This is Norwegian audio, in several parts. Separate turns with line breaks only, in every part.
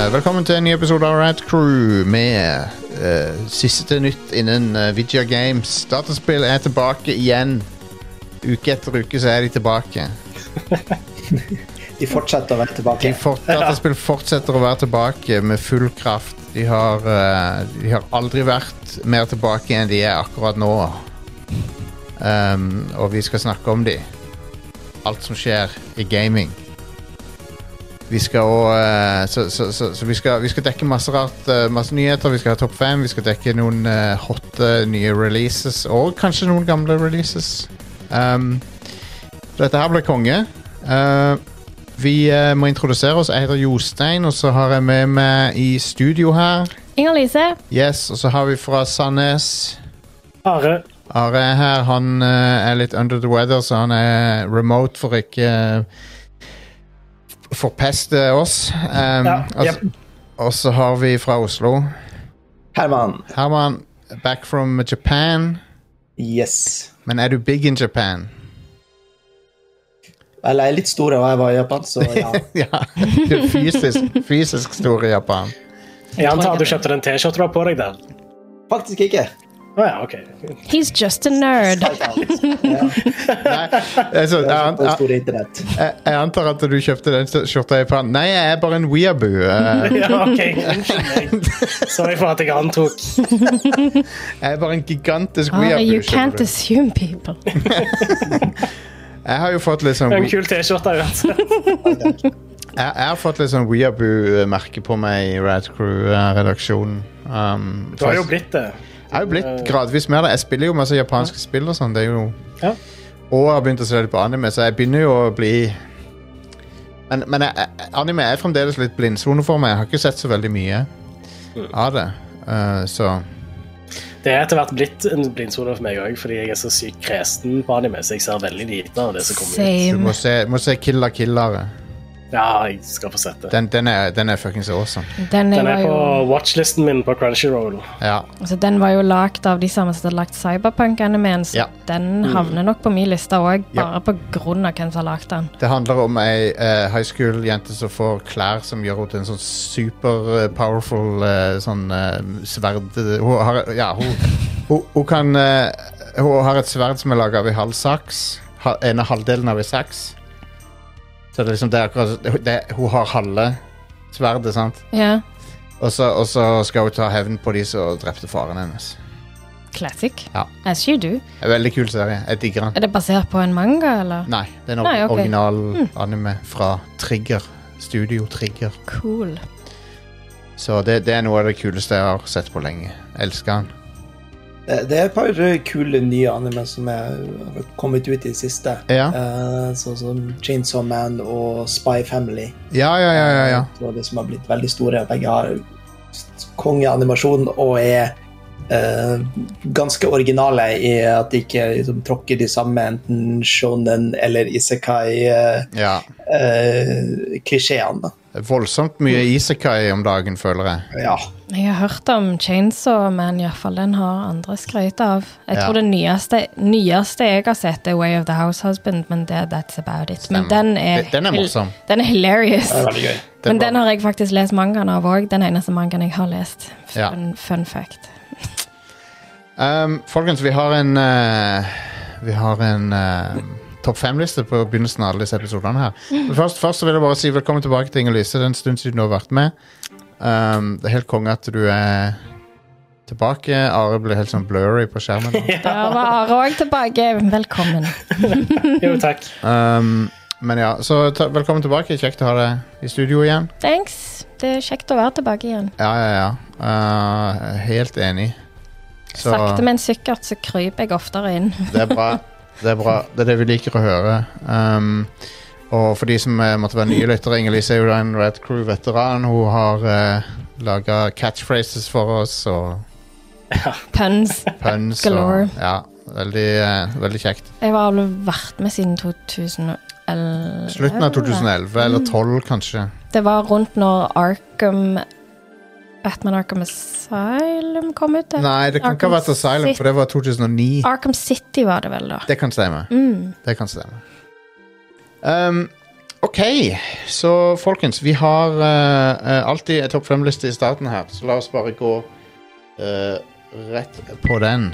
Eh, Velkommen til en ny episode av Rad Crew med eh, siste nytt innen uh, Vidja Games. Dataspill er tilbake igjen. Uke etter uke så er de tilbake.
De fortsetter å være
De
tilbake.
fort, dataspill fortsetter å være tilbake med full kraft. De har, eh, de har aldri vært mer tilbake enn de er akkurat nå. Um, og vi skal snakke om de. Alt som skjer i gaming. Vi skal òg Så, så, så, så vi, skal, vi skal dekke masse rart. eh, masse nyheter. Vi skal ha topp fem. Vi skal dekke noen eh, hotte nye releases. Og kanskje noen gamle releases. Um, så dette her ble konge. Eh, vi eh, må introdusere oss. Jeg heter Jostein, og så har jeg med meg i studio her.
Inger Lise.
Yes, Og så har vi fra Sandnes.
Are.
Are er her. Han eh, er litt under the weather, så han er remote for ikke eh, f- forpeste oss. Um,
Ja,
og så- Og så har vi fra Oslo.
Herman.
Herman, back from Japan.
Yes.
Men er du big in Japan?
Eller jeg er litt stor, og jeg var i Japan, så ja.
ja. Du er fysisk, fysisk stor i Japan.
Jeg antar du kjøpte den T-skjorta du har på deg der?
Faktisk ikke.
Å ja, ok.
He's just a nerd.
Helt ærlig. Ja,
Nei, altså, jeg,
det er på det
jeg,
store internett.
jeg, jeg antar at du kjøpte den skjorta i Japan. Nei, jeg er bare en weeaboo. eh.
Ja, ok. Unnskyld meg. Sorry for at jeg antok.
Jeg er bare en gigantisk
Ah,
Are,
weeaboo.
Oh, you
skjønner
can't
du.
assume people.
Jeg har jo fått litt sånn
Det er En
we-
kul T-skjorte uansett.
Jeg, jeg har fått litt sånn weeaboo-merke på meg i Radcrew-redaksjonen. Um,
Du har jo blitt eh, det.
Jeg har jo blitt gradvis mer det. Jeg spiller jo masse japanske spill og sånn. Det er jo
Ja.
Og jeg har begynt å se litt på anime, så jeg begynner jo å bli Men, men jeg, jeg- anime er fremdeles litt blindsone for meg. Jeg har ikke sett så veldig mye
Mm.
av det. Eh, så
Det er etter hvert blitt en blindsone for meg òg, fordi jeg er så sykt kresen på anime, så jeg ser veldig lite av det som kommer ut.
du må
Same.
se, må se Killa Killare.
Ja, jeg skal få sett det.
Den, den er, den er fuckings awesome.
Den,
Den
var
er på
jo,
watchlisten min på Crunchyroll.
Ja.
altså, den var jo lagd av de samme som hadde lagd Cyberpunk-animen, så
Ja.
den havner nok på min liste òg,
Ja.
bare på grunn av hvem som har lagd den.
Det handler om ei eh, high school-jente som får klær som gjør henne til en sånn super eh, powerful eh, sånn eh, sverd Hun har Ja, hun, hun, hun kan eh, Hun har et sverd som er laga av ei halv saks. Ha, ene halvdelen av ei saks. Så det er liksom det er akkurat det, Hun har halve sverdet, sant?
Ja,
Og så, og så skal hun ta hevn på de som drepte faren hennes.
Classic.
Ja.
As you do.
Det er En veldig kul serie. Jeg digger den.
Er det basert på en manga, eller?
Nei, det er en
Nei, ok. Mm.
original anime fra Trigger. Studio Trigger.
Cool.
Så det, det er noe av det kuleste jeg har sett på lenge. Elsker han.
Det Eh, det er et par kule nye anime som er har kommet ut i det siste.
Ja.
Eh, Sånn som Chainsaw Man og Spy Family.
Ja, ja, ja, ja, ja.
Det var det som har blitt veldig store. Begge har s- kongeanimasjon og er eh, ganske originale i at de ikke liksom, tråkker de samme enten shonen eller eh, isekai-klisjeene.
ja.
Eh,
Det er Voldsomt mye Isekai om dagen, føler jeg.
ja.
Jeg har hørt om Chainsaw Man, iallfall. Den har andre skryt av. Jeg
Ja.
tror det nyeste, nyeste jeg har sett, er Way of the House Husband, men det, that's about it. Men den er,
Den er
hil-
morsom.
Den er hilarious.
Det er veldig gøy.
Den
men
var-
den har jeg faktisk lest mangaen av òg. Den eneste mangaen jeg har lest. Fun,
Ja.
fun fact.
Um, folkens, vi har en eh, Vi har en eh, topp fem-liste på begynnelsen av alle disse episodene her.
Mm.
Men først, først så vil jeg bare si velkommen tilbake til Inger Lise. Det er en stund siden du har vært med. Um, det er helt konge at du er tilbake. Are ble helt sånn blurry på skjermen.
Der var Are òg tilbake. Velkommen.
Jo, takk.
Um, men ja, så ta, velkommen tilbake. Kjekt å ha deg i studio igjen.
Thanks. Det er kjekt å være tilbake igjen.
Ja, ja, ja. Eh, helt enig. Så
Sakte, men sikkert så kryper jeg oftere inn.
det er bra. Det er bra. Det er det vi liker å høre. Um, og for de som eh, måtte være nye lyttere, Inger-Lise er jo da en Red Crew-veteran. Hun har uh, laga catchphrases for oss og
Puns.
puns.
Galore.
Og, ja, veldig, eh, veldig kjekt.
Jeg har vel vært med siden 2011.
Slutten av 2011, eller 12 kanskje.
Det var rundt når Arkham Batman Arkham Asylum kom ut. det.
Nei, det kan ikke ha vært Asylum, for det var 2009.
Arkham City var det vel, da.
Det kan stemme.
Mm.
Det kan stemme. Um, OK, så folkens, vi har eh, eh, alltid en topp fem-liste i starten her, så la oss bare gå eh, rett på den.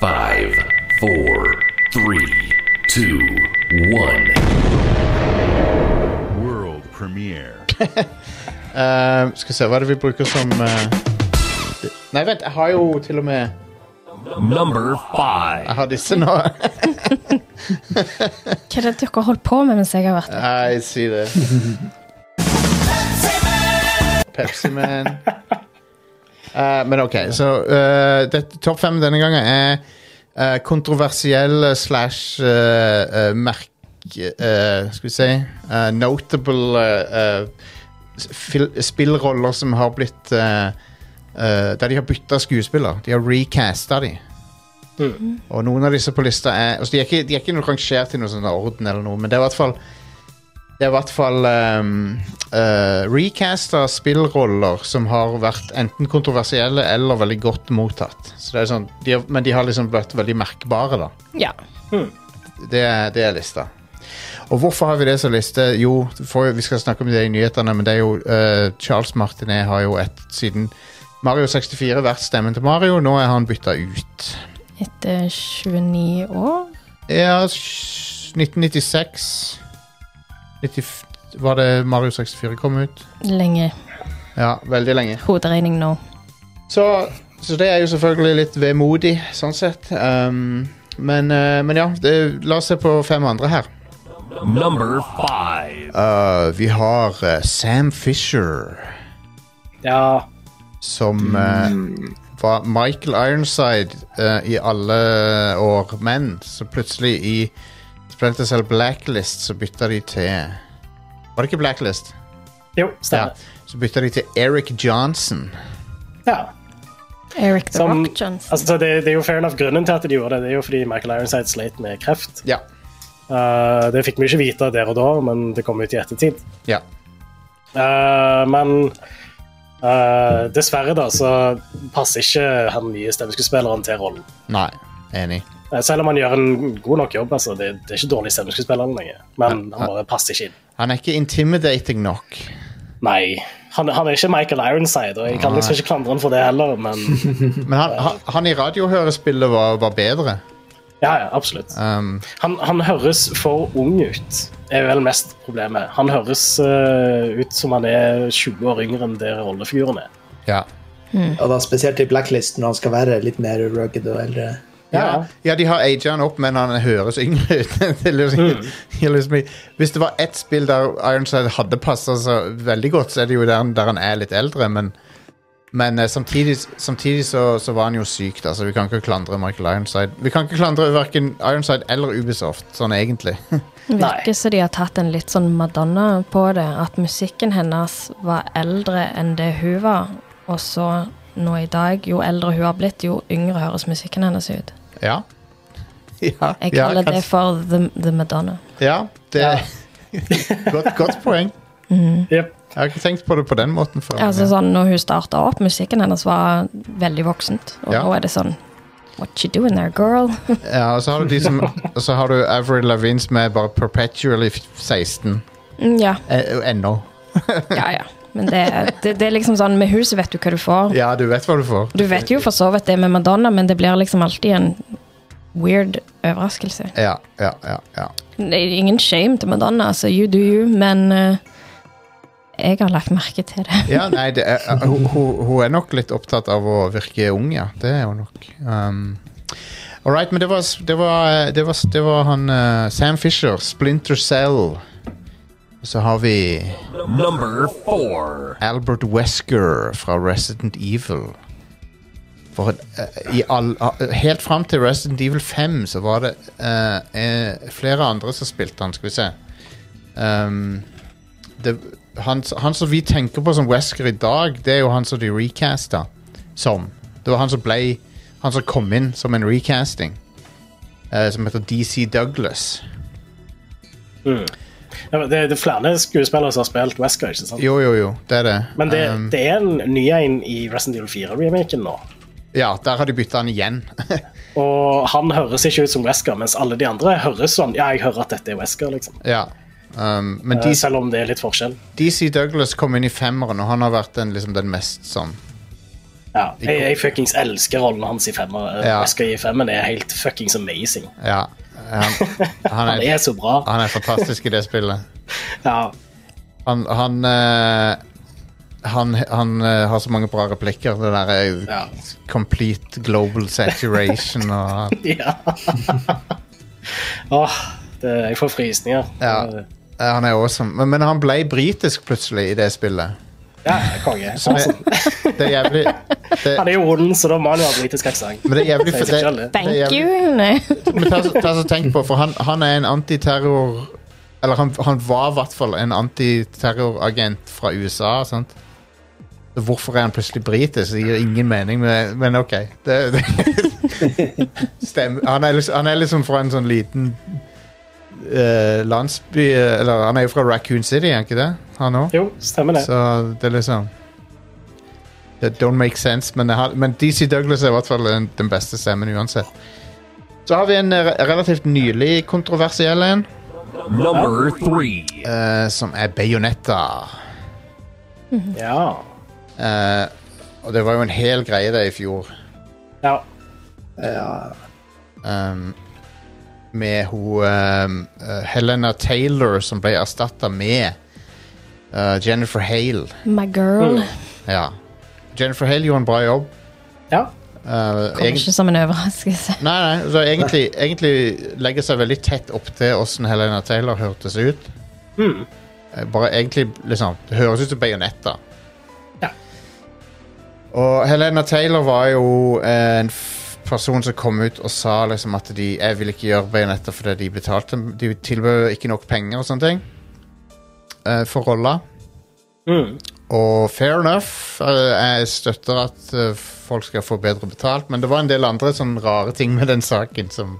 Five, four, three, two, one.
World premiere.
Eh, skal se, hva er det vi bruker som eh, det- Nei, vent, jeg har jo til og med
Number five.
Jeg har disse nå.
Hva er det dere har holdt på med mens jeg har vært der?
Nei, si det. Pepsi Man. Eh, men OK, så eh, det- topp fem denne gangen er eh, kontroversielle slash eh, eh, merk... eh, skal vi si eh, Notable eh, eh, s- fil- spillroller som har blitt eh, eh, Der de har bytta skuespiller. De har recasta de. Og noen av disse på lista er altså De er ikke, de er ikke noe rangert i noen sånn orden, eller noe, men det er i hvert fall det er i hvert fall um, uh, recasta spillroller som har vært enten kontroversielle eller veldig godt mottatt. Så det er sånn, de har, men de har liksom blitt veldig merkbare, da.
Ja.
Det, er- det er lista. Og hvorfor har vi det som liste? Jo, for, vi skal snakke om det i nyhetene, men det er jo eh, Charles Martinet har jo et siden Mario 64 vært stemmen til Mario. Nå er han bytta ut.
Etter 29 år?
Ja, sj- 1996 90, Var det Mario 64 kom ut?
Lenge.
Ja, veldig lenge.
Hoderegning nå.
Så, så det er jo selvfølgelig litt vemodig, sånn sett. Um, men, eh, men ja, det, la oss se på fem andre her.
Number five.
Uh, vi har eh, Sam Fisher,
Ja,
som eh, var Michael Ironside eh, i alle år, men så plutselig i Splinter Cell Blacklist så bytta de til Var det ikke Blacklist?
jo,
Ja.
stemmer.
Så bytta de til Eric Johnson.
Ja.
Eric the
Som-
Rock Johnson.
Altså, det, det er jo fair enough grunnen til at de gjorde det. Det er jo fordi Michael Ironside sleit med kreft.
Ja.
Eh, det fikk vi ikke vite der og da, men det kom ut i ettertid.
ja.
Eh, men eh, dessverre, da, så passer ikke han nye stemmeskuespilleren til rollen.
Nei. Enig.
Eh, Selv om han gjør en god nok jobb. altså Det, det er ikke dårlig stemmeskuespiller lenger. Men han bare passer ikke inn.
Han er ikke intimidating nok.
Nei. Han, han er ikke Michael Ironside, og jeg kan liksom ikke klandre han for det heller, men
Men han, han, han i radiohørespillet var, var bedre.
ja, ja, absolutt.
Um,
Han, han høres for ung ut, er vel mest problemet. Han høres eh, ut som han er 20 år yngre enn det rollefiguren er.
ja.
Og da spesielt i Blacklist, når han skal være litt mer rugged og eldre.
Ja.
Ja.
ja, de har aget han opp, men han høres yngre ut. Det er liksom,
Mm.
det er liksom, hvis det var ett spill der Ironside hadde passa seg veldig godt, så er det jo der, der han er litt eldre, men, men eh, samtidig, samtidig så, så var han jo syk, da, så vi kan ikke klandre Michael Ironside. Vi kan ikke klandre verken Ironside eller Ubisoft, sånn egentlig.
Virker som de har tatt en litt sånn Madonna på det. At musikken hennes var eldre enn det hun var. Og så nå i dag, jo eldre hun har blitt, jo yngre høres musikken hennes ut.
ja. ja.
Jeg
ja,
kaller det
kanskje-
for The, the Madonna.
Ja, det godt, godt poeng.
Jep.
Jeg har ikke tenkt på det på den måten før.
Altså sånn, når hun starta opp, musikken hennes var veldig voksent. Og
Ja.
nå er det sånn What you doing there, girl?
Ja, og så har du de som Og så har du Avril Lavigne som er bare perpetually f- 16
Mm, ja,
eh, Ennå
ja, ja. Men det, det, det er liksom sånn Med huset vet du hva du får.
Ja, du vet hva du får
Du vet jo for så vidt det med Madonna, men det blir liksom alltid en weird overraskelse.
Ja, ja, ja, ja.
Det er ingen shame til Madonna, altså you do you, men eh, jeg har lagt merke til det.
ja nei, det er, eh, hun, hun hun er nok litt opptatt av å virke ung, ja Det er hun nok um, Alright, men det var, s- det var, eh, det var, s- det var han eh, Sam Fisher, Splinter Cell Så har vi
Number four.
Albert Wesker fra Resident Evil. For eh, i all, eh, Helt fram til Resident Evil 5 så var det eh, eh, flere andre som spilte han, skal vi se. Ehm, det, han, han som vi tenker på som Wesker i dag, det er jo han som de recasta som. Det var han som ble Han som kom inn som en recasting, eh, som heter DC Douglas.
Ja, men Det, det er flere skuespillere som har spilt Wesker, ikke sant?
Jo, jo, jo, det er det.
Men det,
Ehm,
det er en ny en i Resident Evil 4-remaken nå.
ja, der har de bytta han igjen.
Og han høres ikke ut som Wesker, mens alle de andre høres sånn Ja, jeg hører at dette er Wesker, liksom.
ja. Um, men
eh,
DC,
selv om det er litt forskjell.
DC Douglas kom inn i femmeren, og han har vært den, liksom, den mest sånn
Ja, jeg, jeg fuckings elsker rollen hans i femmer.
Ja.
Jeg skal gi femmen, det er helt fuckings amazing.
Ja. Han, han,
Han
er,
er så bra.
han er fantastisk i det spillet.
Ja,
Han Han, eh, han, han eh, har så mange bra replikker. Det der eh,
Ja.
Complete global saturation og
ja. Åh, det, jeg får frysninger.
Ja.
Det-
Eh, Han er awesome. Men, men han ble britisk plutselig i det spillet.
ja konge.
Så det, det er jævlig det,
Han er jo ond, så da må han jo ha britisk aksent.
Men det er jævlig
Sier
for
seg
det,
selv, det.
det er
Thank
jævlig-
you! Nei.
Men ta, så- ta så tenk på, for han, han er en antiterror Eller han, han var i hvert fall en antiterroragent fra USA. Sant? Så Hvorfor er han plutselig britisk? Det gir ingen mening, men, men OK. Det, det, stem- Han, er liksom, han er liksom fra en sånn liten eh, landsby eh, Eller han er jo fra Raccoon City, er han ikke det? Han òg?
Jo, stemmer det.
Så det er liksom Det don't make sense, men, jeg har, men DC Douglas er i hvert fall den, den beste stemmen uansett. Så har vi en eh, relativt nylig kontroversiell en,
Number three.
eh, som er Bayonetta.
Ja.
Eh, og det var jo en hel greie det i fjor.
ja.
Ja,
ehm, med hun ehm, eh, Helena Taylor som ble erstatta med eh, Jennifer Hale.
My girl.
Ja. Jennifer Hale gjorde en bra jobb.
Ja.
Eh,
Kommer
egent-
ikke som en overraskelse.
Nei, nei, så egentlig, egentlig legger seg veldig tett opp til hvordan Helena Taylor hørtes ut.
Mm.
Eh, Bare egentlig, liksom, det høres ut som bajonetta.
Ja.
Og Helena Taylor var jo eh, en f- person som kom ut og sa liksom at de, jeg vil ikke gjøre bajonetta fordi de betalte, de tilbød ikke nok penger og sånne ting eh, for rolla.
Mm.
Og fair enough. eh, Jeg støtter at eh, folk skal få bedre betalt, men det var en del andre sånn rare ting med den saken som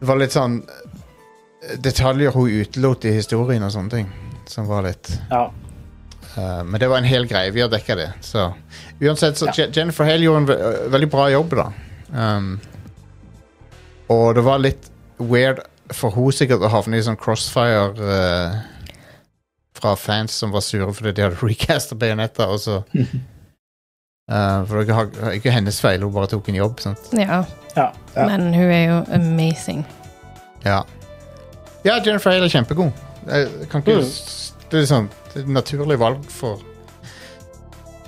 Det var litt sånn eh, Detaljer hun utelot i historien og sånne ting. Som var litt
ja.
eh, Men det var en hel greie. Vi har dekka det. Så uansett, så Je- Jennifer Hale gjorde en ve eh, veldig bra jobb, da. Um, og det var litt weird for hun sikkert å havne i sånn crossfire eh, fra fans som var sure fordi de hadde recasta Bayonetta, og så Eh, For det var ikke- ikke hennes feil, hun bare tok en jobb, sånn. sant?
Ja.
Ja.
Ja.
Men hun er jo amazing.
Ja. Ja, Jennifer Hale er kjempegod. Jeg kan ikke
Mm.
s- Det er sånn det er et naturlig valg for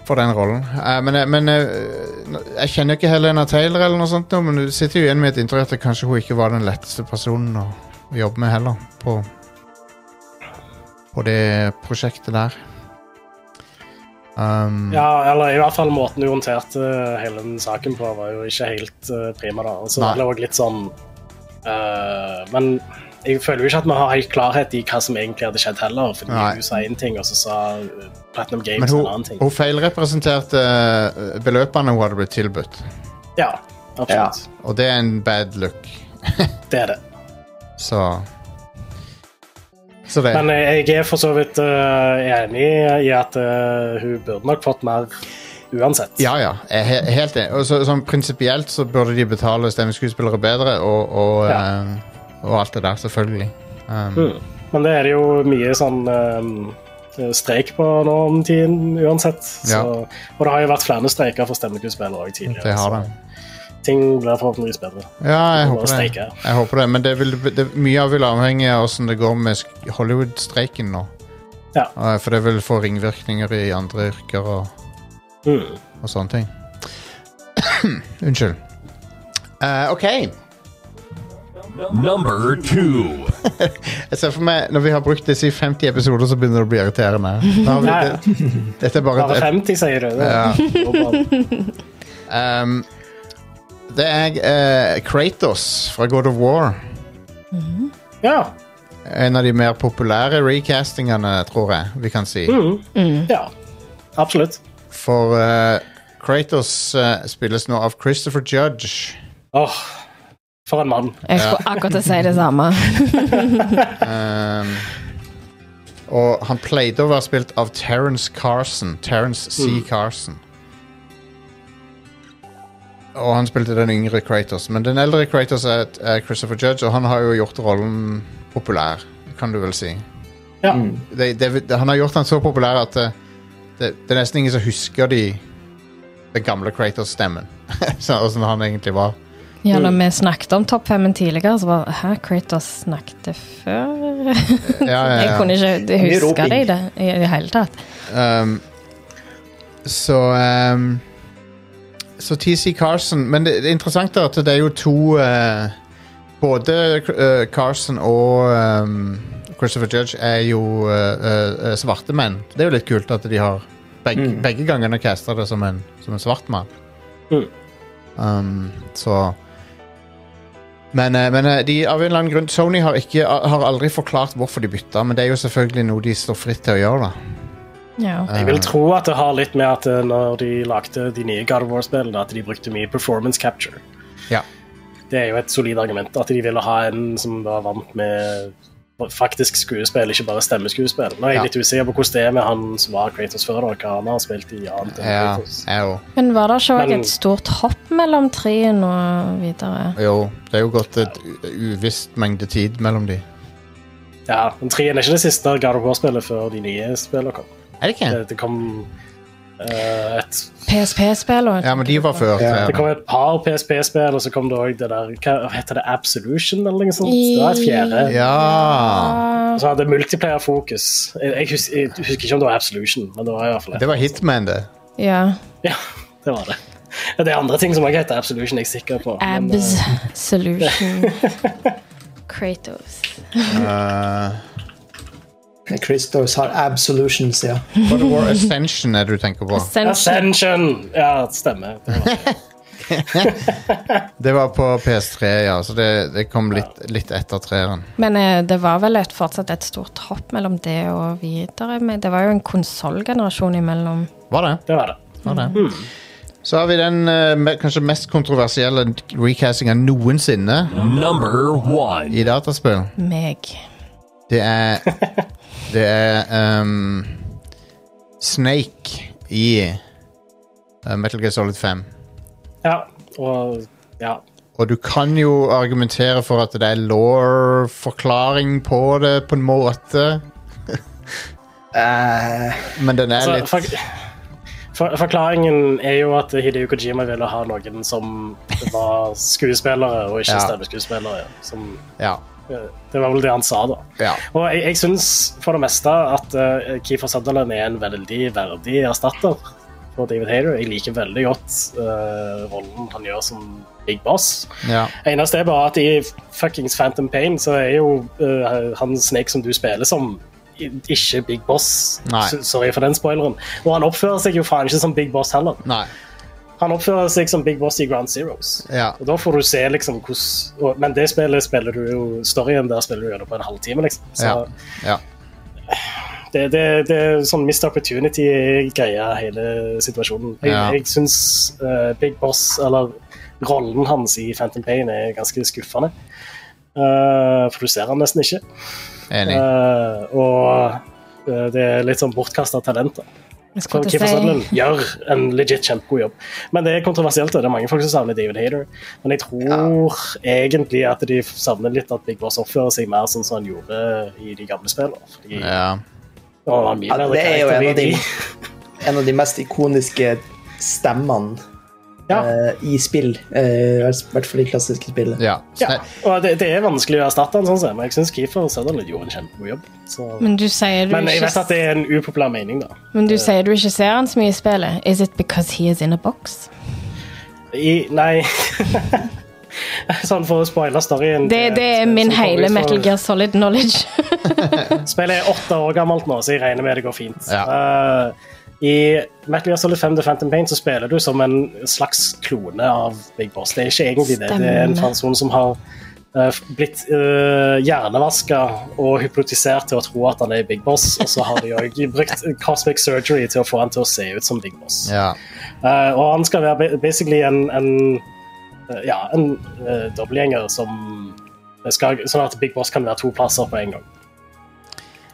For den rollen. Eh, men jeg- men eh, jeg kjenner ikke Helena Taylor, eller noe sånt, nå, men du sitter jo igjen med et inntrykk at kanskje hun ikke var den letteste personen å å jobbe med heller, på, på det prosjektet der. Um,
ja, eller i hvert fall måten du håndterte eh, hele den saken på, var jo ikke helt eh, prima, da. Og så
Nei.
var det også litt sånn eh, Men jeg føler jo ikke at vi har helt klarhet i hva som egentlig hadde skjedd, heller. Fordi
Nei.
hun sa én ting, og så sa eh, Platinum
men
Games en
hun,
annen ting.
hun feilrepresenterte eh, beløpene hun hadde blitt tilbudt,
Ja, absolutt.
og det er en bad look.
Det er det.
Så Så det.
Men eh, jeg er for så vidt eh, enig i at eh, hun burde nok fått mer uansett.
ja, ja. Jeg er he- helt enig. Og så, sånn prinsipielt så burde de betale stemmeskuespillere bedre og, og,
Ja.
eh, og alt det der, selvfølgelig. Um,
Mm. Men det er det jo mye sånn eh, streik på nå om tiden uansett. Så,
Ja.
Og det har jo vært flere streiker for stemmekuespillere også tidligere.
Det har det.
Så ting blir forhåpentligvis bedre.
Ja, jeg
må
håper
bare
det.
streike.
Jeg håper det. Men det vil, det, mye av vil avhenge av åssen det går med sk- Hollywood-streiken nå.
Ja.
Eh, For det vil få ringvirkninger i andre yrker og,
Mm.
og sånne ting. Unnskyld. Eh, OK.
Number two.
Jeg ser for meg, Når vi har brukt disse i 50 episoder, så begynner det å bli irriterende. Da har vi,
Ja, ja.
det, dette er bare
Bare
et,
50, sier du. Det.
Ja.
går bra.
um, Det er eh, Kratos fra God of War.
ja.
En av de mer populære recastingene, tror jeg vi kan si.
ja. Absolutt.
For eh, Kratos eh, spilles nå av Christopher Judge.
Åh, for en mann.
Jeg skulle akkurat til å si det samme.
Um, og han pleide å være spilt av Terence Carson. Terence C. Carson. Og han spilte den yngre Kratos. Men den eldre Kratos er, er Christopher Judge, og han har jo gjort rollen populær. kan du vel si.
Ja.
Det, det, det, han har gjort den så populær at eh, det, det er nesten ingen som husker de den gamle Kratos-stemmen. Så- Åssen han egentlig var.
Ja, når vi snakket om topp femmen tidligere, så var det Hæ, Kratos snakket før?
Ja, ja,
Jeg
ja.
kunne ikke
Mye
huske
roping.
det i det, i det hele tatt.
Um, så um, Så TC Carson Men det, det interessante er at det er jo to eh, Både eh, Carson og um, Christopher Judge er jo eh, eh, svarte menn. Det er jo litt kult at de har begge,
Mm.
begge gangene casta det som en, som en svart mann.
Mm.
Um, så men, eh, men eh, de, av en eller annen grunn Sony har, ikke, har aldri forklart hvorfor de bytta, men det er jo selvfølgelig noe de står fritt til å gjøre. da
Ja.
Eh.
Jeg vil tro at det har litt med at eh, når de lagde de nye God of War-spillene, at de brukte mye performance capture.
Ja.
Det er jo et solid argument, at de ville ha en som var vant med faktisk skuespill, ikke bare stemmeskuespill. Nå er jeg
Ja.
litt usikker på hvordan det er med han som var Kratos før, og hva han har spilt i annet enn
Ja,
Kratos.
jeg òg.
Men var det ikke òg
Men-
et stort hopp mellom treen og videre?
Jo, det er jo gått et u- uvisst mengde tid mellom de.
Ja, men Trien er ikke det siste God of War-spillet før de nye spillene kom.
Er det ikke?
Det, det kom eh, et
PSP-spill og
Ja, men de var før.
Ja.
ja.
Det kom et par PSP-spill, og så kom det òg det der Hva heter det? Absolution, eller noe sånt? Det var et fjerde.
Ja!
Ja.
Så hadde Altså, multiplayer-fokus. Jeg, jeg, hus- jeg husker ikke om det var Absolution, men det var i hvert fall det.
Det var Hitman, det.
ja.
Ja, det var det. Ja, Det er andre ting som også heter Absolution, jeg er sikker på. men,
Abs
eh,
Solution. Kratos.
Uh,
Christos har absolutions, ja.
God of War Ascension er det du tenker på.
Ascension.
Ascension! Ja, det stemmer. Det var det.
Det var på PS3, ja, så det, det kom litt, litt etter treeren.
Men eh, det var vel et, fortsatt et stort hopp mellom det og videre. Men det var jo en konsollgenerasjon imellom.
Var det?
det, var det.
Var det. Så har vi den eh, me- kanskje mest kontroversielle recastinga noensinne
Number one.
i dataspill.
Meg.
Det er Det er ehm, Snake i eh, Metal Gear Solid 5.
Ja, og ja.
Og du kan jo argumentere for at det er law-forklaring på det på en måte,
Eh,
men den er
Så,
litt
for, for, forklaringen er jo at Hideo Kojima ville ha noen som var skuespillere, og ikke
Ja.
stemmeskuespillere. Som,
Ja.
eh, det var vel det han sa, da.
ja.
Og jeg, jeg syns for det meste at uh, Keefer Sutherland er en veldig verdig erstatter for David Hayter. Jeg liker veldig godt eh, rollen han gjør som Big Boss.
ja.
Eneste er bare at i fuckings Phantom Pain så er jo eh, han Snake som du spiller som, i- ikke Big Boss.
Nei.
S- Sorry for den spoileren. Og han oppfører seg jo faen ikke som Big Boss heller.
Nei.
Han oppfører seg som Big Boss i Ground Zeroes.
Ja.
Og da får du se liksom hvordan og- Men det spillet spiller du jo storyen der spiller du gjennom på en halvtime, liksom. Så
Ja. ja.
det, det, det er sånn missed opportunity-greia, hele situasjonen. Jeg,
Ja.
jeg syns eh, Big Boss, eller rollen hans i Phantom Pain, er ganske skuffende. Eh, for du ser han nesten ikke.
Enig.
Eh, og eh, det er litt sånn bortkasta talenter.
Jeg
For
skulle til
Kiefer
å
Sutherland
si
gjør en legit kjempegod jobb. Men det er kontroversielt, og det er mange folk som savner David Hayter. Men jeg tror egentlig at de savner litt at Big Boss oppfører seg mer sånn som han gjorde i de gamle spillene. Fordi
Ja.
han var mye
Ja,
bedre
det er jo
karakter
en
i
av de, en av de mest ikoniske stemmene
Ja.
eh, i spill. eh, I hvert fall i klassiske spill.
ja.
Ja,
Sna-
og det, det er vanskelig å erstatte han, sånn sett, men jeg syns Keefer Sutherland gjorde en kjempegod jobb. Så.
Men du sier du
Men jeg vet
ikke
at det er en upopulær mening, da.
Men du sier du ikke ser han så mye i spillet. Is it because he is in a box?
I, nei Sånn for å spoile storyen
Det, det er
som
min
kommer ut
hele
for-
Metal Gear Solid knowledge.
Spillet er åtte år gammelt nå, så jeg regner med det går fint. Eh, I Metal Gear Solid 5 The Phantom Pain så spiller du som en slags klone av Big Boss. Det er ikke egentlig det. Det er en
Stemmer.
person som har eh, blitt uh, hjernevaska og hypnotisert til å tro at han er Big Boss, og så har de òg brukt Cosmic Surgery til å få han til å se ut som Big Boss.
ja.
Eh, og han skal være ba- basically en, en eh, ja, en eh, dobbeltgjenger som skal, Sånn at Big Boss kan være to plasser på en gang.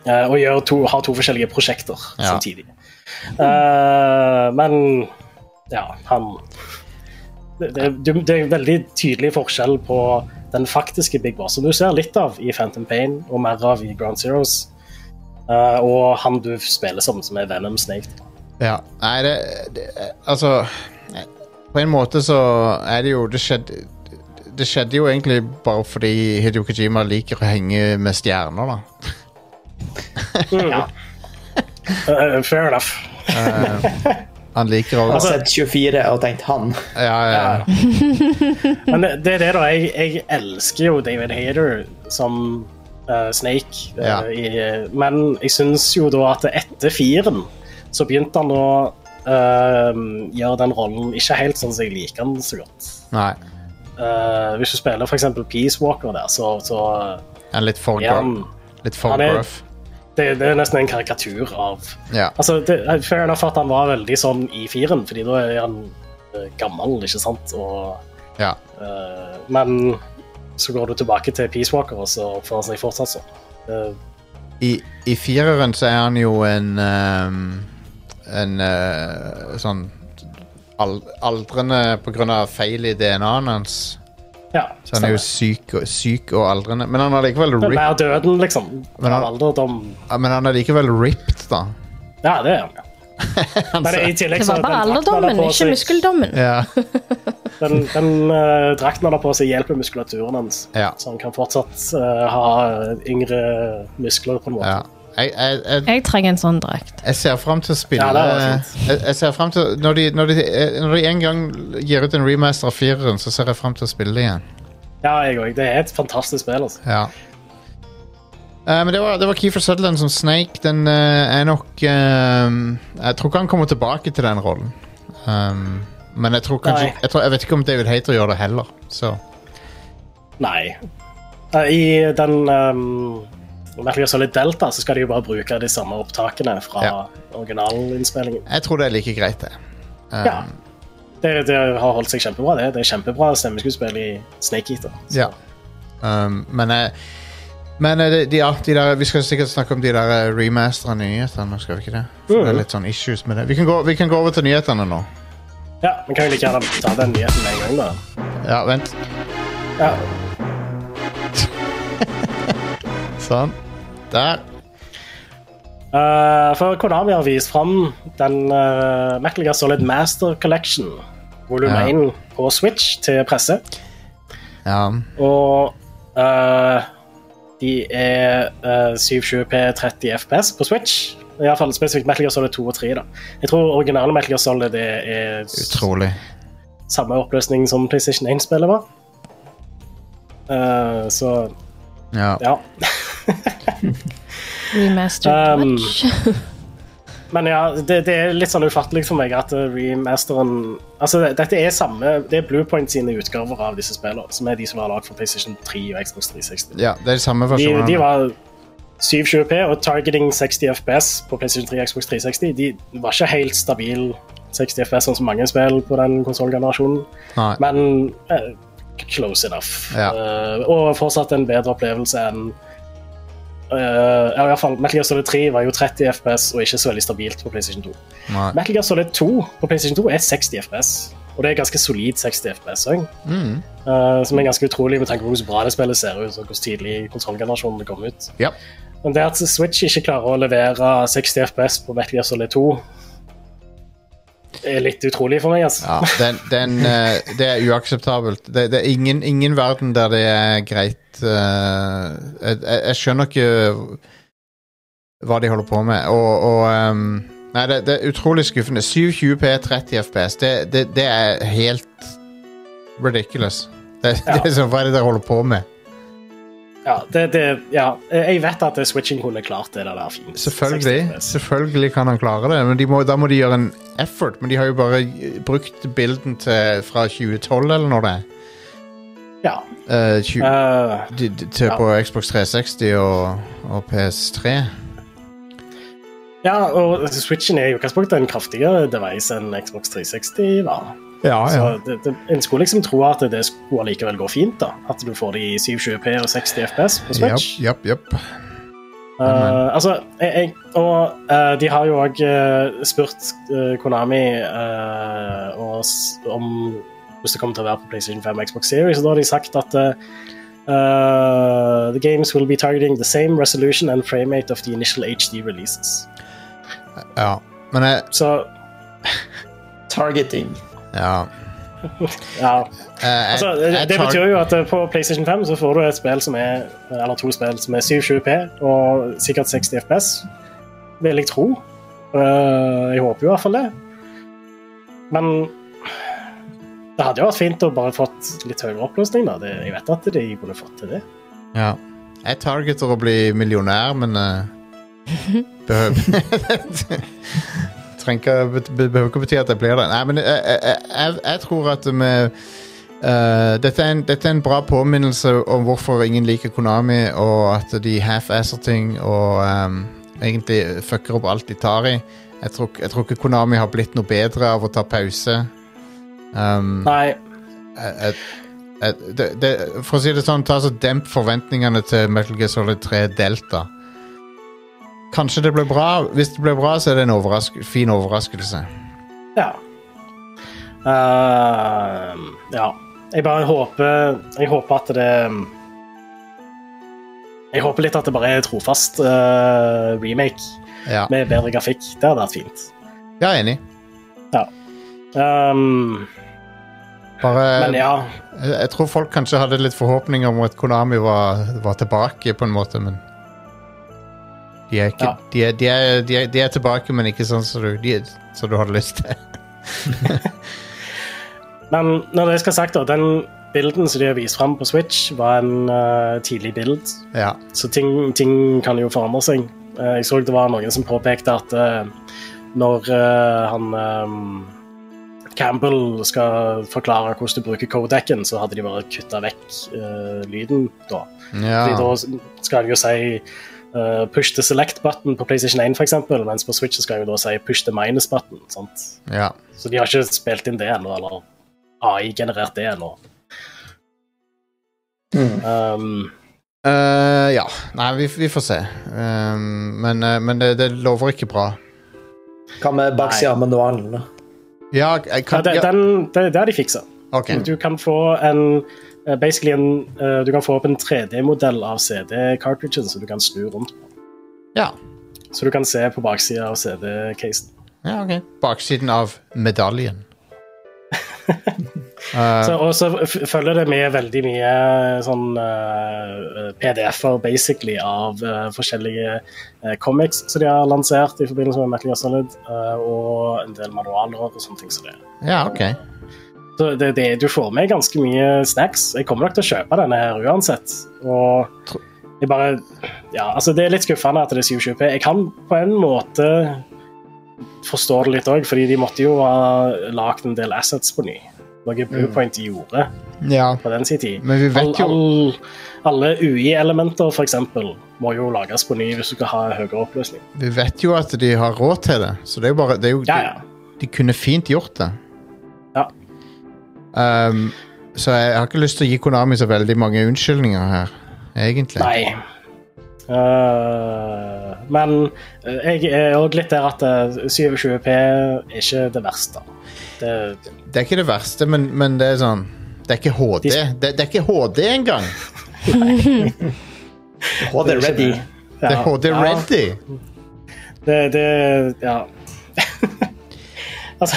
Eh, og gjør to, har to forskjellige prosjekter
Ja.
samtidig. Eh, men ja, han det, det, er- det er en veldig tydelig forskjell på den faktiske Big Boss, som du ser litt av i Phantom Pain og mer av i Ground Zeroes, eh, og han du spiller som, som er Venom Snake.
Ja, nei, det, det Altså eh, På en måte så er det jo Det skjedde, det skjedde jo egentlig bare fordi Hideo Kojima liker å henge med stjerner, da.
Eh, fair enough.
Han liker å
Jeg
Altså-
har sett 24 og tenkt han.
ja, ja, ja.
Men det, det er det, da. Jeg, jeg elsker jo David Hayter som eh, Snake, eh,
Ja.
i, men jeg syns jo da at etter firen så begynte han å eh, gjøre den rollen ikke helt sånn som jeg liker den så godt.
Nei.
Eh, hvis du spiller f.eks. Peace Walker der, så, så
Han er litt for
er han
gruff. Litt for
han er-
gruff.
det, det er nesten en karikatur av
Ja.
Altså, det, er Fair enough at han var veldig sånn i firen, fordi da er han eh, gammel, ikke sant? Og
ja.
Eh, men så går du tilbake til Peace Walker, og så oppfører han seg fortsatt sånn. Eh,
I, I fireren så er han jo en ehm, En eh, sånn al aldrende på grunn av feil i DNA-en hans.
ja,
Så han er jo
stemmer.
syk, og- syk og aldrende. Men han er likevel
Men
ripped,
Nær døden, liksom.
Men han-
Av alderdom.
men han er likevel ripped da.
Ja, det er han. ja. Men i tillegg
Det
så
var bare
den drakten han har
alderdommen,
på
ikke
seg-
muskeldommen.
Ja.
Den, den eh, drakten han har på seg, hjelper muskulaturen hans.
Ja.
Så han kan fortsatt eh, ha yngre muskler, på en måte.
ja. Jeg, jeg, jeg,
Jeg trenger en sånn drakt.
jeg ser frem til å spille
Ja, det var
jeg, jeg ser frem til når de, når, de, eh, når de en gang gir ut en remaster av fireren, så ser jeg frem til å spille det igjen.
Ja, jeg òg. Det er et fantastisk spill. altså.
Ja. Eh, men det var, det var Keefer Sutherland som Snake. Den eh, er nok eh, Jeg tror ikke han kommer tilbake til den rollen. Um, men jeg tror kanskje
Nei.
jeg, tror, jeg vet ikke om David Hater gjør det heller. Så
Nei. Eh, I den um, Metal Gear Solid Delta så skal de jo bare bruke de samme opptakene fra
Ja.
originalinnspillingen.
jeg tror det er like greit, det. Um,
Ja. Det, det har holdt seg kjempebra. Det, det er kjempebra stemmeskuespill i Snake Eater. Så-
Ja. Um, men eh, men eh, de, de, ja, de der, vi skal sikkert snakke om de der eh, remasterne i nyhetene. Skal vi ikke det? For
Mm.
Det er litt sånn issues med det. Vi kan gå, vi kan gå over til nyhetene nå.
ja Vi kan jo like gjerne ta den nyheten med en gang, da.
Ja, vent.
Ja,
Sånn. Der.
Eh, for Konami har vist fram den eh, Metal Gear Solid Master Collection, volum
Ja.
1 på Switch, til presse.
Ja.
Og eh, de er eh, 720p 30 FPS på Switch. Iallfall spesifikt Metal Gear Solid 2 og 3. da. Jeg tror originale Metal Gear Solid er, er s-
Utrolig.
samme oppløsning som PlayStation 1-spillet var. Eh, så
Ja.
ja.
Remastered
Um,
Watch.
Men ja, det, det er litt sånn ufattelig for meg at eh, remasteren Altså, det- dette er samme Det er Bluepoint sine utgaver av disse spillene, som er de som var lagd for PlayStation 3 og Xbox 360.
ja, det er de samme
De,
versjonene.
de var 720p og targeting 60 FPS på PlayStation 3 og Xbox 360. De var ikke helt stabil 60 FPS, sånn som mange spill på den konsollgenerasjonen.
Nei.
Men eh, close enough.
Ja.
Eh, og fortsatt en bedre opplevelse enn eh, ja, i hvert fall Metal Gear Solid 3 var jo 30 FPS og ikke så veldig stabilt på PlayStation 2.
Nei.
Metal Gear Solid 2 på PlayStation 2 er 60 FPS, og det er ganske solid 60 FPS òg.
Mm.
eh, som er ganske utrolig med tanke på hvor så bra det spillet ser ut, og hvor tidlig konsollgenerasjonen det kom ut.
Ja.
Men det at Switch ikke klarer å levere 60 FPS på Metal Gear Solid 2, er litt utrolig for meg, altså.
Ja, den, den, eh, det er uakseptabelt. Det, det er ingen, ingen verden der det er greit eh, jeg, jeg jeg skjønner ikke hva de holder på med. Og, og ehm, Nei, det, det er utrolig skuffende. 720P, 30 FPS. Det, det, det er helt ridiculous. Det,
Ja.
det er sånn, Hva er det dere holder på med?
Ja, det, det, ja. Jeg vet at Switchen kunne klart det der der fint.
Selvfølgelig
60 FPS.
selvfølgelig kan han klare det, men de må, da må de gjøre en effort. Men de har jo bare eh, brukt bilden til, fra 2012, eller når det er.
Ja.
Eh, 20,
eh,
de, de, til
Ja.
på Xbox 360 og, og PS3.
ja, og Switchen er i utgangspunktet en kraftigere device enn Xbox 360 var.
Ah, Ja,
Så det, det, en skulle liksom tro at det skulle allikevel gå fint, da. At du får de i 720p og 60 FPS på Switch.
Japp, japp, japp.
Eh, altså, jeg, jeg, og eh, de har jo òg spurt eh, Konami eh, og s- eh, om hvis det kommer til å være på PlayStation 5 og Xbox Series. Og da har de sagt at eh, eh, the games will be targeting the same resolution and frame rate of the initial HD releases.
Ja. Men jeg
Så
Targeting.
Ja.
ja,
Eh, jeg-
altså, det,
jeg
det
tar-
betyr jo at eh, på PlayStation 5 så får du et spill som er, eller to spill som er 720P og sikkert 60 FPS, vil jeg tro. Eh, jeg håper jo i hvert fall det. Men det hadde jo vært fint å bare fått litt høyere oppløsning. da. Det, jeg vet at de kunne fått til det.
Ja. Jeg targeter å bli millionær, men eh, behøver Trenger ikke- bet- be- Behøver ikke bety at jeg blir det. Nei, men jeg, jeg, jeg, jeg tror at med eh, dette, er en, dette er en bra påminnelse om hvorfor ingen liker Konami, og at de half-asser ting og ehm, egentlig fucker opp alt de tar i. Jeg tror, ikke- jeg tror ikke Konami har blitt noe bedre av å ta pause. Um,
Nei,
jeg- jeg- jeg- det, det, for å si det sånn, ta så demp forventningene til Metal Gear Solid 3 Delta. Kanskje det blir bra. Hvis det blir bra, så er det en overrask fin overraskelse.
ja. Eh, ja. Jeg bare håper Jeg håper at det Jeg håper litt at det bare er trofast eh, remake.
Ja,
med bedre grafikk. Det hadde vært fint.
jeg er enig.
Um,
Bare,
men ja,
jeg, jeg tror folk kanskje hadde litt forhåpninger om at Konami var, var tilbake, på en måte, men de er, ikke,
Ja.
de, er, de, er, de, er, de er tilbake, men ikke sånn som du, de, er- som du hadde lyst til.
men når det skal sagt, da, den bilden som de har vist fram på Switch, var en eh, tidlig bild,
Ja.
så ting, ting kan jo forandre seg. Eh, jeg så det var noen som påpekte at eh, når eh, han eh, Campbell skal forklare hvordan du bruker codecen, så hadde de bare kutta vekk eh, lyden da. Fordi
ja.
da skal jeg jo si eh, push the select button på PlayStation 1, for eksempel, mens på Switch så skal jeg jo da si push the minus button. Sant?
ja.
Så de har ikke spilt inn det ennå, eller AI-generert det ennå.
Mm.
Um,
Eh, ja. Nei, vi, vi får se. Eh, men eh, men det, det lover ikke bra.
Hva med baksida av manualen? da?
Ja, jeg
ja,
kan
det,
ja,
den, det, det har de fiksa.
Ok.
Du kan få en eh, Basically en, eh, du kan få opp en 3D-modell av CD-cartridgen som du kan snu rundt.
Ja.
Så du kan se på baksida av CD-casen.
ja, ok. Baksiden av medaljen. Eh,
Så- Og så f- følger det med veldig mye sånn eh, PDF-er, basically, av eh, forskjellige eh, comics som de har lansert i forbindelse med Metal Gear Solid, eh, og en del manualer og sånne ting som det.
ja, ok.
Så det, det, du får med ganske mye snacks. Jeg kommer nok til å kjøpe denne her uansett. Og
Tro-
jeg bare Ja, altså, det er litt skuffende at det er 720P. Jeg kan på en måte forstå det litt òg, fordi de måtte jo ha lagd en del assets på ny. Noe Bluepoint de gjorde
Ja.
på den sin tid.
Men vi vet jo-
all, alle UI-elementer, for eksempel, må jo lages på ny hvis du skal ha høyere oppløsning.
Vi vet jo at de har råd til det, så det er jo bare det er jo,
Ja, ja.
De, de kunne fint gjort det.
Ja.
Ehm, så jeg har ikke lyst til å gi Konami så veldig mange unnskyldninger her, egentlig.
Nei. Eh, men eh, jeg er òg litt der at eh, 27P er ikke det verste. Det,
Det er ikke det verste, men, men det er sånn Det er ikke HD.
De-
Det, det er ikke HD engang!
HD ready.
ja,
Det er HD
ja,
ready!
Det, det Ja. altså,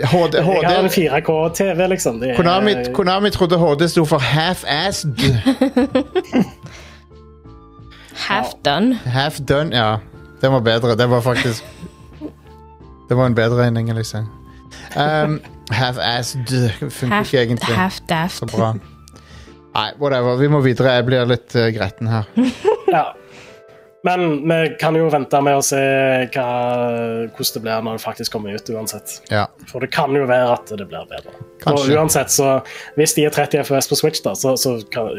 HD,
jeg har en
HD
4K-TV, liksom. Det er-
Konami, Konami trodde HD sto for half-assed.
Half done.
Half done, ja. Den var bedre. Det var faktisk Det var en bedre en engelsk sang. Um, half-assed funker
Half,
ikke egentlig
half daft.
så bra. Nei, whatever. Vi må videre. Jeg blir litt eh, gretten her.
Ja. Men vi kan jo vente med å se hva, hvordan det blir når det faktisk kommer ut, uansett.
Ja.
For det kan jo være at det blir bedre.
Kanskje.
Og uansett, så hvis de er 30 FOS på Switch, da, så, så kan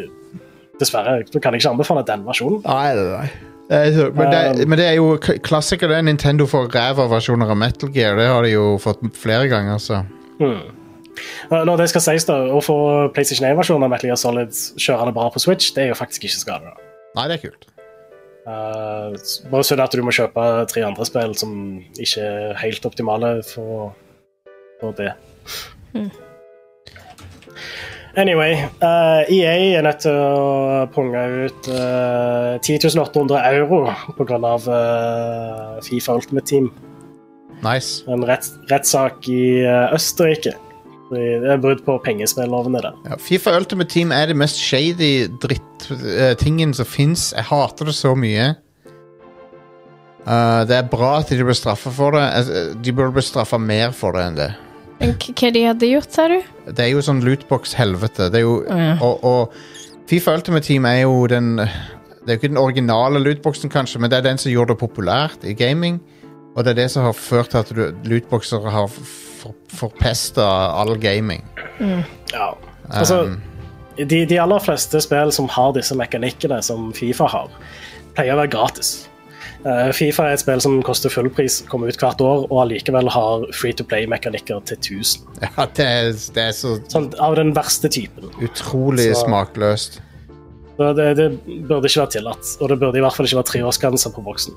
Dessverre da kan jeg ikke anbefale den versjonen.
Nei, nei, nei. Det er så- Men det, men det er jo k- klassiker, det. er Nintendo får ræva versjoner av Metal Gear. Det har de jo fått flere ganger, så
Eh, Hmm. Når det skal sies, da, å få PlayStation 1-versjonen av Metal Gear Solid kjørende bra på Switch, det er jo faktisk ikke skade. da.
Nei, det er kult.
Eh, bare synd at du må kjøpe tre andre spill som ikke er helt optimale for, for det. Anyway, eh, EA er nødt til å punge ut uh, 10.800 euro pga. Uh, Fifa Ultimate Team.
Nice.
En rett, rettssak i eh, Østerrike. Det er brudd på pengespillovene der.
Ja, Fifa Ultimate Team er det mest shady dritt-tingen som fins. Jeg hater det så mye. Eh, det er bra at de blir straffa for det. Eh, De burde bli straffa mer for det enn det.
Men k- Hva de hadde gjort, sa du?
Det er jo sånn lootbox-helvete. Det er jo
Ja.
og, og Fifa Ultimate Team er jo den Det er jo ikke den originale lootboxen, kanskje, men det er den som gjorde det populært i gaming. Og det er det som har ført til at du- lootboxer har for, forpesta all gaming.
Ja. Altså, de, de aller fleste spill som har disse mekanikkene som Fifa har, pleier å være gratis. Eh, Fifa er et spill som koster fullpris, kommer ut hvert år, og allikevel har free to play-mekanikker til 1000.
Ja, det er, det er så
Sånn, av den verste typen.
utrolig
Så-
smakløst.
Så Det, det burde ikke være tillatt, og det burde i hvert fall ikke være treårsgrense på boksen.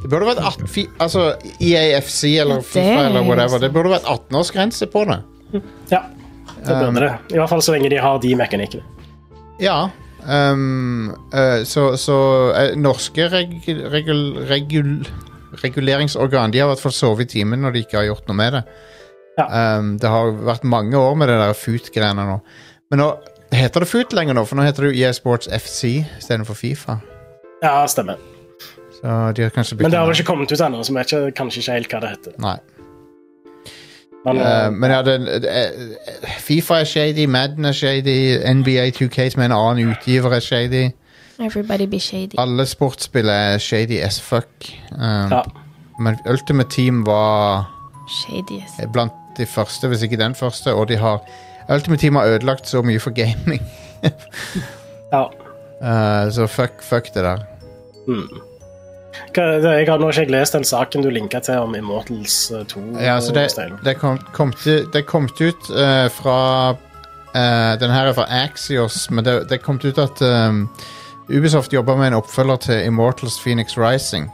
Det burde vært 18, fi, altså EAFC eller
Ja, det
FIFA
er
eller
jo
whatever.
sant.
Det burde vært 18-årsgrense på det.
Ja, det burde det. I hvert fall så lenge de har de mekanikkene.
Ja. ehm, eh, så så eh, norske reg, regul, regul, reguleringsorgan De har i hvert fall sovet i timen når de ikke har gjort noe med det.
Ja.
Ehm, det har vært mange år med det der FUT-greiene nå. Men nå heter det FUT lenger nå, for nå heter det jo EA Sports FC istedenfor Fifa.
Ja, stemmer.
Så de har kanskje
Men det har vel
navn.
ikke kommet ut ennå, så vi vet ikke, kanskje ikke helt hva det heter.
Nei.
Men,
Eh, men ja, det, det, eh, Fifa er shady, Madden er shady, NBA 2K som er en annen utgiver er shady.
Everybody be shady.
Alle sportsspill er shady as fuck. Um,
ja.
Men Ultimate Team var
Shadiest.
blant de første, hvis ikke den første, og de har Ultimate Team har ødelagt så mye for gaming.
ja.
Eh, så fuck, fuck det der.
Hva, det, jeg har nå ikke jeg lest den saken du linka til om Immortals eh, 2.
Ja, så det,
Steiner.
det kom, kom, til, det kom ut eh, fra eh, Den her er fra Axios, men det, det kom ut at ehm, Ubisoft jobber med en oppfølger til Immortals Phoenix Rising.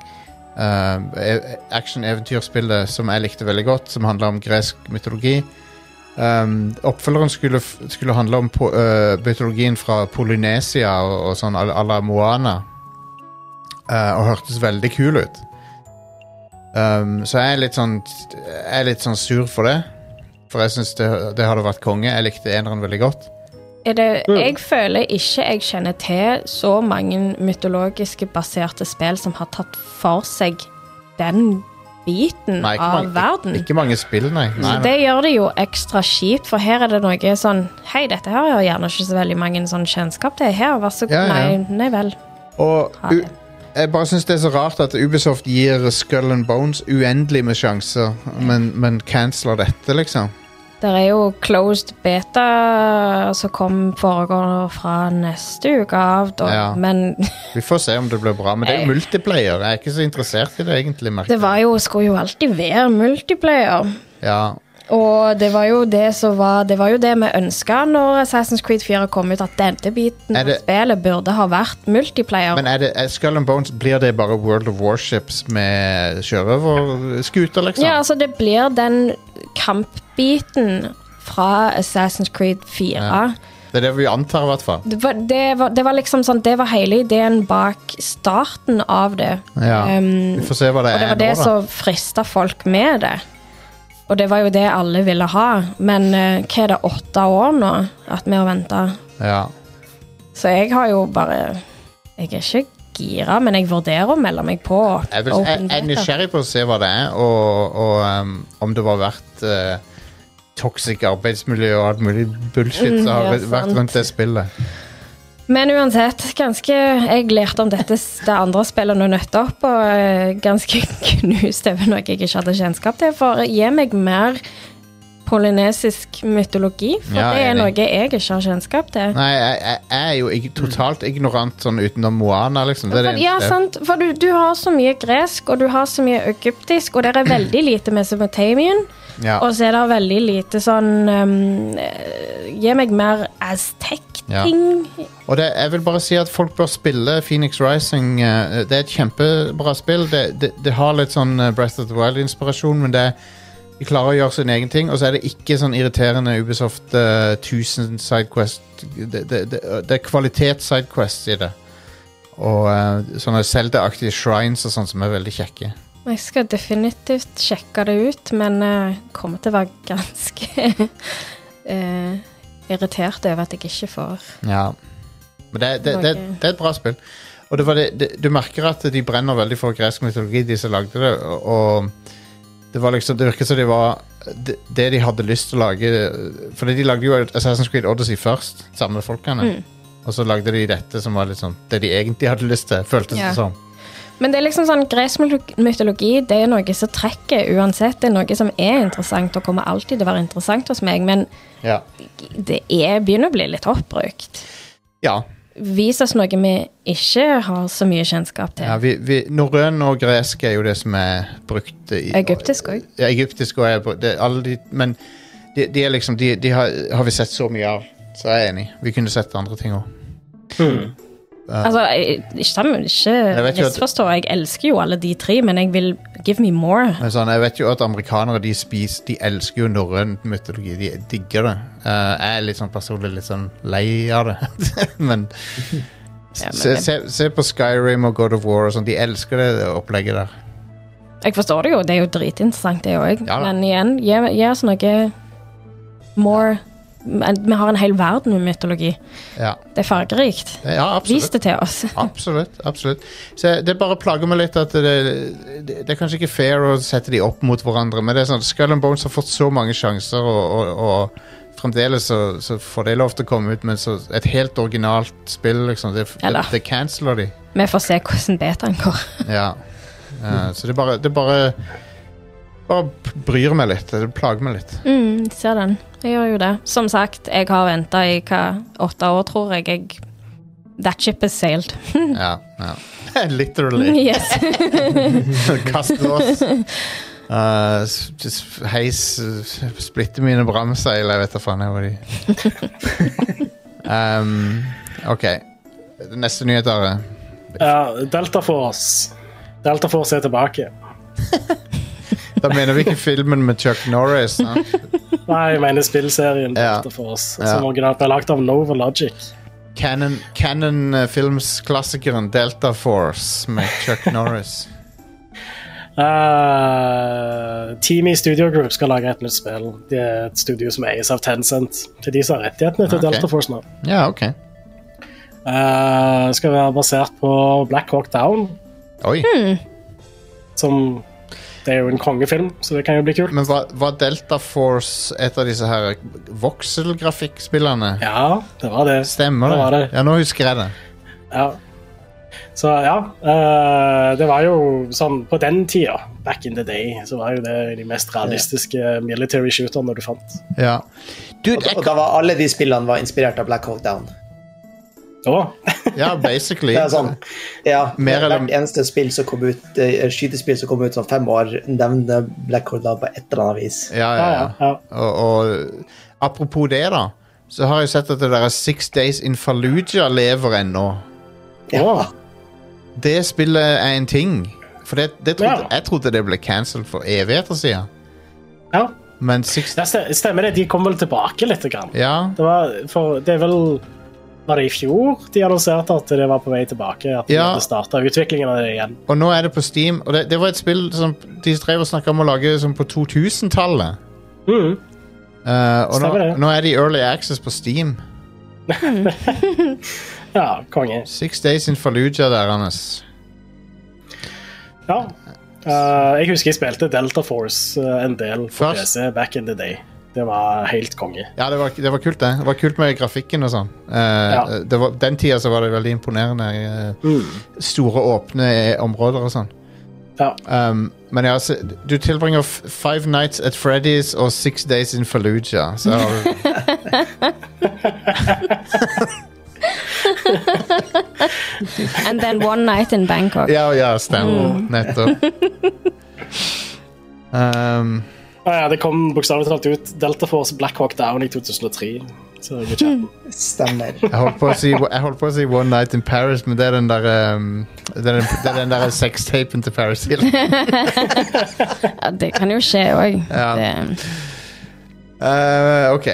Um, Action-eventyrspillet som jeg likte veldig godt, som handler om gresk mytologi. Ehm, oppfølgeren skulle, f- skulle handle om po øh, mytologien fra Polynesia og, og sånn à la- à la Moana. Eh, og hørtes veldig kul ut. Um, så jeg er litt sånn Jeg er litt sånn sur for det. For jeg syns det, det hadde vært konge. Jeg likte eneren veldig godt.
Er det, jeg føler ikke jeg kjenner til så mange mytologiske baserte spill som har tatt for seg den biten
Nei, ikke,
av
mange,
verden.
ikke, ikke mange spill, nei. nei,
Så
nei.
det gjør det jo ekstra kjipt, for her er det noe sånn Hei, dette her har jeg gjerne ikke så veldig mange sånn kjennskap til. Her, vær så god.
Ja, ja, ja.
Nei, nei vel.
Og u, jeg bare syns det er så rart at Ubisoft gir Skull and Bones uendelig med sjanser, men, men canceler dette, liksom.
Det er jo closed beta som kom foregår fra neste uke av, da.
Ja.
Men
Vi får se om det blir bra. Men det er jo multiplayer. Jeg er ikke så interessert i det, egentlig. merker
det var jo, skulle jo alltid være multiplayer.
jeg. Ja,
Og det var jo det som var Det var jo det vi ønska når Assassin's Creed 4 kom ut, at denne biten
Er
av
det-
spillet burde ha vært multiplayer.
men er det, er Skull and Bones, blir det bare World of Warships med sjørøverskuter, liksom?
Ja, altså det blir den kampbiten fra Assassin's Creed 4.
Det er det vi antar, i hvert fall.
Det, var, det, var, det var liksom sånn Det var hele ideen bak starten av det.
Ja.
Um,
vi får se hva det
og det
er
var det
nå, da.
som frista folk med det. Og det var jo det alle ville ha. Men eh, hva er det, åtte år nå at vi har venta?
Ja.
Så jeg har jo bare Jeg er ikke gira, men jeg vurderer å melde meg på.
Jeg, vil, jeg,
Open
jeg er
Beta.
nysgjerrig på å se hva det er, og, og ehm, om det var verdt eh, toxic arbeidsmiljø og alt mulig bullshit
Mm,
som har
ja,
vært
sant.
rundt det spillet.
Men uansett, ganske Jeg lærte om dette, s- det andre spillet nå nettopp, og eh, ganske knust over noe jeg ikke hadde kjennskap til. For gi meg mer polynesisk mytologi, for
Ja,
det er noe
enig.
jeg ikke har kjennskap til.
Nei, jeg, jeg, jeg er jo ig totalt ignorant sånn utenom Moana, liksom. Det er det
For, ja,
eneste.
sant, for du, du har så mye gresk, og du har så mye egyptisk, og det er veldig lite Mesopotamian.
Ja.
Og så er det veldig lite sånn ehm, eh, Gi meg mer aztek-ting.
Og det, jeg vil bare si at folk bør spille Phoenix Rising. eh, det er et kjempebra spill. Det, det, det har litt sånn eh, Breath of the Wild-inspirasjon, men det er De klarer å gjøre sin egen ting, og så er det ikke sånn irriterende Ubisoft eh, 1000 sidequest. Det, det, det, det er kvalitet sidequests i det. Og eh, sånne Zelda-aktige shrines og sånn som er veldig kjekke.
Jeg skal definitivt sjekke det ut, men eh, kommer til å være ganske eh, irritert over at jeg ikke får
Ja. Men det, det, det,
Noe.
det er et bra spill. Og det var det, det, du merker at de brenner veldig for gresk mytologi, de som lagde det. og- Og det var liksom, det virket som de var det, det de hadde lyst til å lage. Fordi de lagde jo Assassin's Creed Odyssey først, samme folkene. Og så lagde de dette som var litt sånn det de egentlig hadde lyst til, føltes
Ja.
det som.
Men det er liksom sånn, gresk mytolo- mytologi det er noe som trekker uansett. Det er noe som er interessant og kommer alltid til å være interessant hos meg, men
Ja.
det er, begynner å bli litt oppbrukt.
ja.
Vis oss noe vi ikke har så mye kjennskap til.
ja vi, vi, norrøn og gresk er jo det som er brukt i
Egyptisk òg.
Ja, egyptisk og er på- det, alle de, Men de, de er liksom De, de har, har vi sett så mye av, så jeg er enig. Vi kunne sett andre ting òg.
Altså, jeg- ikke ta meg
Jeg vet
ikke
jo at-
misforstå, jeg elsker jo alle de tre, men jeg vil give me more.
Men sånn, jeg vet jo at amerikanere de spiser De elsker jo norrøn mytologi. De digger det. Eh, jeg er litt sånn personlig litt sånn lei av det. men
Ja, men
se,
det-
se, se på Skyrim og God of War og sånn. De elsker det opplegget der.
Jeg forstår det jo, det er jo dritinteressant det òg,
Ja da.
men igjen, gi, gi oss noe more Men Vi har en hel verden med mytologi.
Ja,
Det er fargerikt.
ja
Vis
absolutt.
det til oss.
Absolutt. absolutt Så Det bare plager meg litt at det, det, det er kanskje ikke fair å sette de opp mot hverandre, men det er sånn Skull and Bones har fått så mange sjanser, og, og, og fremdeles så, så får det lov til å komme ut, men så et helt originalt spill, liksom, det,
Ja da.
det, det canceler de.
Vi får se hvordan betaen går.
Ja. Eh, så det bare, det bare Bare bryr meg litt. Det plager meg litt.
Mm, ser den. Jeg gjør jo det. Som sagt, jeg har venta i hva, åtte år, tror jeg. jeg That ship is sailed.
Ja, ja. Literally.
Yes.
Kast lås. Eh, s- just heis eh, Splitte mine bramseil. Jeg vet da faen jeg hva de um, OK. Neste nyhet, Are.
Ja, Delta Force. Delta Force er tilbake.
Da mener vi ikke filmen med Chuck Norris. Sant?
Nei, jeg mener spillserien
Ja.
Delta Force,
Ja.
som originalt ble lagd av Nova Logic.
Canon, Canon eh, Films-klassikeren Delta Force med Chuck Norris.
Eh, Teamy Studio Group skal lage et nytt spill. Det er et studio som eies av Tencent. Til de som har rettighetene til
Ok.
Delta Force nå.
Ja, OK.
Eh, skal være basert på Black Hawk Down,
Oi.
som Det er jo en kongefilm, så det kan jo bli kult.
Men var, var Delta Force et av disse her vokselgrafikkspillene?
Ja, det var det.
Stemmer
Det
det?
var det.
Ja, nå husker jeg det.
Ja. Så ja, eh, det var jo sånn På den tida, back in the day, så var jo det de mest realistiske military shooterne du fant.
Ja. Dude,
Og,
jeg,
og da var alle de spillene var inspirert av Black Hawk Down.
Å,
ja, basically.
Det er sånn. Ja,
Mer eller-
Hvert eneste spill som kom ut, eh, skytespill som kom ut sånn fem år, nevner Black Hawk Down på et eller annet vis.
Ja, ja,
ja, ja,
ja.
ja.
Og, og apropos det, da. Så har jeg sett at det der Six Days in Fallujah lever ennå.
Å,
Det spillet er en ting. For det, det trodde,
Ja.
jeg trodde det ble cancelled for evigheter siden.
ja.
Men Six
Det ste- stemmer det. De kom vel tilbake litt. Grann.
Ja.
Det, var, for, det er vel Var det i fjor de annonserte at det var på vei tilbake? At de
Ja.
hadde starta utviklingen av det igjen?
Og nå er det på Steam. Og det, det var et spill som de drev og snakka om å lage som på 2000-tallet.
Mhm.
Eh, og nå,
Stemmer det.
nå er de Early Access på Steam.
Ja, konge.
Six Days in Fallujah der, Anders.
Ja. Eh, jeg husker jeg spilte Delta Force eh, en del på
Først.
PC back in the day. Det var helt konge.
Ja, det var, det var kult, det. Det var kult med grafikken og sånn. Eh,
Ja.
det var, den tida så var det veldig imponerende. eh, Store, åpne eh, områder og sånn.
Ja.
Um, men ja, så, du tilbringer f- Five Nights at Freddy's og Six Days in Fallujah. Så har du
And then one night in Bangkok.
Ja, ja, stemmer. Nettopp. Um,
Ah, ja, det kom bokstavelig talt ut Delta Force Black Hawk Down i 2003. Så det er chatten.
Stemmer.
Jeg holdt, på å si, jeg holdt på å si One Night in Paris, men det er den der um, Det er den, det er den der sextapen til Paris Hill.
Ja, det kan jo skje òg.
Ja.
Det-
Eh, OK.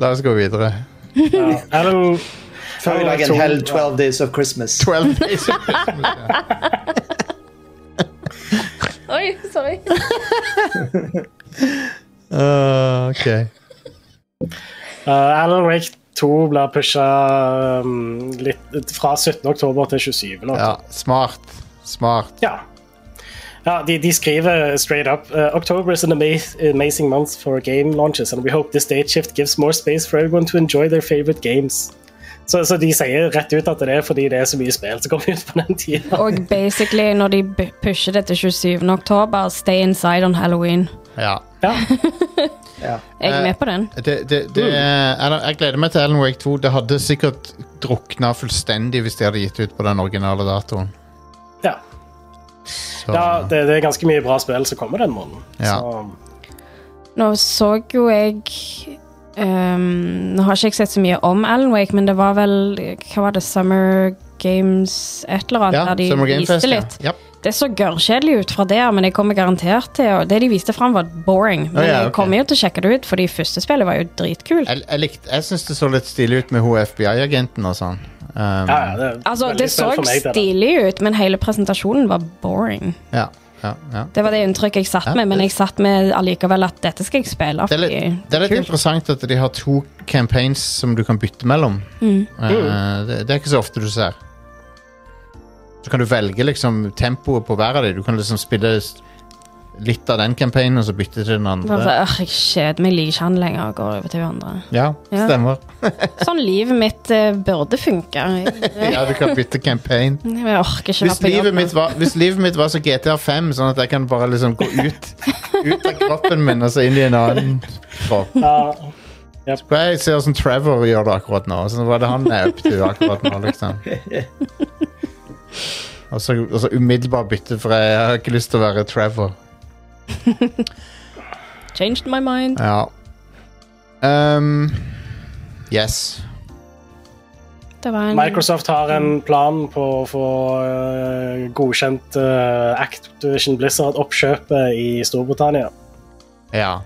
La oss gå videre.
Ja. Ellen
Før vi lager en hell 12 Days of Christmas.
12 days of Christmas. ja.
Oi, sorry.
Eh, OK.
Uh, Alan Wake 2 blir pusha um, litt fra 17. oktober til 27. oktober.
Ja, smart. Smart.
Ja. Ja, de, de skriver straight up uh, October is an amaz amazing month for game launches, and we hope this date shift gives more space for everyone to enjoy their favorite games. Så, så de sier rett ut at det er fordi det er så mye spill som kommer ut på den tida.
Og basically, når de bu- pusher det til 27. oktober, stay inside on halloween.
Ja.
Ja.
Ja.
Jeg er
Eh,
med på den.
Det, det, det, jeg, jeg gleder meg til Alan Wake 2. Det hadde sikkert drukna fullstendig hvis de hadde gitt ut på den originale datoen.
Ja,
Så,
ja det, det er ganske mye bra spill som kommer den måneden.
Ja.
Så, um,
Nå så jo jeg ehm, Nå har ikke jeg sett så mye om Alan Wake, men det var vel Hva var det? Summer Games et eller annet?
ja,
der de
Summer Game
viste
Fest. Ja.
litt.
Ja.
Det så gørrkjedelig ut fra det, men jeg kommer garantert til og Det de viste fram, var boring. Men
Å, ja,
jeg
ok.
kommer jo til å sjekke det ut, for de første spillet var jo dritkult.
Jeg, jeg, likte- jeg syns det så litt stilig ut med hun FBI-agenten og sånn. Um,
ja, ja, det, er
Altså,
veldig
det så
spill for meg, det der.
stilig ut, men hele presentasjonen var boring.
ja, ja, ja.
Det var det inntrykket jeg satt
Ja,
med, men
det-
jeg satt med allikevel at dette skal jeg spille.
Det er
fordi
litt, det er litt
kult.
interessant at de har to campaigns som du kan bytte mellom.
Mm.
Eh, det, det er ikke så ofte du ser. Så kan du velge liksom tempoet på hver av dem. Du kan liksom spille s- litt av den campaignen og så bytte til den
Bare, sånn,
andre.
«Åh, jeg kjeder meg, liker ikke han lenger, og går over til hverandre.
Ja,
Ja.
stemmer.
Sånn livet mitt eh, burde funke. Jeg,
Ja, du kan bytte campaign.
jeg orker ikke
Hvis
være på
livet,
jobb.
mitt var, hvis livet mitt var så GTA5, sånn at jeg kan bare liksom gå ut, ut av kroppen min og så inn i en annen kropp.
Ja.
For Jeg ser sånn Trevor gjør det akkurat nå. Sånn var det han er opp til akkurat nå, liksom. Og så, og så umiddelbart bytte, for jeg har ikke lyst til å være Trevor.
Changed my mind.
Ja. Um, yes.
Det var en
Microsoft har en plan på å få eh, godkjent eh, Activision Blizzard-oppkjøpet i Storbritannia.
Ja.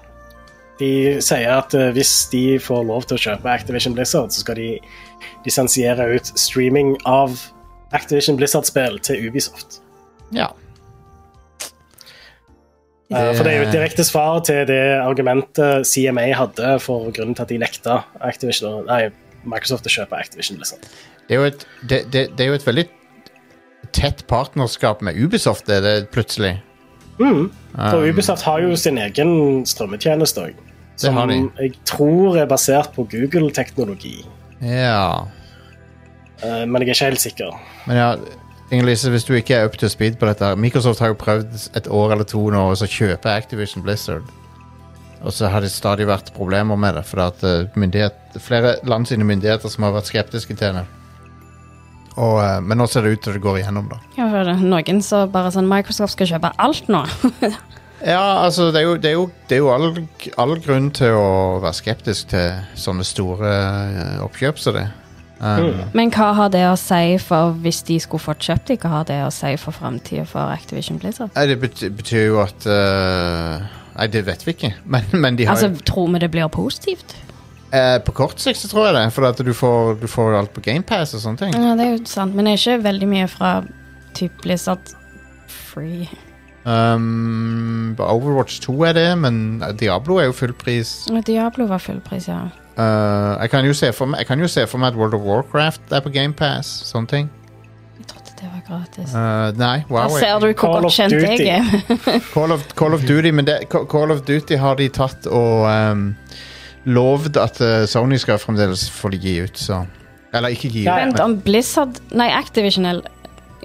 De sier at eh, hvis de får lov til å kjøpe Activision Blizzard, så skal de lisensiere ut streaming av Activision Blizzard-spill til Ubisoft.
Ja.
Eh, for det er jo et direkte svar til det argumentet CMA hadde for grunnen til at de nekta Activision, nei, Microsoft å kjøpe Activision Blizzard.
Det er jo et, det, det, det er jo et veldig tett partnerskap med Ubisoft, det er det plutselig. Um,
For Ubisoft har jo sin egen strømmetjeneste òg. Som
har de.
jeg tror er basert på Google-teknologi.
Ja.
Eh, Men jeg er ikke helt sikker.
Men ja, Inger-Lise, hvis du ikke er up to speed på dette her, Microsoft har jo prøvd et år eller to nå å så kjøpe Activision Blizzard. Og så har det stadig vært problemer med det, for det er at eh, myndighet, flere land sine myndigheter som har vært skeptiske til det. Og, eh, men nå ser det ut til det går igjennom, da.
Ja, for det er Noen som bare sånn Microsoft skal kjøpe alt nå.
Ja, altså, det er jo, det er jo, det er jo all, all grunn til å være skeptisk til sånne store eh, oppkjøp som det. Um,
Men hva har det å si for hvis de skulle fått kjøpt de, hva har det å si for framtida for Activision Blizzard?
Nei, det betyr, betyr jo at eh, Nei, det vet vi ikke, men, men de har
Altså, tror vi det blir positivt?
Eh, på kort sikt så tror jeg det, for at du får, du får alt på GamePass og sånne ting.
Ja, det er jo sant, men det er ikke veldig mye fra typ Blizzard Free.
Um, på Overwatch 2 er det, men eh, Diablo er jo full pris.
Og Diablo var fullpris, ja.
Eh, jeg, kan jo se for meg, jeg kan jo se for meg at World of Warcraft er på GamePass. Sånne ting.
Jeg trodde det var gratis.
Eh, nei,
Her
wow.
ser du hvor
Call
godt
of
kjent
Duty.
jeg er.
Call of, Call of Duty, men det, Ca- Call of Duty har de tatt og um, lovd at eh, Sony skal fremdeles få de gi ut, så Eller ikke gi ut.
Ja, ja.
Vent,
men-
om Blizzard Nei, Activision el-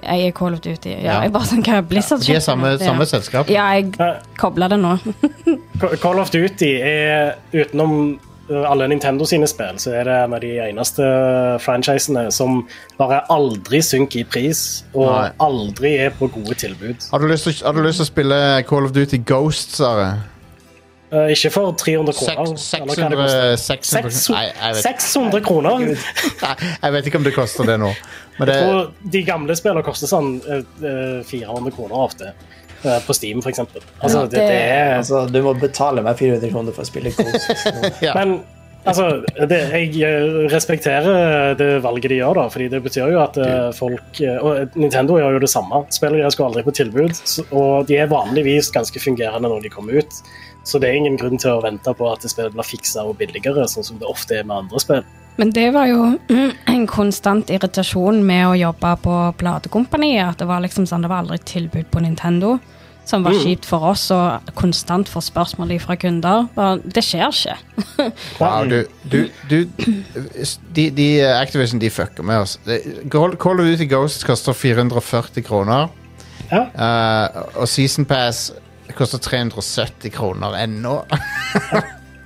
eier Call of Duty. Ja,
Ja.
Jeg bare sånn, hva er Blizzard
De er
kjøpt
samme,
med? Ja.
samme selskap.
Ja, jeg
Eh,
kobla det nå.
Ca- Call of Duty er utenom eh, alle Nintendo sine spill, så er det en av de eneste franchisene som bare aldri synker i pris, og
Nei.
aldri er på gode tilbud.
Har du lyst til å- har du lyst til å spille Call of Duty Ghost, Sare?
Eh, ikke for 300 kroner.
Seks-
eller hva det koster.
600 600 Nei, jeg
600,
vet-
600 kroner?
Nei, jeg vet ikke om det koster det nå. Men det,
Og de gamle spillene koster sånn eh, eh, 400 kroner ofte. Eh, På Steam, for eksempel. Altså,
Ja,
det, det er
Altså, du må betale meg 400 kroner for å spille Ghost.
ja.
Men altså, det, jeg eh, respekterer eh, det valget de gjør, da, fordi det betyr jo at eh, folk eh, Og Nintendo gjør jo det samme. Spillere skal aldri på tilbud, så- og de er vanligvis ganske fungerende når de kommer ut. Så det er ingen grunn til å vente på at spillet blir fiksa og billigere, sånn som det ofte er med andre spill.
Men det var jo mm, en konstant irritasjon med å jobbe på platekompaniet. At det var liksom sånn, det var aldri tilbud på Nintendo,
Mm.
som var kjipt for oss, og konstant får spørsmål fra kunder. Bare, Det skjer ikke.
Wow, du, du, du de, de Activision de fucker med oss. Det- Call Call of Duty Ghosts koster 440 kroner.
Ja.
Eh, og Season Pass koster 370 kroner ennå.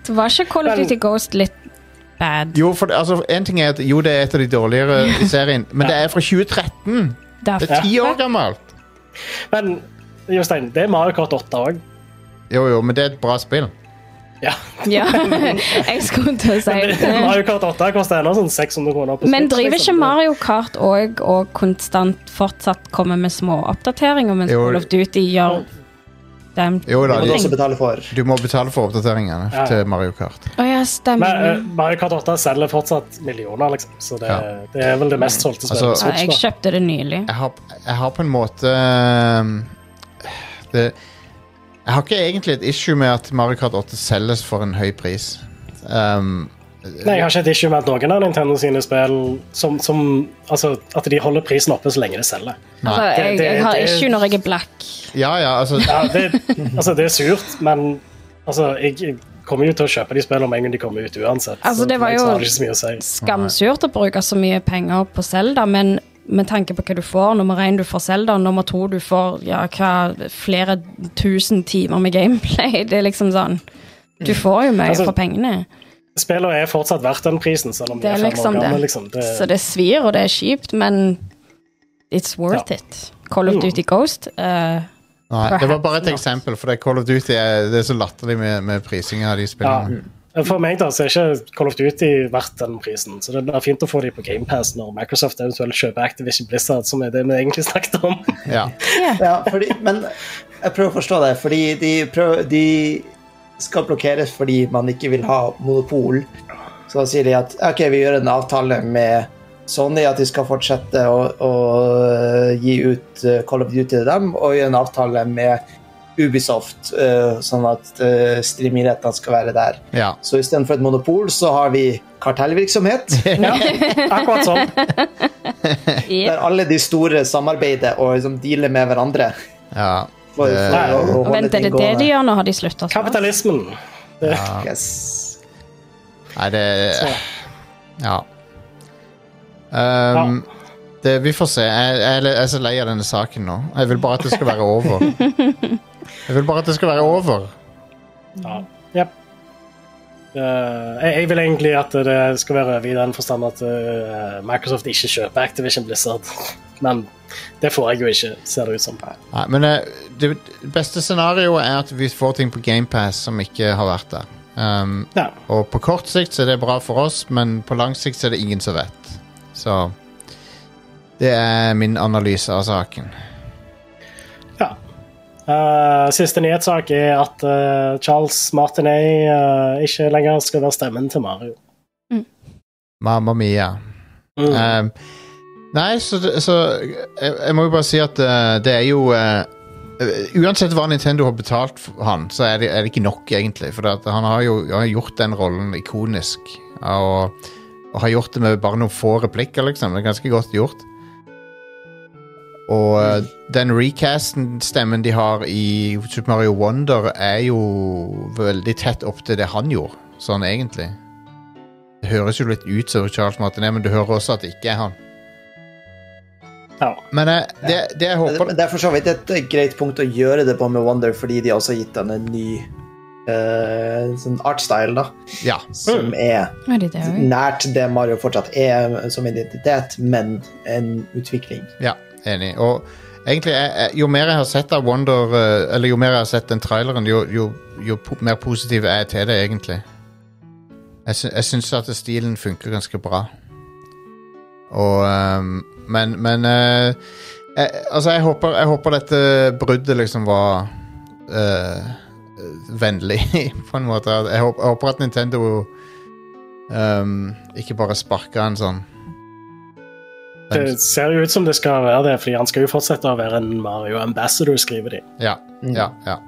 Det var ikke Call of
Men-
Duty Ghost litt bad.
Jo, for det, altså, en ting er at Jo, det er et av de dårligere i serien, men det er fra 2013! Det er
Derfor.
ti år gammelt!
Men Jostein, det er Mario Kart 8 òg.
Jo, jo, men det er et bra spill.
Ja.
Ja, jeg skulle til å si
Men
det.
Mario Kart 8 koster ennå sånn 600 kroner. på
Men
Switch,
driver ikke
liksom.
Mario Kart òg og konstant fortsatt kommer med små oppdateringer, mens
Jo.
Call of Duty gjør dem
Jo da,
Du må
de,
du også betale for.
du må betale for oppdateringene
Ja.
til Mario Kart.
Å ja,
Men
stemmer.
eh, Mario Kart 8 selger fortsatt millioner, liksom. Så det,
Ja.
det er vel det mest solgte spillet.
Altså-
Ja, jeg
på Switch, da.
kjøpte det nylig.
Jeg har, jeg har på en måte um, det, Jeg har ikke egentlig et issue med at Mario Kart 8 selges for en høy pris. Um,
Nei, jeg har ikke et issue med at noen av Nintendo sine spill som, som Altså, at de holder prisen oppe så lenge det selger.
Altså,
Nei.
jeg,
Det- det-
jeg har
det-
issue når jeg er black.
ja, ja, altså
Ja, det, altså, det er surt, men altså, jeg jeg kommer jo til å kjøpe de spillene med en gang de kommer ut uansett.
Altså,
så
det var
for meg
jo-
så har det ikke så mye å si.
Skamsurt å bruke så mye penger på Selda, men med tanke på hva du får, nummer én du får Selda, nummer to du får ja, hva, flere tusen timer med gameplay. Det er liksom sånn Du får jo mye
Altså,
for pengene.
Spillene er fortsatt verdt den prisen, selv om de
Det
er
er
fem
liksom
år gamle.
det.
Liksom. Det,
Så det svir, og det er kjipt, men it's worth it. Call of
Mm.
Duty Ghost. eh,
Nei, det var bare et
Perhaps
eksempel, for det er Call of Duty er, det er så latterlig med, med prising av de spillene.
ja. For meg da, så er ikke Call of Duty verdt den prisen. Så det er fint å få de på GamePass når Microsoft eventuelt kjøper Activision Blizzard, som er det vi egentlig snakket om.
Ja.
Ja, fordi, men jeg prøver å forstå det, fordi de, prøver, de skal blokkeres fordi man ikke vil ha monopol. Så da sier de at ok, vi gjør en avtale med Sony at de skal fortsette å, å gi ut eh, Call of Duty til dem, og gjøre en avtale med Ubisoft, eh, sånn at eh, streamingrettene skal være der.
ja.
Så istedenfor et monopol, så har vi kartellvirksomhet.
Akkurat sånn.
Der alle de store samarbeider og liksom dealer med hverandre.
ja.
For,
Det,
for å, å
og
holde
vent, er
ting
det det
gående.
de gjør? Nå har de slutta sånn.
Kapitalismen.
Yes.
nei, det
Så,
Ja. Um, det, vi får se. Jeg, jeg, jeg er så lei av denne saken nå. Jeg vil bare at det skal være over. Jeg vil bare at det skal være over.
ja. Jep. Eh, jeg, jeg vil egentlig at det skal være over i den forstand at eh, Microsoft ikke kjøper Activision Blizzard. Men det får jeg jo ikke, ser det ut som.
Nei, men eh, det beste scenarioet er at vi får ting på GamePass som ikke har vært der. Um,
Ja.
og på kort sikt så er det bra for oss, men på lang sikt så er det ingen som vet. Så det er min analyse av saken.
Ja. Eh, siste nyhetssak er at eh, Charles Martinet eh, ikke lenger skal være stemmen til Mario.
Mamma mia.
Mm.
Um, nei, så, det- så jeg, jeg må jo bare si at eh, det er jo eh, Uansett hva Nintendo har betalt for han, så er det, er det ikke nok, egentlig. For det at han har jo han har gjort den rollen ikonisk. Og, og har gjort det med bare noen få replikker, liksom. Det er ganske godt gjort. Og eh, den recasten-stemmen de har i Super Mario Wonder, er jo veldig tett opp til det han gjorde, sånn egentlig. Det høres jo litt ut som Charles Martinet, men du hører også at det ikke er han.
ja.
Men eh, det, det jeg
Men
håper
eh, men det er for så vidt et greit punkt å gjøre det på med Wonder, fordi de har også gitt han en ny eh, sånn artstyle, da,
Ja.
som er
Er de det òg?
nært det Mario fortsatt er som identitet, men en utvikling.
Ja, enig. Og egentlig, jeg, jeg, jo mer jeg har sett av Wonder eh, Eller jo mer jeg har sett den traileren, jo, jo, jo po mer positiv er jeg til det, egentlig. Jeg, sy jeg syns at stilen funker ganske bra. Og ehm, Men, men eh, jeg, Altså, jeg håper, jeg håper dette bruddet liksom var eh, vennlig, på en måte. Jeg håper, jeg håper at Nintendo ehm, ikke bare sparka en sånn
Det ser jo ut som det skal være det, fordi han skal jo fortsette å være en Mario Ambassador, skriver de.
Ja,
Mm.
ja, ja.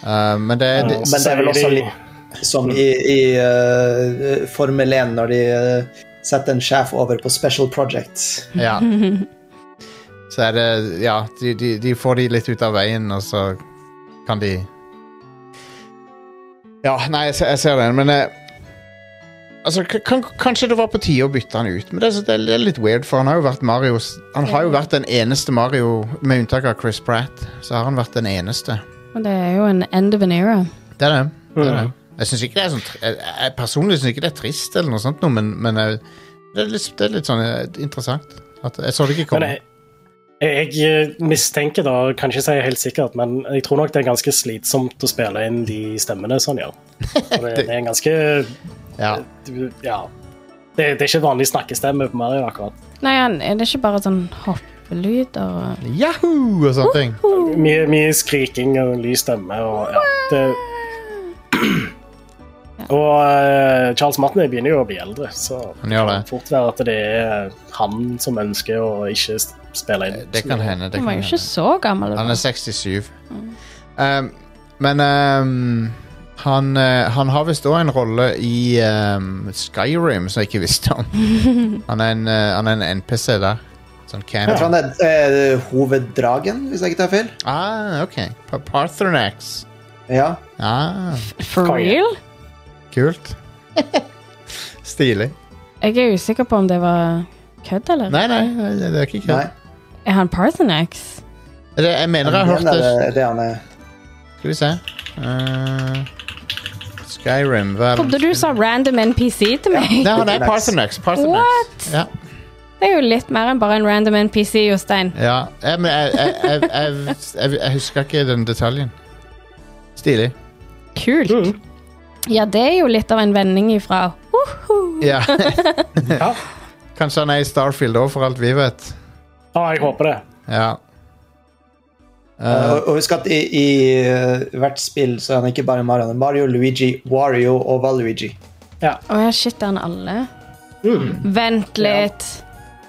Eh, men det er
Og
det,
men det er vel
så sier
også
de-
litt- Som i, i eh, Formel 1, når de eh, setter en sjef over på Special Project.
Ja. Så er det Ja, de, de, de får de litt ut av veien, og så kan de Ja, nei, jeg, ser- jeg ser den, men eh, Altså, k- kan, Kanskje det var på tide å bytte han ut, men det, er så- det er litt weird, for han har jo vært Mario Han har jo vært den eneste Mario, med unntak av Chris Pratt, så har han vært den eneste.
Og det er jo en end of an era.
Det er det. det, er det.
Mm.
Jeg synes ikke det er sånn tr- jeg, jeg personlig syns ikke det er trist, eller noe sånt, noe, men, men jeg, det, er litt, det er litt sånn eh, interessant. At jeg så det ikke
Men
komme.
jeg, jeg jeg mistenker da, kan ikke si helt sikkert, men jeg tror nok det er ganske slitsomt å spille inn de stemmene sånn, ja. For Det, det er en ganske
Ja.
du- Ja. Det, det er ikke vanlig snakkestemme på Mario, akkurat.
Nei, han- er det ikke bare sånn hoppelyder og
Yahoo! og sånne ting.
Mye, mye skriking og lys stemme og ja. Det, og eh, Charles Martin begynner jo å bli eldre, så
Han gjør det.
kan fort være at det er han som ønsker å ikke spille inn.
Eh, Det kan hende. Det
Han var
kan
jo ikke
hende.
så Mm. gammel.
Han er 67. Um, men um, han, eh, han har visst òg en rolle i um, Skyrim som jeg ikke visste om. Han er en, eh, han er en NPC der. Sånn
Jeg tror
camp.
han er eh, hoveddragen, hvis jeg ikke tar feil.
Ah, OK. Pa- Parthenax.
Ja.
Ah,
For
Konge.
real?
kult. Stilig.
Jeg er usikker på om det var kødd, eller?
Nei, nei, det det er ikke
Nei.
kødd.
Er han Parthenax?
Det- Jeg mener jeg har hørt
Den er
det.
det, det han er.
Skal vi se. Eh, Skyrim, hva er
Trodde
det?
du sa random NPC til meg?
Nei, han er Parthenax. Parthenax.
What?
Ja.
Det er jo litt mer enn bare en random NPC, Jostein.
ja. Jeg, men jeg, jeg, jeg, jeg, jeg, jeg husker ikke den detaljen. Stilig.
Kult. Ja, det er jo litt av en vending ifra uhu.
Ja.
Ja.
Kanskje han er i Starfield òg, for alt vi vet.
Ja, jeg håper det.
Ja.
og, og husk at i, i eh, hvert spill så er han ikke bare Mario. han er Mario, Luigi, Wario og Valuigi.
Å ja, shit, er han alle? Vent litt.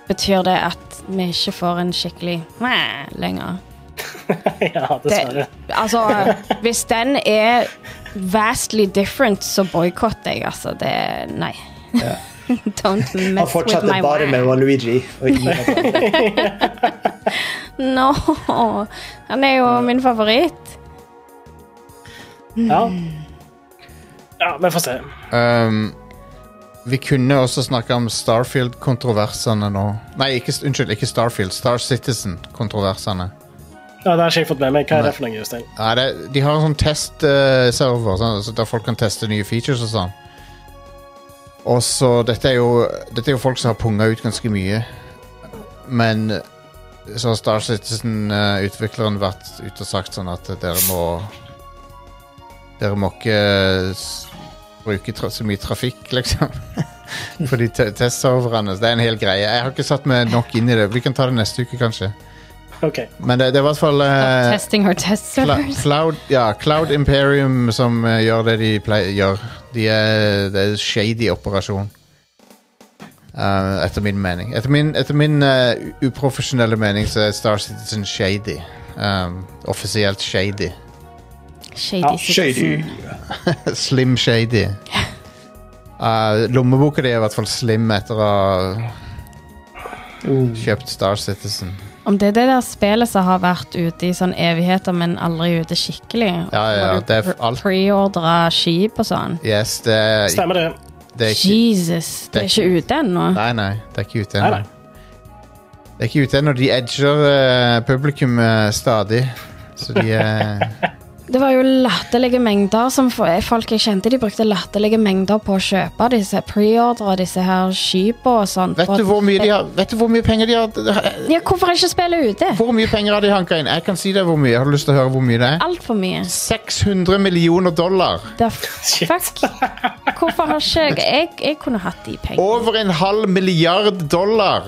Betyr det at vi ikke får en skikkelig meh lenger?
Ja, dessverre.
Det, altså, hvis den er vastly different, så boikotter jeg, altså. Det Nei. Don't
Han
mess with
fortsetter
my
bare med
wife.
Valuigi. Og ikke med Wario.
No. Han er jo min favoritt.
Ja. ja, vi får se.
Um, vi kunne også snakke om Starfield-kontroversene nå. Nei, ikke, unnskyld, ikke Starfield. Star Citizen-kontroversene.
Ja, det har ikke jeg fått med meg. Hva er det for noe, Jostein?
Nei, det, De har en sånn testserver sånn, så der folk kan teste nye features og sånn. Og så dette er jo Dette er jo folk som har punga ut ganske mye. Men så har Star Citizen-utvikleren vært ute og sagt sånn at dere må Dere må ikke eh, s- bruke tra så mye trafikk, liksom. For de te- testserverne. så Det er en hel greie. Jeg har ikke satt meg nok inn i det. Vi kan ta det neste uke, kanskje.
Ok.
Men det, det er i hvert fall eh,
Testing her test
Cla
servers.
Cloud, ja, Cloud Imperium som eh, gjør det de pleier gjør. De er, det er shady operasjon. Eh, etter min mening. Etter min, etter min eh, u- uprofesjonelle mening så er Star Citizen shady. Um, offisielt shady.
Shady Citizen.
slim shady. Eh, lommeboka di er i hvert fall slim etter å ha
Mm.
kjøpt Star Citizen.
Om det er det der spillet som har vært ute i sånn evigheter, men aldri ute skikkelig.
Ja, ja,
Hvor du
det er f- alt.
Preordra skip og sånn.
Yes, det er,
Stemmer det.
det er ikke
Jesus, det er ikke ute ennå.
Nei, nei, det er ikke ute
Nei,
ennå. Det er ikke ute ennå. De edger eh, publikum eh, stadig. Så de eh,
Det var jo latterlige mengder som fo- folk jeg kjente, de brukte latterlige mengder på å kjøpe disse preordre, disse her skipa og sånt.
Vet du hvor mye, de har, vet du hvor mye penger de har
Ja, hvorfor ikke spille ute?
Hvor mye penger har de hanka inn? Jeg kan si deg hvor mye. Har du lyst til å høre hvor mye det er?
Altfor mye.
600 millioner dollar.
Det er f- fuck. Hvorfor har ikke jeg Jeg, jeg kunne hatt de pengene.
Over en halv milliard dollar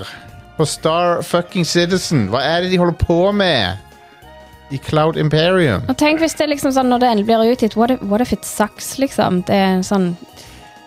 på Star fucking Citizen. Hva er det de holder på med i Cloud Imperium?
Og tenk hvis det er liksom sånn når det endelig blir utgitt, what if, what if it sucks, liksom? Det er en sånn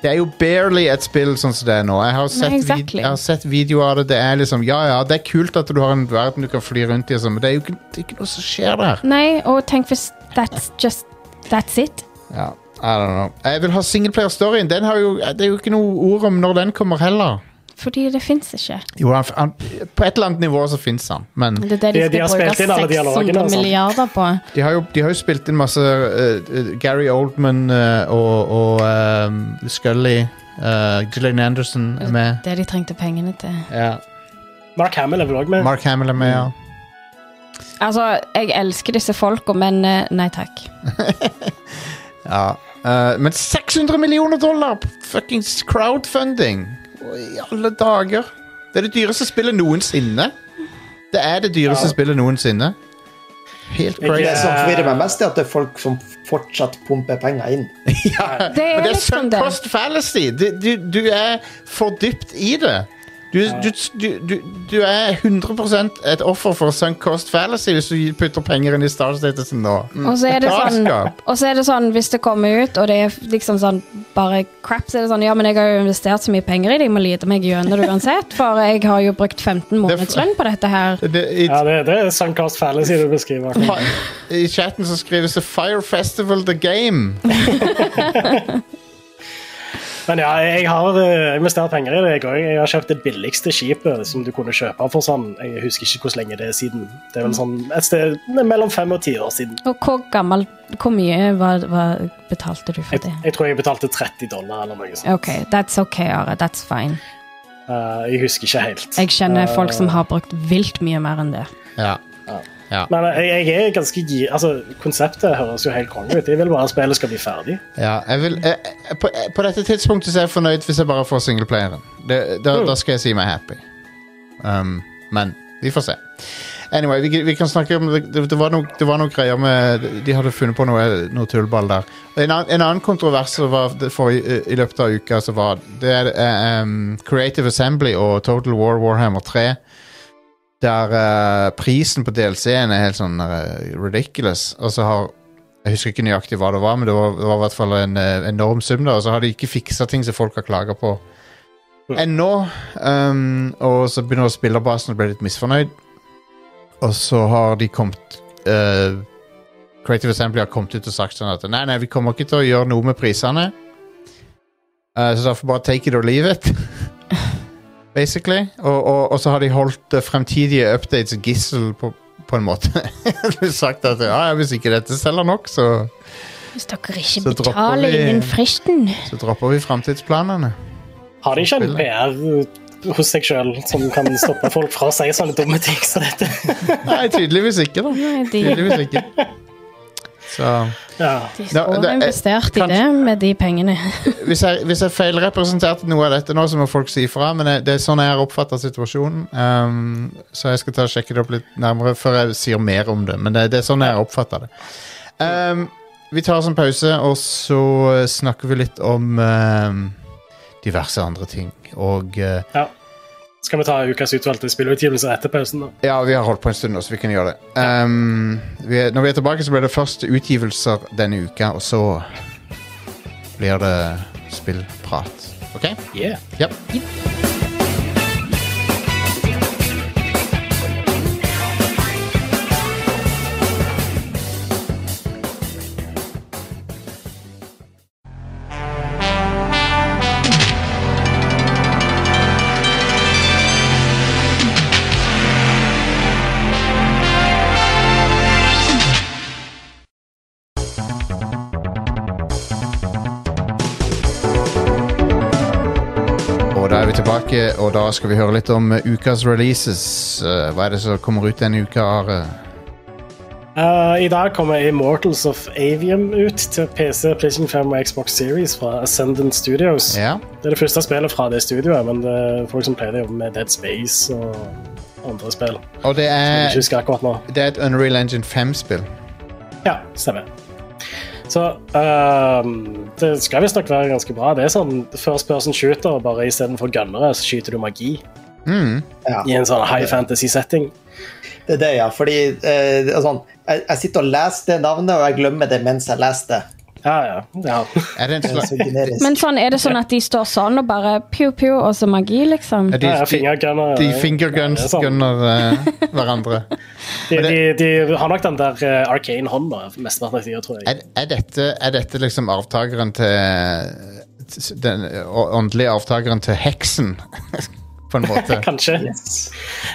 Det er jo barely et spill sånn som det er nå. Jeg har sett,
exactly.
vid jeg har sett videoer av det. Det er liksom, ja, ja, det er kult at du har en verden du kan fly rundt i, og sånn, men det er jo ikke, det er ikke noe som skjer der.
Nei, og tenk hvis that's just That's it.
Ja, I don't know. Jeg vil ha singleplayer-storyen. Den har jo, Det er jo ikke noe ord om når den kommer heller.
Fordi det fins ikke.
Jo, han, han, på et eller annet nivå så fins han, men
Det er det de,
De- de har
skal
spilt inn alle
bruke
dialogene og
600
sånn.
milliarder på.
de har jo, de har jo spilt inn masse eh, eh, Gary Oldman eh, og, og eh, Scully. Uh, Gillian Anderson er med.
Det de trengte pengene til.
Ja.
Mark Hamill er vel også med.
Mark Hamill er med, ja.
Altså, jeg elsker disse folka, men eh, nei takk.
ja. eh, men 600 millioner dollar på fuckings crowdfunding! Å, I alle dager. Det er det dyreste spillet noensinne. Det er det dyreste
Ja.
spillet noensinne. Helt
Ikke-
crazy.
Det som forvirrer meg mest, er at det er folk som fortsatt pumper penger inn.
Det er,
Men det er
liksom
sunk
det.
cost fallacy. Du, du, du er for dypt i det. Du, du, du, du, du er 100 et offer for sunk cost fallacy hvis du putter penger inn i Star Statusen nå. Mm.
Og så er det sånn,
Galskap.
og så er det sånn hvis det kommer ut, og det er liksom sånn bare crap, så er det sånn Ja, men jeg har jo investert så mye penger i det, jeg må lide meg gjennom det uansett, for jeg har jo brukt 15 måneders lønn på dette her.
Det, i,
Ja, det, det er sånn Suncast Fallacy du beskriver.
fi- I chatten så skrives det 'Fire Festival The Game'.
Men ja, jeg har eh, investert penger i det. Jeg, også. jeg har kjøpt det billigste skipet som du kunne kjøpe for sånn. Jeg husker ikke hvor lenge det er siden. Det er vel sånn et sted mellom fem og ti år siden.
Og hvor gammel Hvor mye var, var, betalte du for
Jeg,
det?
jeg tror jeg betalte 30 dollar eller noe sånt.
OK, that's OK, Are. That's fine.
Eh, jeg husker ikke helt.
Jeg kjenner
Eh.
folk som har brukt vilt mye mer enn det.
Ja.
Men eh, jeg, jeg er ganske gi... Altså, konseptet høres jo helt konge ut. Jeg vil bare at spillet skal bli ferdig.
ja jeg vil, jeg, jeg- på, jeg- på dette tidspunktet så er jeg fornøyd hvis jeg bare får singleplayeren. Det- Da, da skal jeg si meg happy. Um, men vi får se. Anyway, vi, vi kan snakke om det, det, var noe, det var noe greier med De hadde funnet på noe, noe tullball der. En annen, en annen kontrovers som var det forrige- i løpet av uka, så var det er, eh, em, Creative Assembly og Total War Warhammer 3. Der eh, prisen på DLC-en er helt sånn eh, ridiculous. Og så har Jeg husker ikke nøyaktig hva det var, men det var, det var i hvert fall en eh, enorm sum. der, Og så har de ikke fiksa ting som folk har klaga på ennå. Um, og så begynner spillerbasen å bli litt misfornøyd. Og så har de kommet eh, Creative Assembly har kommet ut og sagt sånn at Nei, nei, vi kommer ikke til å gjøre noe med prisene. Eh, så derfor bare take it or leave it. Basically. Og, og, og så har de holdt eh, fremtidige updates gissel på, på en måte. De har sagt at ja, ja, hvis ikke dette selger nok, så,
Hvis dere ikke
Så dropper
betaler
vi-
innen fristen
så dropper vi fremtidsplanene.
Har de ikke en
Spillet.
PR hos seg sjøl som kan stoppe folk fra å si sånne dumme ting som dette?
Nei, tydeligvis ikke, da.
Nei, de,
Tydeligvis ikke. Så
Ja.
de
Nå,
står
det er-
investert i
kanskje-
det med de pengene.
hvis jeg, hvis jeg feilrepresenterte noe av dette nå, så må folk si ifra, men jeg, det er sånn jeg har oppfatta situasjonen. Ehm, så jeg skal ta og sjekke det opp litt nærmere før jeg sier mer om det, men det, det er sånn jeg har oppfatta det. Ehm, vi tar oss en pause, og så eh, snakker vi litt om ehm, diverse andre ting. Og eh,
ja. Skal vi ta ukas utvalgte spillutgivelse etter pausen, da?
Ja, vi har holdt på en stund nå, så vi kan gjøre det. Ehm, vi er, når vi er tilbake, så blir det først utgivelser denne uka, og så blir det spillprat. OK?
Yeah.
Ja. Og da er vi tilbake, og da skal vi høre litt om eh, ukas releases. Eh, hva er det som kommer ut denne uka, Are?
Eh, I dag kommer Immortals of Avium ut til PC, PlayStation 5 og Xbox Series fra Ascendant Studios.
Ja.
Det er det første spillet fra det studioet, men det er folk som pleier å jobbe med Dead Space og andre spill. Som
Og det
jeg
er,
ikke husker akkurat nå.
det er et Unreal Engine 5-spill.
Ja, stemmer. Så ehm, det skal visstnok være ganske bra. Det er sånn first person shooter, bare istedenfor gunnere, så skyter du magi
Ja.
i en sånn high fantasy setting.
Det er det, ja. Fordi eh, det er sånn, jeg, jeg sitter og leser det navnet, og jeg glemmer det mens jeg leser det.
Ja, ja. ja.
Er det en
Det er
slags
så generisk.
Men sånn, er det sånn at de står sånn og bare pew-pew, og så magi, liksom?
er de,
Ja, ja,
de,
fingergunner.
de fingerguns
Ja, det er sant.
gunner eh, hverandre.
De, de, de har nok den der eh, arcane hånda mesteparten av tida, tror jeg.
Er, er, dette, er dette liksom arvtakeren til til Den åndelige arvtakeren til heksen, på en måte?
Kanskje. Jeg,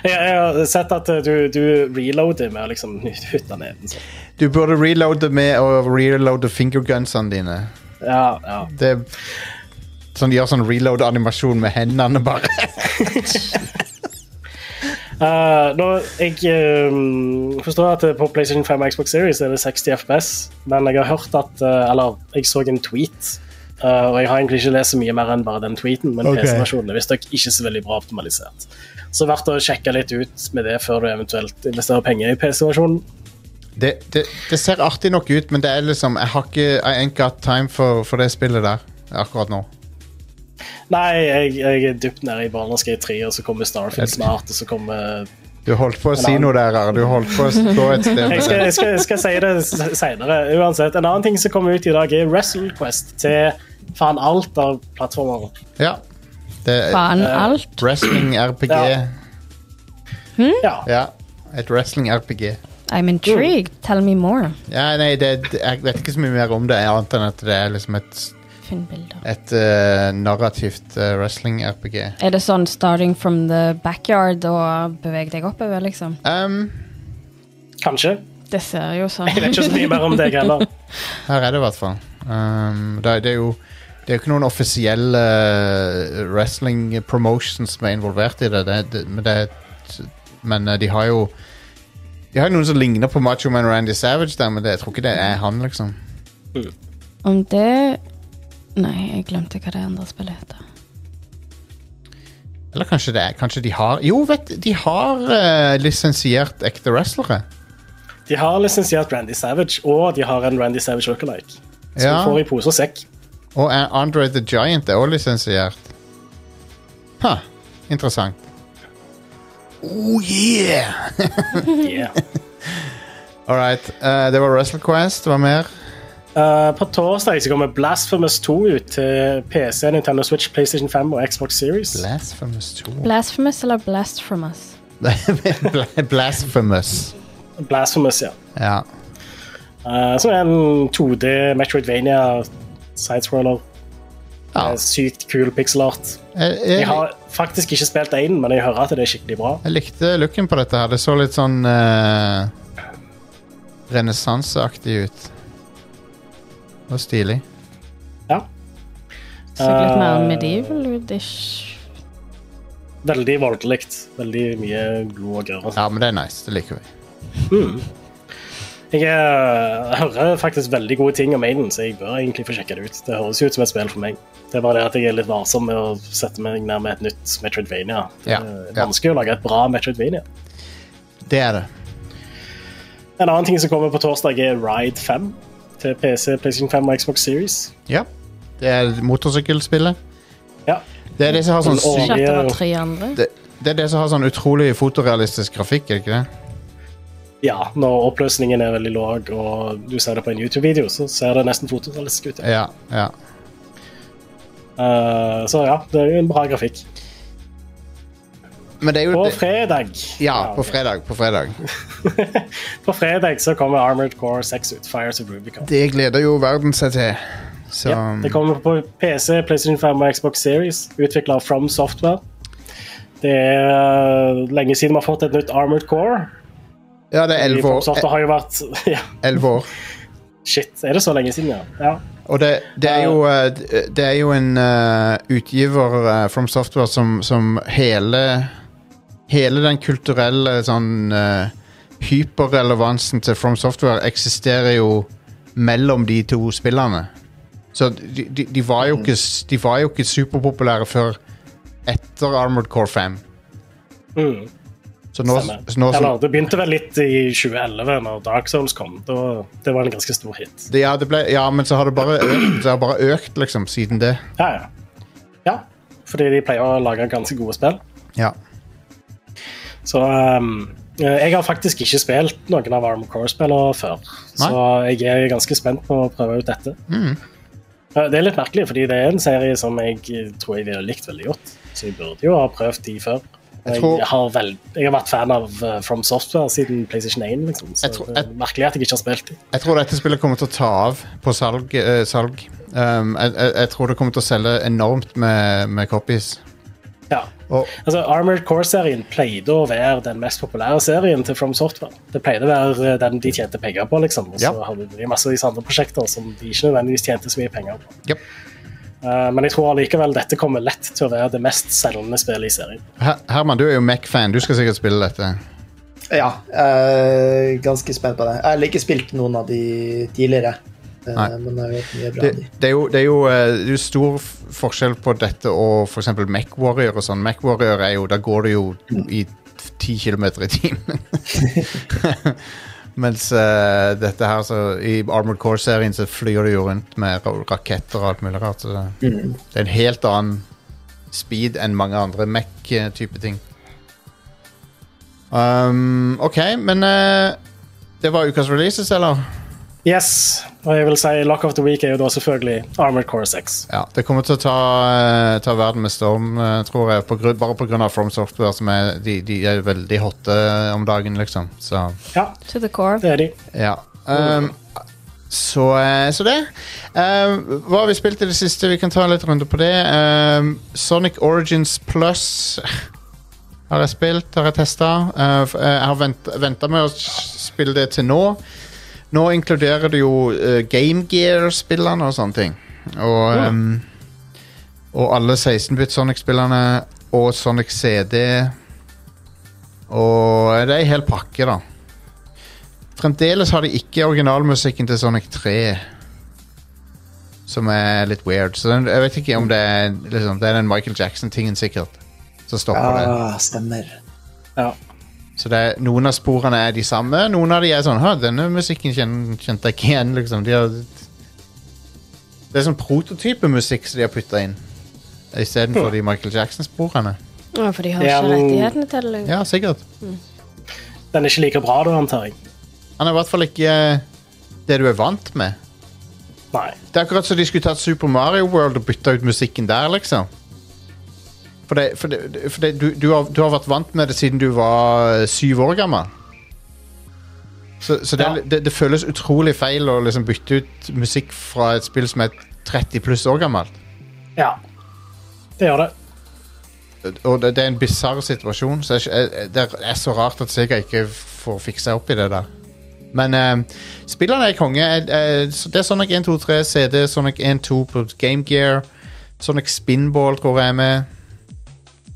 jeg har sett at eh, du, du reloader med å liksom hytte ned.
Du burde reloade med å reloade fingergunsene dine.
Ja, ja.
Det sånn, Gjør sånn reload-animasjon med hendene, bare.
Eh, nå, jeg eh, forstår at eh, på PlayStation 5 og Xbox Series er det 60 FPS, men jeg har hørt at eh, Eller, jeg så en tweet, eh, og jeg har egentlig ikke lest så mye mer enn bare den tweeten, men
Ok.
PC-versjonen er visstnok ikke så veldig bra optimalisert. Så verdt å sjekke litt ut med det før du eventuelt investerer penger i PC-versjonen.
Det, det, det ser artig nok ut, men det er liksom Jeg har ikke I ain't got time for, for det spillet der akkurat nå.
Nei, jeg, jeg er dypt nede i Baldur's Gate 3, og så kommer Starfield snart, og så kommer
Du holdt på å si noe der, Are. Du holdt på å stå et sted.
Jeg
med
skal,
det.
jeg skal, jeg skal si det seinere. Uansett, en annen ting som kommer ut i dag, er WrestleQuest til faen alt av plattformer.
Ja. Det er
Faen alt.
wrestling-RPG.
Ja. Ja.
Ja. Et wrestling-RPG.
I'm intrigued. Tell me more.
Ja, nei, det, det- jeg vet ikke så mye mer om det, annet enn at det er liksom et,
Finn bilder.
et eh, narrativt eh, wrestling-RPG.
Er det sånn starting from the backyard og beveg deg oppover, liksom?
Um,
Kanskje.
Det ser jo sånn
Jeg vet ikke så mye mer om deg heller.
her er det i hvert fall. Um, det, er- det er jo det er jo ikke noen offisielle eh, wrestling-promotions som er involvert i det, det, det, men, det er et- men eh, de har jo De har jo noen som ligner på Macho Man Randy Savage, der, men det, jeg tror ikke det er han, liksom.
Om det Nei, jeg glemte hva det andre spillet heter.
Eller kanskje det er Kanskje de har Jo, vet du, de har eh, lisensiert ekte wrestlere.
De har lisensiert Randy Savage, og de har en Randy Savage lookalike. Som
Ja.
du får i pose og sekk.
Og A- Andre the Giant er også lisensiert. Ha, interessant. Oh yeah!
Yeah.
All right, eh, det var WrestleQuest. Hva mer?
Eh, på torsdag så kommer Blasphemous 2 ut til PC, Nintendo Switch, PlayStation 5 og Xbox Series.
Blasphemous 2.
Blasphemous eller Blast from us?
Bla- Blasphemous.
Blasphemous, ja.
Ja.
Eh, som er en 2D Metroidvania sidescroller.
ja.
Med Sykt kul pixelart.
Jeg,
Jeg
jeg,
har faktisk ikke spilt én, men jeg hører at det er skikkelig bra.
jeg likte looken på dette her. Det så litt sånn uh, renessanseaktig ut. Det var stilig.
Ja,
Så litt mer
Eh.
medieval-ish.
Veldig voldelig. Veldig mye blod og gørr. og sånn. sånt.
Ja, men det er nice. Det liker vi.
Jeg eh, hører faktisk veldig gode ting om Maiden, så jeg bør egentlig få sjekke det ut. Det høres jo ut som et spill for meg. Det er bare det at jeg er litt varsom med å sette meg ned med et nytt Metroidvania. Det
Ja,
er
ja.
vanskelig å lage et bra Metroidvania.
Det er det.
En annen ting som kommer på torsdag, er Ride 5 til PC, PlayStation 5 og Xbox Series.
Ja. Det er motorsykkelspillet.
Ja,
Det er det som har sånn syk
Ikke at det var tre andre.
det, det er det som har sånn utrolig fotorealistisk grafikk, er det ikke det?
ja når oppløsningen er veldig lav, og du ser det på en YouTube-video, så ser det nesten fotorealistisk ut. ja.
Ja, ja.
Eh, så ja, det er jo en bra grafikk.
Men det er jo
På
det,
fredag
Ja, på
ok.
fredag. På fredag.
På fredag så kommer Armored Core 6 ut, Fires of Rubicon.
Det gleder jo verden seg til. Så
Ja, det kommer på PC, PlayStation 5 og Xbox Series, utvikla av From Software. Det er eh, lenge siden vi har fått et nytt Armored Core.
Ja, det er
De
elleve
From
år.
Software har jo vært ja,
Elleve år.
Shit, er det så lenge siden, ja? ja.
Og det, det, er jo, eh, det er jo en eh, utgiver eh, from software som, som hele Hele den kulturelle sånn eh, hyperrelevansen til From Software eksisterer jo mellom de to spillene. Så de, de, de, var, jo ikke, de var jo ikke superpopulære før etter Armored Core 5.
Mm,
Så nå,
stemmer.
så nå som,
Eller, det begynte vel litt i 2011, når Dark Souls kom. Da, det var en ganske stor hit.
det, ja, det ble, ja, men så har det bare økt, det har bare økt liksom, siden det.
Ja, ja. ja, fordi de pleier å lage ganske gode spill.
Ja.
Så ehm, jeg har faktisk ikke spilt noen av Arm Core-spillene før, så jeg er ganske spent på å prøve ut dette.
Mm.
Eh, Det er litt merkelig, fordi det er en serie som jeg eh, tror jeg ville likt veldig godt, så jeg burde jo ha prøvd de før.
Jeg
Jeg,
tror-
har, vel, jeg har vært fan av eh, From Software siden PlayStation 1, liksom, så
Jeg tror-
det er merkelig at jeg ikke har spilt dem.
Jeg tror dette spillet kommer til å ta av på salg. eh, salg. Um, jeg, jeg, jeg tror det kommer til å selge enormt med, med copies.
Ja.
Og,
Altså, Armored Core-serien pleide å være den mest populære serien til From Software. Det pleide å være eh, den de tjente penger på, liksom. Og så
Ja.
hadde de masse av disse andre prosjekter som de ikke nødvendigvis tjente så mye penger på.
Japp.
Eh, men jeg tror allikevel dette kommer lett til å være det mest selgende spillet i serien.
Her, Herman, du er jo Mac-fan. Du skal sikkert spille dette.
Ja, eh, ganske spent på det. Jeg har ikke spilt noen av de tidligere, eh,
Nei.
men jeg vet mye bra
Det,
om de.
det, er, jo, det, er, jo, eh, det er jo stor f- forskjell på dette og f.eks. Mac-warrior og sånn. Mac-warrior er jo Da går du jo i 10 km i timen. Mens eh, dette her, så i Armored Core-serien, så flyr du jo rundt med ra- raketter og alt mulig rart. Så det det er en helt annen speed enn mange andre Mac-type ting. Um, OK, men eh, det var ukas releases, eller?
Yes, og jeg vil si Lock of the Week er jo da selvfølgelig Armored Core 6.
Ja, det kommer til å ta, eh, ta verden med storm, eh, tror jeg. På grunn, bare pga. From Software, som er, de, de er veldig hotte om dagen, liksom. Så
Ja,
To the core.
det er de.
ja. Um, så, eh, så det. Um, hva har vi spilt i det siste? Vi kan ta en litt runde på det. Um, Sonic Origins Plus har jeg spilt, har jeg testa. Uh, f- eh, jeg har venta med å s- spille det til nå. Nå inkluderer det jo eh, Game Gear-spillene og sånne ting. Og, ehm, og alle 16-bit Sonic-spillerne og Sonic CD. Og eh, det er en hel pakke, da. Fremdeles har de ikke originalmusikken til Sonic 3. Som er litt weird. Så den, jeg vet ikke om det er liksom, Det er den Michael Jackson-tingen, sikkert, som stopper det.
Ja, Ah, stemmer.
Ja.
Så det, er- noen av sporene er de samme. Noen av de er sånn «Hå, denne musikken kjen, kjente jeg ikke igjen, liksom. De har, det er sånn prototypemusikk som de har putta inn. Istedenfor de Michael Jackson-sporene.
Ja, for de har
Ja,
ikke
men-
rettighetene til det. lenger.
Ja, sikkert.
Den er ikke like bra da, antar jeg.
Han er i hvert fall ikke eh, det du er vant med.
Nei.
Det er akkurat som de skulle tatt Super Mario World og bytta ut musikken der, liksom. For, det, for, det, for det, du, du, har, du har vært vant med det siden du var eh, syv år gammel. Så, så det, er
Ja.
li- det, det føles utrolig feil å liksom bytte ut musikk fra et spill som er 30 pluss år gammelt.
Ja, det gjør det.
Og det, det er en bisarr situasjon. Så jeg, jeg, det er så rart at Sega ikke får fiksa opp i det der. Men eh, spillerne er konge. Jeg- jeg- så det er Sonic 1, 2, 3, CD, Sonic 1, 2 på Game Gear. Sonic Spinball tror jeg er med.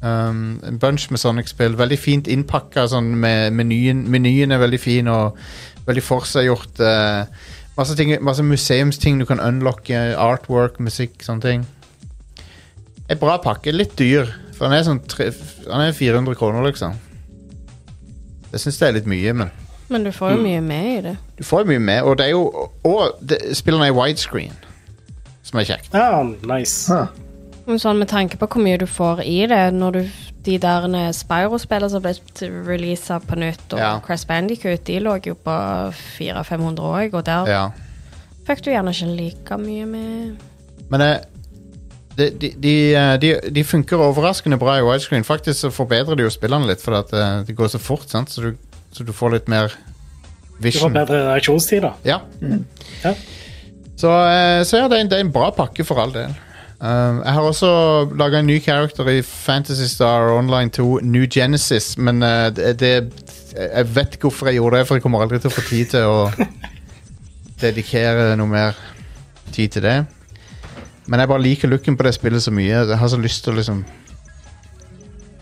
Um, en bunch med Sonic-spill. Veldig fint innpakka. Sånn med menyen, menyen er veldig fin og veldig forseggjort. eh, masse, ting- masse museumsting du kan unlocke. Artwork, musikk, sånne ting. En bra pakke. Litt dyr. For han er sånn tre, han er 400 kroner, liksom. Jeg syns det er litt mye, men
Men du får jo mye med i det.
du får jo mye med. Og det er jo Og det, spillene er widescreen, som er kjekt.
Ja, nice.
Men sånn med tanke på hvor mye du får i det når du de der Spyro-spillene som ble releasa på nytt, og
Ja.
Crash Bandicoot, de lå jo på 400-500 òg, og der
Ja.
fikk du gjerne ikke like mye med.
Men eh, de, de, de, eh, de, de funker overraskende bra i widescreen. Faktisk så forbedrer de jo spillene litt, for at eh, det går så fort, sant? Så, du, så du får litt mer
Du får
vision.
bedre reaksjonstid, da.
Ja.
Ja.
Så, eh, så ja, det er, en, det er en bra pakke for all del. Um, jeg har også laga en ny character i Fantasy Star Online 2, New Genesis, men eh, det, det Jeg vet ikke hvorfor jeg gjorde det, for jeg kommer aldri til å få tid til å dedikere noe mer tid til det. Men jeg bare liker looken på det spillet så mye. Jeg har så lyst til å liksom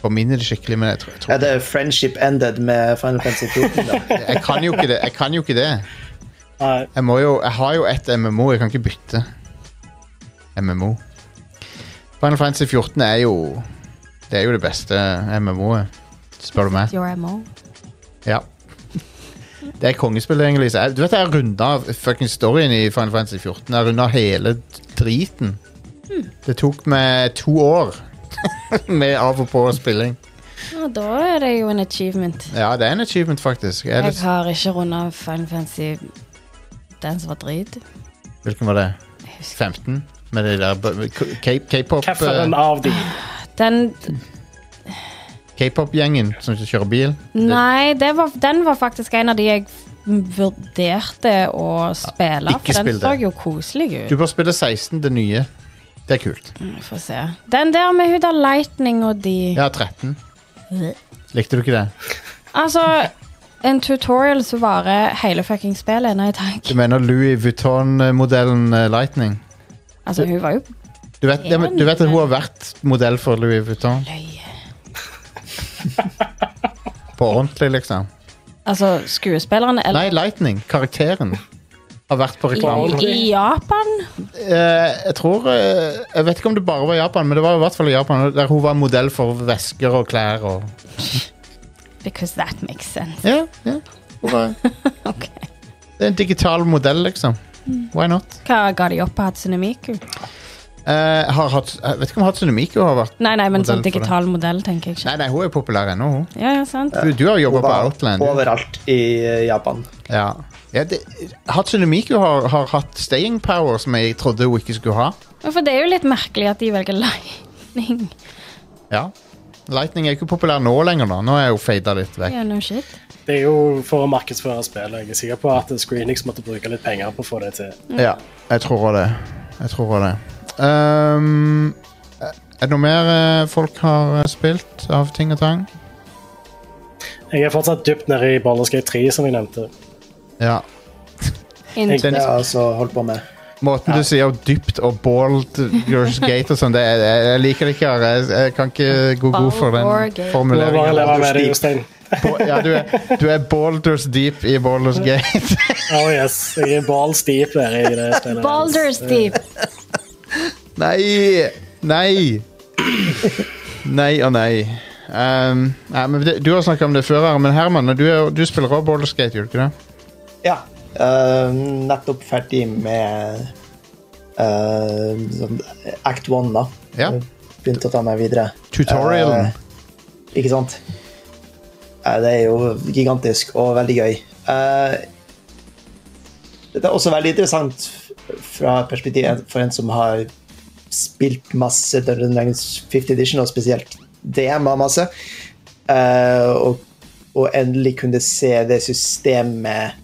forminne det skikkelig, men jeg, tror- jeg,
Er
tror,
det friendship ended med Final Fantasy 14? da?
jeg kan jo ikke det. Jeg kan jo ikke det.
Nei,
Jeg, må jo, jeg har jo ett MMO, jeg kan ikke bytte MMO. Final Fantasy 14 er jo Det er jo det beste MMO-et, spør du meg.
Your MO.
Ja. Det er kongespill, egentlig. Så jeg, du vet, jeg runda fucking storyen i Final Fantasy 14. Jeg runda hele driten. Det tok meg to år med av og på spilling.
Ja, da er det jo en achievement.
Ja, det er en achievement, faktisk. Er
Jeg
det,
har ikke runda Final Fantasy den som var drit.
hvilken var det? 15? Med det der b- k- k-pop
Kjefferen
eh,
av de.
Den
K-pop-gjengen som kjører bil?
Nei, det var, den var faktisk en av de jeg vurderte å spille.
ikke
for
spill
den
det.
så jo koselig
Du
ut.
bør spille 16, det nye. Det er kult.
Vi får se. Den der med hun der Lightning og de
Jeg har 13. Likte du ikke det?
Altså, en tutorial som varer hele fucking spillet. Nei takk.
Du mener Louis Vuitton-modellen eh, Lightning?
Altså, hun var jo
Du vet,
Ja, men-
du vet at hun har vært modell for Louis Vuitton?
løye.
På ordentlig, liksom?
Altså, skuespillerne eller
Nei, Lightning, karakteren, har vært på reklame.
I, I Japan?
Eh, jeg tror eh, Jeg vet ikke om det bare var i Japan, men det var i hvert fall i Japan, der hun var modell for vesker og klær og
Because that makes sense.
Ja, ja. Hun var
Ok.
Det er en digital modell, liksom. Why not?
Hva ga de opp på Hatsune Miku?
Eh, har hatt, jeg vet ikke om Hatsune Miku har vært
Nei, nei, men
Modell
sånn
for det.
digital modell, tenker jeg ikke.
Nei, nei, hun er populær ennå, hun.
Ja, ja, sant.
Du, du har jobba
Hun
på
var
Outland. du.
Overalt i eh, Japan.
Ja. Ja, det, Hatsune Miku har, har hatt staying power som jeg trodde hun ikke skulle ha.
Ja, For det er jo litt merkelig at de velger lightning.
Ja. Lightning er jo ikke populær nå lenger, da. Nå er hun fada litt vekk.
Ja, no shit.
Det er jo for å markedsføre spillet. Jeg er sikker på at Screenix måtte bruke litt penger på å få det til.
Ja, jeg tror også det. Jeg tror også det. Ehm, er det noe mer eh, folk har eh, spilt av ting og tang?
Jeg er fortsatt dypt nede i Baldur's Gate 3, som jeg nevnte.
Ja.
Det
Inntil
har jeg altså holdt på med.
Måten du sier dypt og bald Girls Gate og sånn, det er, jeg, jeg liker det ikke. her. Jeg, jeg kan ikke gå god for
Baldur's Gate.
den
Du må bare
formuleringen.
leve med det, Jostein.
Bo- Ja, du er, du er boulders deep i Baldur's Gate.
Oh yes, jeg er balls deep nede i det spillet.
Baldur's Deep.
Nei! Nei! Nei og nei. Ehm, nei men det, du har snakka om det før, her, men Herman, du, er, du spiller også Baldur's Gate, gjør du ikke det?
Ja. eh, nettopp ferdig med eh, sånn Act One, da.
Ja.
Begynte å ta meg videre.
Tutorialen.
Eh, ikke sant? Eh, det er jo gigantisk og veldig gøy. Eh, det er også veldig interessant fra perspektivet for en som har spilt masse Dungeons and Dragons 50 Edition, og spesielt DMA masse, eh, og, og endelig kunne se det systemet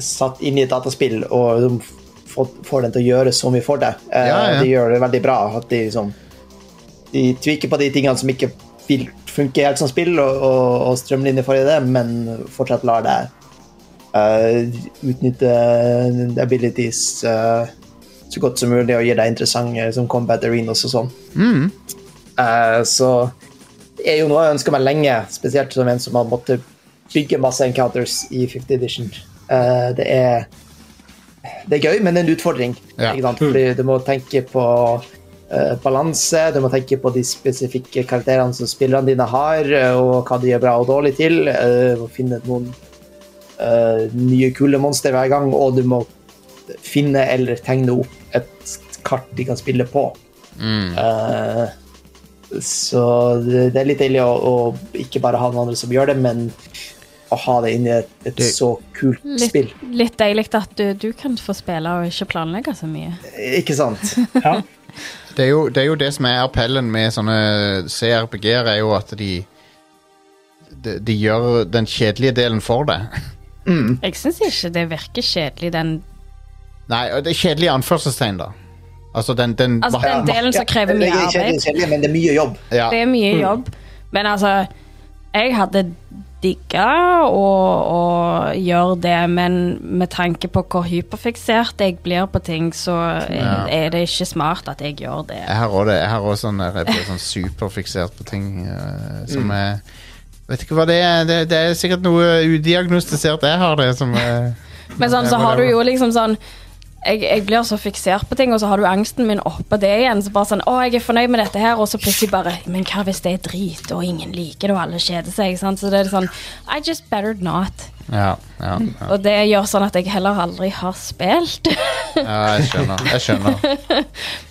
satt inn i et dataspill, og de får, får den til å gjøre så mye for deg. Eh,
Ja, ja.
De gjør det veldig bra. At de liksom de tviker på de tingene som ikke vil funke helt som spill, og, og, og strømlinjer for i det, men fortsatt lar deg eh, utnytte the abilities eh, så godt som mulig og gir deg interessante som combat arenas og sånn. Eh, så det er jo noe jeg ønsker meg lenge, spesielt som en som har måttet bygge masse encounters i 50 edition. Eh, det er det er gøy, men det er en utfordring.
Ja.
Ikke sant? Fordi du må tenke på eh, balanse, du må tenke på de spesifikke karakterene som spillerne dine har, eh, og hva de er bra og dårlig til. eh, og finne noen eh, nye kule monster hver gang, og du må finne eller tegne opp et kart de kan spille på. Eh, så det, det er litt deilig å, å ikke bare ha noen andre som gjør det, men å ha det inni et, et
Det-
så kult spill.
Litt, litt deilig at du, du kan få spille og ikke planlegge så mye.
Ikke sant?
Ja.
Det er, jo, det er jo det som er appellen med sånne CRPG-er, er jo at de, de De gjør den kjedelige delen for deg.
Jeg syns ikke det virker kjedelig, den,
Nei, og det er kjedelige anførselstegn, da. Altså den, den
altså, den delen som krever
det
mye
er kjedelig,
arbeid.
kjedelig, men det er mye jobb.
ja.
Det er mye jobb, men altså Jeg hadde digge og, og gjøre det, men med tanke på hvor hyperfiksert jeg blir på ting, så
Ja.
er det ikke smart at jeg gjør det.
Jeg har også det. Jeg har også sånn der, jeg blir sånn superfiksert på ting eh, som er Vet ikke hva det er. Det, det er sikkert noe udiagnostisert jeg har, det som eh,
Men sånn, så har du jo liksom sånn jeg, jeg blir så fiksert på ting, og så har du angsten min oppå det igjen. Så bare sånn, å, jeg er fornøyd med dette her, og så plutselig bare Men hva hvis det er drit, og ingen liker det, og alle kjeder seg? Sant? Så det er sånn I just better not.
Ja, ja, ja,
Og det gjør sånn at jeg heller aldri har spilt.
ja jeg skjønner. Jeg skjønner.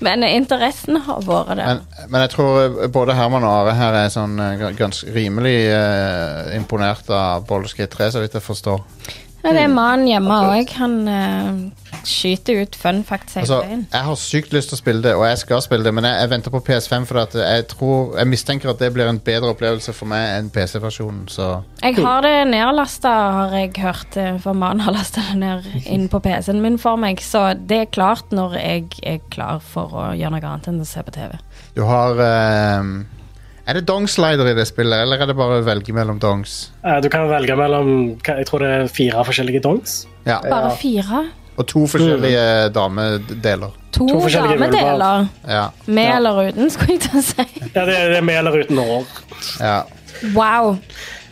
Men interessen har vært der.
Men, men jeg tror eh, både Herman og Are her er sånn eh, gans- rimelig eh, imponert av Baldur's Gate 3, så vidt jeg forstår.
Men det er mannen hjemme òg. Han eh, skyter ut fun facts hele
Altså,
veien.
jeg har sykt lyst til å spille det, og jeg skal spille det, men jeg, jeg venter på PS5 fordi at jeg tror Jeg mistenker at det blir en bedre opplevelse for meg enn PC-versjonen, så
Jeg har det nedlasta, har jeg hørt, eh, for mannen har lasta det ned inn på PC-en min for meg. Så det er klart når jeg er klar for å gjøre noe annet enn å se på TV.
Du har ehm, Er det dongslider i det spillet, eller er det bare å velge mellom dongs?
Eh, Du kan velge mellom hva- Jeg tror det er fire forskjellige dongs.
Ja.
Bare fire?
Og to forskjellige damedeler.
To,
To forskjellige
damedeler.
Ja.
Med
Ja.
eller uten, skulle jeg til å si.
Ja, det er det er med eller uten hår.
ja.
Wow.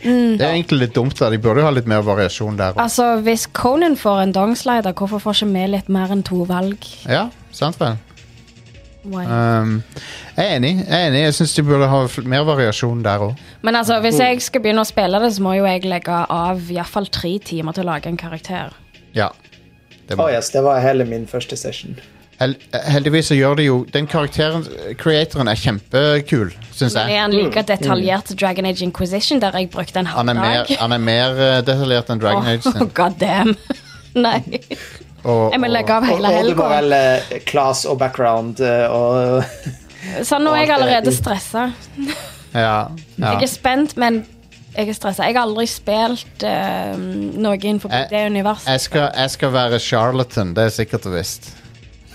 Det er egentlig litt dumt, da. De burde jo ha litt mer variasjon der. også.
Altså, hvis Conan får en dongslider, hvorfor får ikke vi litt mer enn to valg?
Ja, sant vel.
Why?
Ehm, jeg er enig. Jeg er enig, jeg syns de burde ha fl- mer variasjon der òg.
Men altså, hvis jeg skal begynne å spille det, så må jo jeg legge av iallfall tre timer til å lage en karakter.
Ja. Det
Å
må.
yes, det var hele min første session.
Hel heldigvis så gjør de jo Den karakteren, creatoren, er kjempekul, syns
Men er
jeg.
han like detaljert til Dragon Age Inquisition, der jeg brukte en
Mm. Han
halv
er mer,
dag?
han er mer eh, detaljert enn Dragon Age.
Oh,
sin.
God damn. Nei.
Og-
Jeg må
og-
legge av
Og,
hele
og du må
helga.
velge eh, class og background eh, og
Så nå er jeg allerede stressa.
Ja, ja.
Jeg er spent, men jeg er stressa. Jeg har aldri spilt eh, noe innenfor
Jeg-
det universet.
Jeg skal, jeg skal være charlatan, det er sikkert og visst.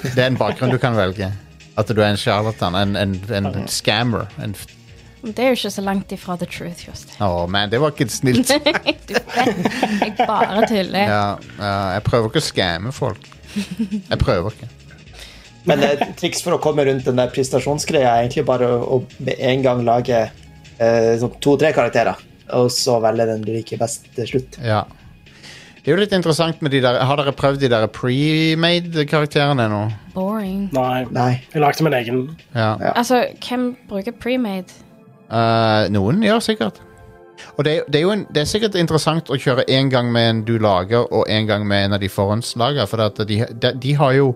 Det er en bakgrunn du kan velge. At du er en charlatan, en, en, en scammer. En f
Det er jo ikke så langt ifra the truth, Jostein.
Å, man, det var ikke snilt.
Du vet, jeg bare tuller.
Ja, ja, jeg prøver ikke å skamme folk. Jeg prøver ikke.
Men et triks for å komme rundt den der prestasjonsgreia er egentlig bare å, å med en gang lage eh, sånn to-tre karakterer, og så velge den du liker best til slutt.
Ja. Det er jo litt interessant med de der Har dere prøvd de der pre-made karakterene nå?
Boring.
Nei.
Nei.
Jeg lagde min egen.
Ja.
Altså, hvem bruker premade?
Eh, noen gjør sikkert. Og det, er- det, er jo en, det er sikkert interessant å kjøre én gang med en du lager, og én gang med en av de forhåndslager. For at de, de, de har jo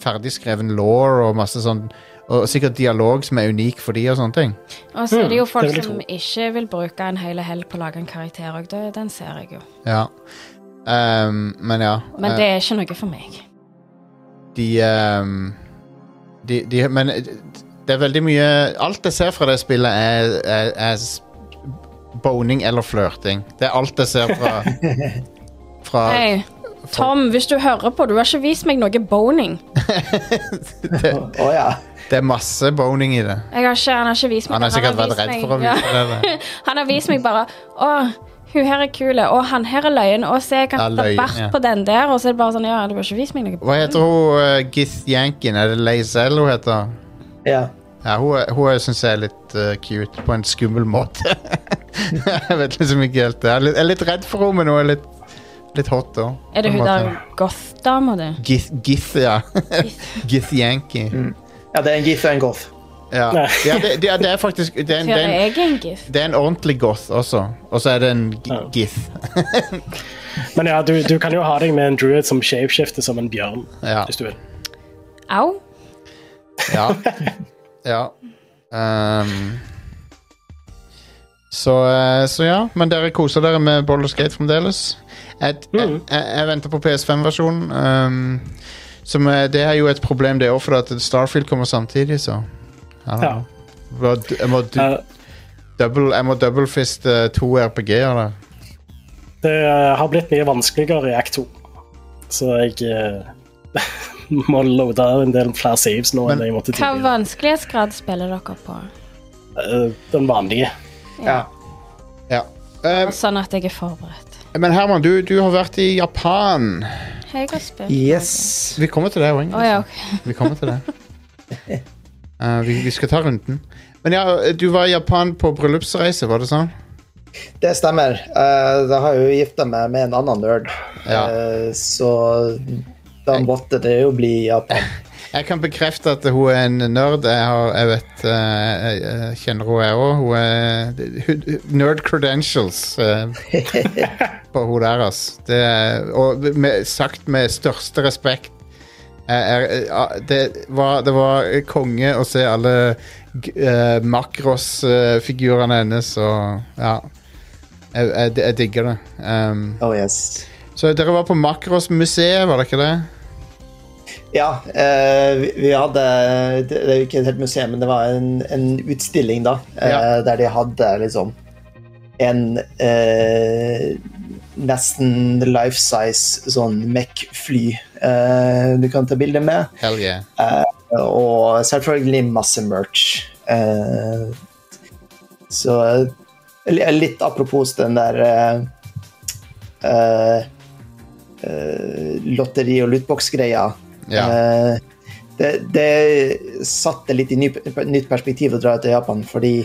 ferdigskreven law og masse sånn Og sikkert dialog som er unik for de og sånne ting.
Og så er
Hmm,
det jo folk
det vil jeg
som ikke vil bruke en hel helg på å lage en karakter òg. Den ser jeg jo.
Ja. Ehm, men ja.
Men
eh,
det er ikke noe for meg.
de, ehm, de, de Men eh, det er veldig mye Alt jeg ser fra det spillet, er, er, er s- boning eller flørting. Det er alt jeg ser fra, fra
Hei, Tom, hvis du hører på, du har ikke vist meg noe boning.
Å ja.
Det er masse boning i det.
Jeg har ikke, han har ikke vist meg
Han har sikkert vært
vist
redd
meg-
for å
ja.
vise det. da.
Han har vist meg bare Å, hun her er kul, og han her er løyen, og se, jeg
Ja,
kan ta
løyen,
bart
ja.
på den der, og så er det bare sånn Ja, du har ikke vist meg noe.
Hva heter hun uh, Gith Yankin? Er det Lazelle hun heter?
ja.
Ja, hun, er- hun syns jeg er litt eh, cute på en skummel måte. jeg vet liksom ikke helt. Jeg er litt, jeg er litt redd for henne, men hun er litt, litt hot òg.
Er det hun der goth-dama, du?
Gith, Gith, ja. Gith Yankee.
ja, det er en gif og en golf.
Ja, ja det, det, det er faktisk det er, en, det, er
Hører
en,
jeg en gif?
det er en ordentlig goth også. Og så er det en g-
Ja.
gith.
Men ja, du, du kan jo ha deg med en druid som shapeshifter som en bjørn.
Ja.
Hvis du vil.
Au.
Ja. ja. Ehm. så, eh, så ja, men dere koser dere med Boulder Skate fremdeles. Jeg, jeg, jeg, jeg venter på PS5-versjonen. ehm, som er, det er jo et problem, det òg, for at Starfield kommer samtidig, så I don't
Ja.
know. Må d- Jeg må, d-
Eh,
double, jeg må doublefiste to RPG-er der.
det eh, har blitt mye vanskeligere i Act 2, så jeg eh, må loade en del flere saves nå enn
Men-
jeg måtte
Hva
tidligere.
vanskelighetsgrad spiller dere på?
Eh, den vanlige.
Ja.
Ja. Eh,
Sånn at jeg er forberedt.
men Herman, du, du har vært i Japan.
Jeg har spilt.
Yes.
Vi kommer til det, Wang.
Å ja, ok.
Vi kommer til det. Eh, vi, vi skal ta runden. Men ja, du var i Japan på bryllupsreise, var det sånn?
Det stemmer. Eh, da har jeg jo gifta meg med en annen nerd,
Ja.
Eh, så da måtte det jo bli Japan.
Jeg kan bekrefte at hun er en nerd. Jeg, har, jeg vet eh, jeg, jeg kjenner hun jeg òg. Hun er hun- Nerd credentials eh, på hun der, ass. Det, er- og med, sagt med største respekt. Jeg er- ja, det, var, det var konge å se alle uh, Makros-figurene hennes og Ja. Jeg, jeg, jeg digger det. Um,
Oh yes.
så dere var på Makros-museet, var det ikke det?
Ja, eh, vi, vi hadde Det det er jo ikke et helt museum, men det var en, en utstilling, da. eh,
Ja.
Der de hadde liksom en eh, nesten life size sånn MEC-fly eh, du kan ta bilde med.
Hell yeah.
Eh, Og selvfølgelig masse merch. Eh, så eh, li- litt apropos den der eh, eh, eh, lotteri- og lootbox-greia.
Ja.
Eh, det, det satte litt i ny, nytt perspektiv å dra til Japan, fordi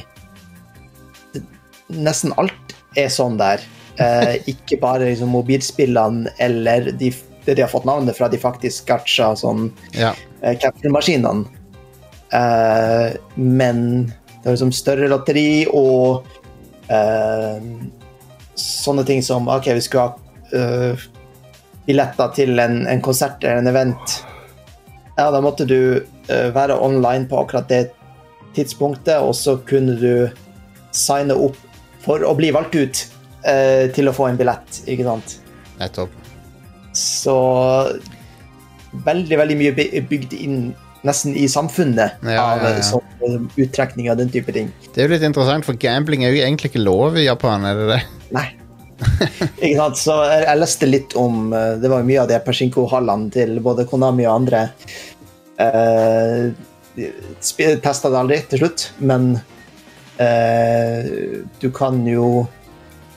det- nesten alt er sånn der. Eh, ikke bare liksom, mobilspillene eller de, det de har fått navnet fra, de faktisk gacha sånn
ja.
eh, capture-maskinene. Eh, men det er liksom større lotteri og eh, sånne ting som OK, vi skulle ha eh, billetter til en, en konsert eller en event. Ja, da måtte du eh, være online på akkurat det tidspunktet, og så kunne du signe opp for å bli valgt ut eh, til å få en billett, ikke sant?
Nettopp.
Så veldig, veldig mye by- er bygd inn nesten i samfunnet
Ja,
av
ja, ja.
sånn uttrekning av den type ting.
Det er jo litt interessant, for gambling er jo egentlig ikke lov i Japan, er det det?
Nei. Ikke sant? Så jeg, jeg leste litt om eh, Det var jo mye av det Persinko-hallene til både Konami og andre. Uh, Testa det aldri til slutt, men eh, du kan jo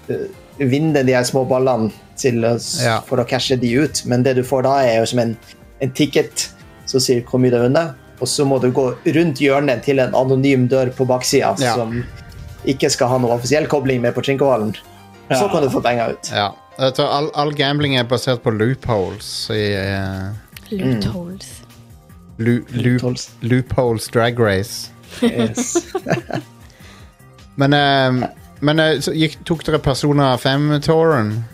eh, vinne de her små ballene til å, s-
Ja.
for å cashe de ut, men det du får da, er jo som en, en ticket som sier hvor mye du har vunnet, og så må du gå rundt hjørnet til en anonym dør på baksida
Ja.
som ikke skal ha noe offisiell kobling med Pachinko-hallen. Så
Ja.
kan du få penger ut.
Ja. Jeg tror all, all gambling er basert på loopholes i eh,
Mm.
Lootholes.
lu, loop,
Loopholes.
Loopholes drag race.
Yes.
Men, eh, men eh, så gikk, tok dere Persona 5-touren?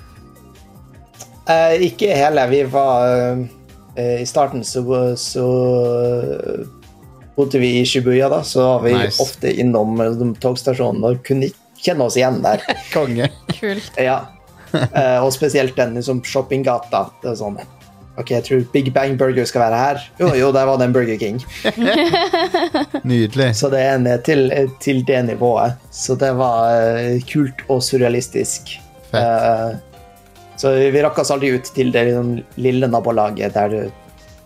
Eh, ikke hele. Vi var eh, I starten så, så eh, bodde vi i Shibuya, da, så var vi
Nice.
ofte innom eh, de togstasjonene og kunne ikke kjenne oss igjen der.
Konge.
Kult.
Ja. Eh, og spesielt den liksom, shoppinggata. Det er sånn OK, jeg tror Big Bang Burger skal være her. Jo, jo, der var det en Burger King.
Nydelig.
Så det er en eh, til, eh, til det nivået. Så det var eh, kult og surrealistisk.
Fett.
Eh, så vi rakk oss aldri ut til det liksom, lille nabolaget der,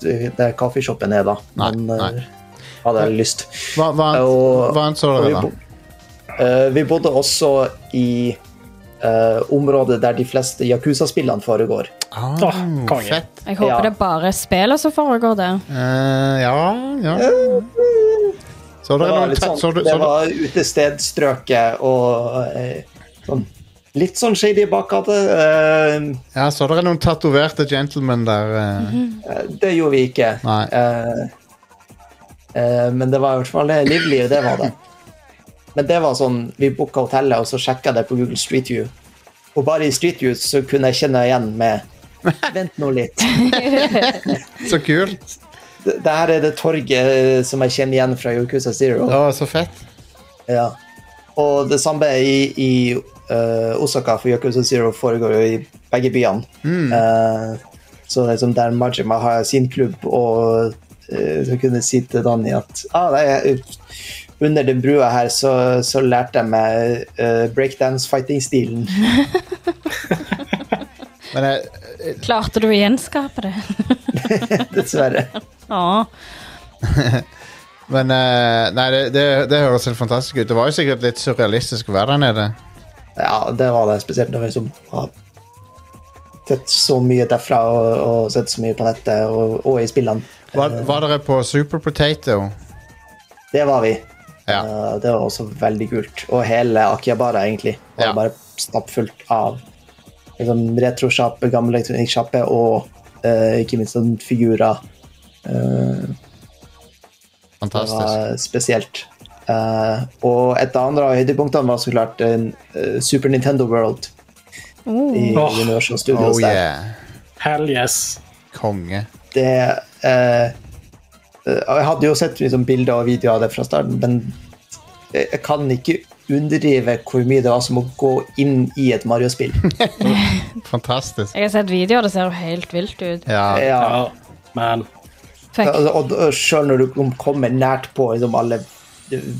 der kaffeshoppen er, da.
Nei,
Men eh,
nei.
hadde jeg lyst.
Hva, hva,
Og-
hva annet så
Og vi,
dere, da?
bo, eh, vi bodde også i eh, området der de fleste Yakuza-spillene foregår.
Ah,
Åh, konge.
fett.
Jeg håper
Ja.
det er bare spiller som foregår der.
Eh, ja, ja. Så
Det
dere
var
noen
litt
ta-
sånn,
så du-
det
så du-
var utestedstrøket og eh, sånn, litt sånn shady bakgate. eh,
ja, så dere noen tatoverte gentlemen der? eh?
Det gjorde vi ikke.
Nei.
Eh, eh, men det var i hvert fall livlig, det var det. Men det var sånn, vi booka hotellet, og så sjekka det på Google Street View. Og bare i Street View så kunne jeg kjenne igjen med Vent nå litt.
Så kult.
Det det her er det torget eh, som jeg kjenner igjen fra Yokuza Zero.
Å, så fett.
Ja. Og det samme i, i eh, Osaka, for Yokuza Zero foregår jo i begge byene. Eh, så det er som der Majima har sin klubb, og eh, så kunne jeg si til Danny at ah, nei, jeg- under den brua her så, så lærte jeg meg eh, breakdance-fighting-stilen.
Men eh, jeg,
Klarte du å gjenskape det?
Dessverre.
Ja.
Men eh, nei, det, det, det høres helt fantastisk ut. Det var jo sikkert litt surrealistisk å være der nede.
Ja, det var det, spesielt når vi liksom har sett så mye derfra og, og sett så mye på nettet og, og i spillene.
Var, var dere på Super Potato?
Det var vi.
Ja.
Eh, Det var også veldig kult. Og hele Akihabara, egentlig, var
Ja.
bare stappfullt av liksom, retrosjappe, gamle elektronikksjappe og eh, ikke minst sånn figurer. Eh, det
Fantastisk.
var spesielt. Eh, og et av andre av høydepunktene var så klart en, eh, Super Nintendo World i
Åh.
Universal Studios.
Oh
der.
yeah.
Hell yes.
Konge.
det eh, eh, og Jeg hadde jo sett liksom, bilder og videoer av det fra starten, men jeg jeg kan ikke underdrive hvor mye det var som å gå inn i et Mario-spill.
Fantastisk.
Jeg har sett videoer, det ser jo helt vilt ut.
Ja.
Ja.
Ja, men
Fikk
Og, og, og sjøl når du kom- kommer nært på liksom, alle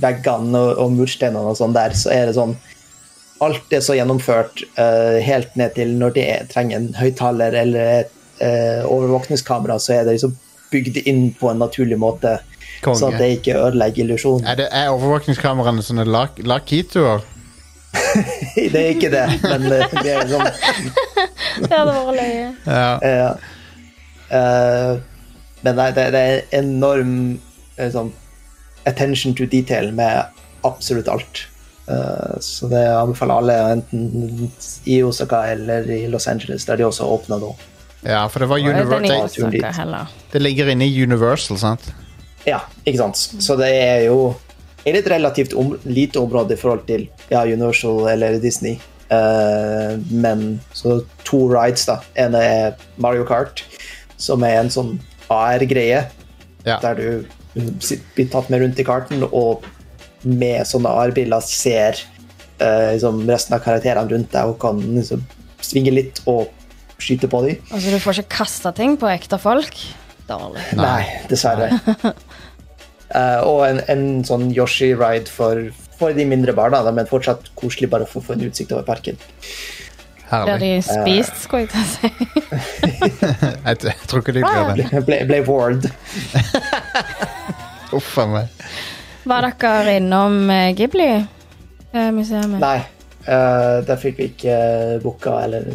veggene og, og mursteinene og sånn der, så er det sånn Alt er så gjennomført eh, helt ned til når det er, trenger en høyttaler eller et eh, overvåkningskamera, så er det liksom bygd inn på en naturlig måte,
Konge.
så at det ikke ødelegger illusjonen.
Er, det, er overvåkningskameraene sånne lak- lakitoer?
Det er ikke det, men eh, det er sånn
det hadde vært løye.
Ja.
eh, eh, Men nei, det, det er enorm eh, sånn, attention to detail med absolutt alt. Eh, så det anbefaler alle, enten i Osaka eller i Los Angeles, der de også åpna nå.
ja, for det var
Den er
Universal
ikke
det er jo litt-
snakket heller.
Det ligger inne i Universal, sant?
Ja, ikke sant. Så det er jo egentlig et relativt om, lite område i forhold til ja, Universal eller Disney. Eh, men så to rides, da. En er Mario Kart, som er en sånn AR-greie,
Ja.
der du sit- blir tatt med rundt i karten og med sånne AR-briller ser eh, liksom resten av karakterene rundt deg og kan liksom svinge litt og skyte på dem.
Altså, du får ikke kasta ting på ekte folk. Dårlig.
Nei, dessverre. Eh, og en, en sånn Yoshi-ride for, for de mindre barna, da, men fortsatt koselig bare for å få en utsikt over parken.
Blir
Herlig.
de
Eh.
spist, skulle jeg til å si.
Jeg, t- jeg tror ikke de
Ah!
blir det.
Ble, ble, ble ward.
Uff a meg.
Var dere innom eh, Ghibli-museet?
Nei, eh, der fikk vi ikke eh, booka eller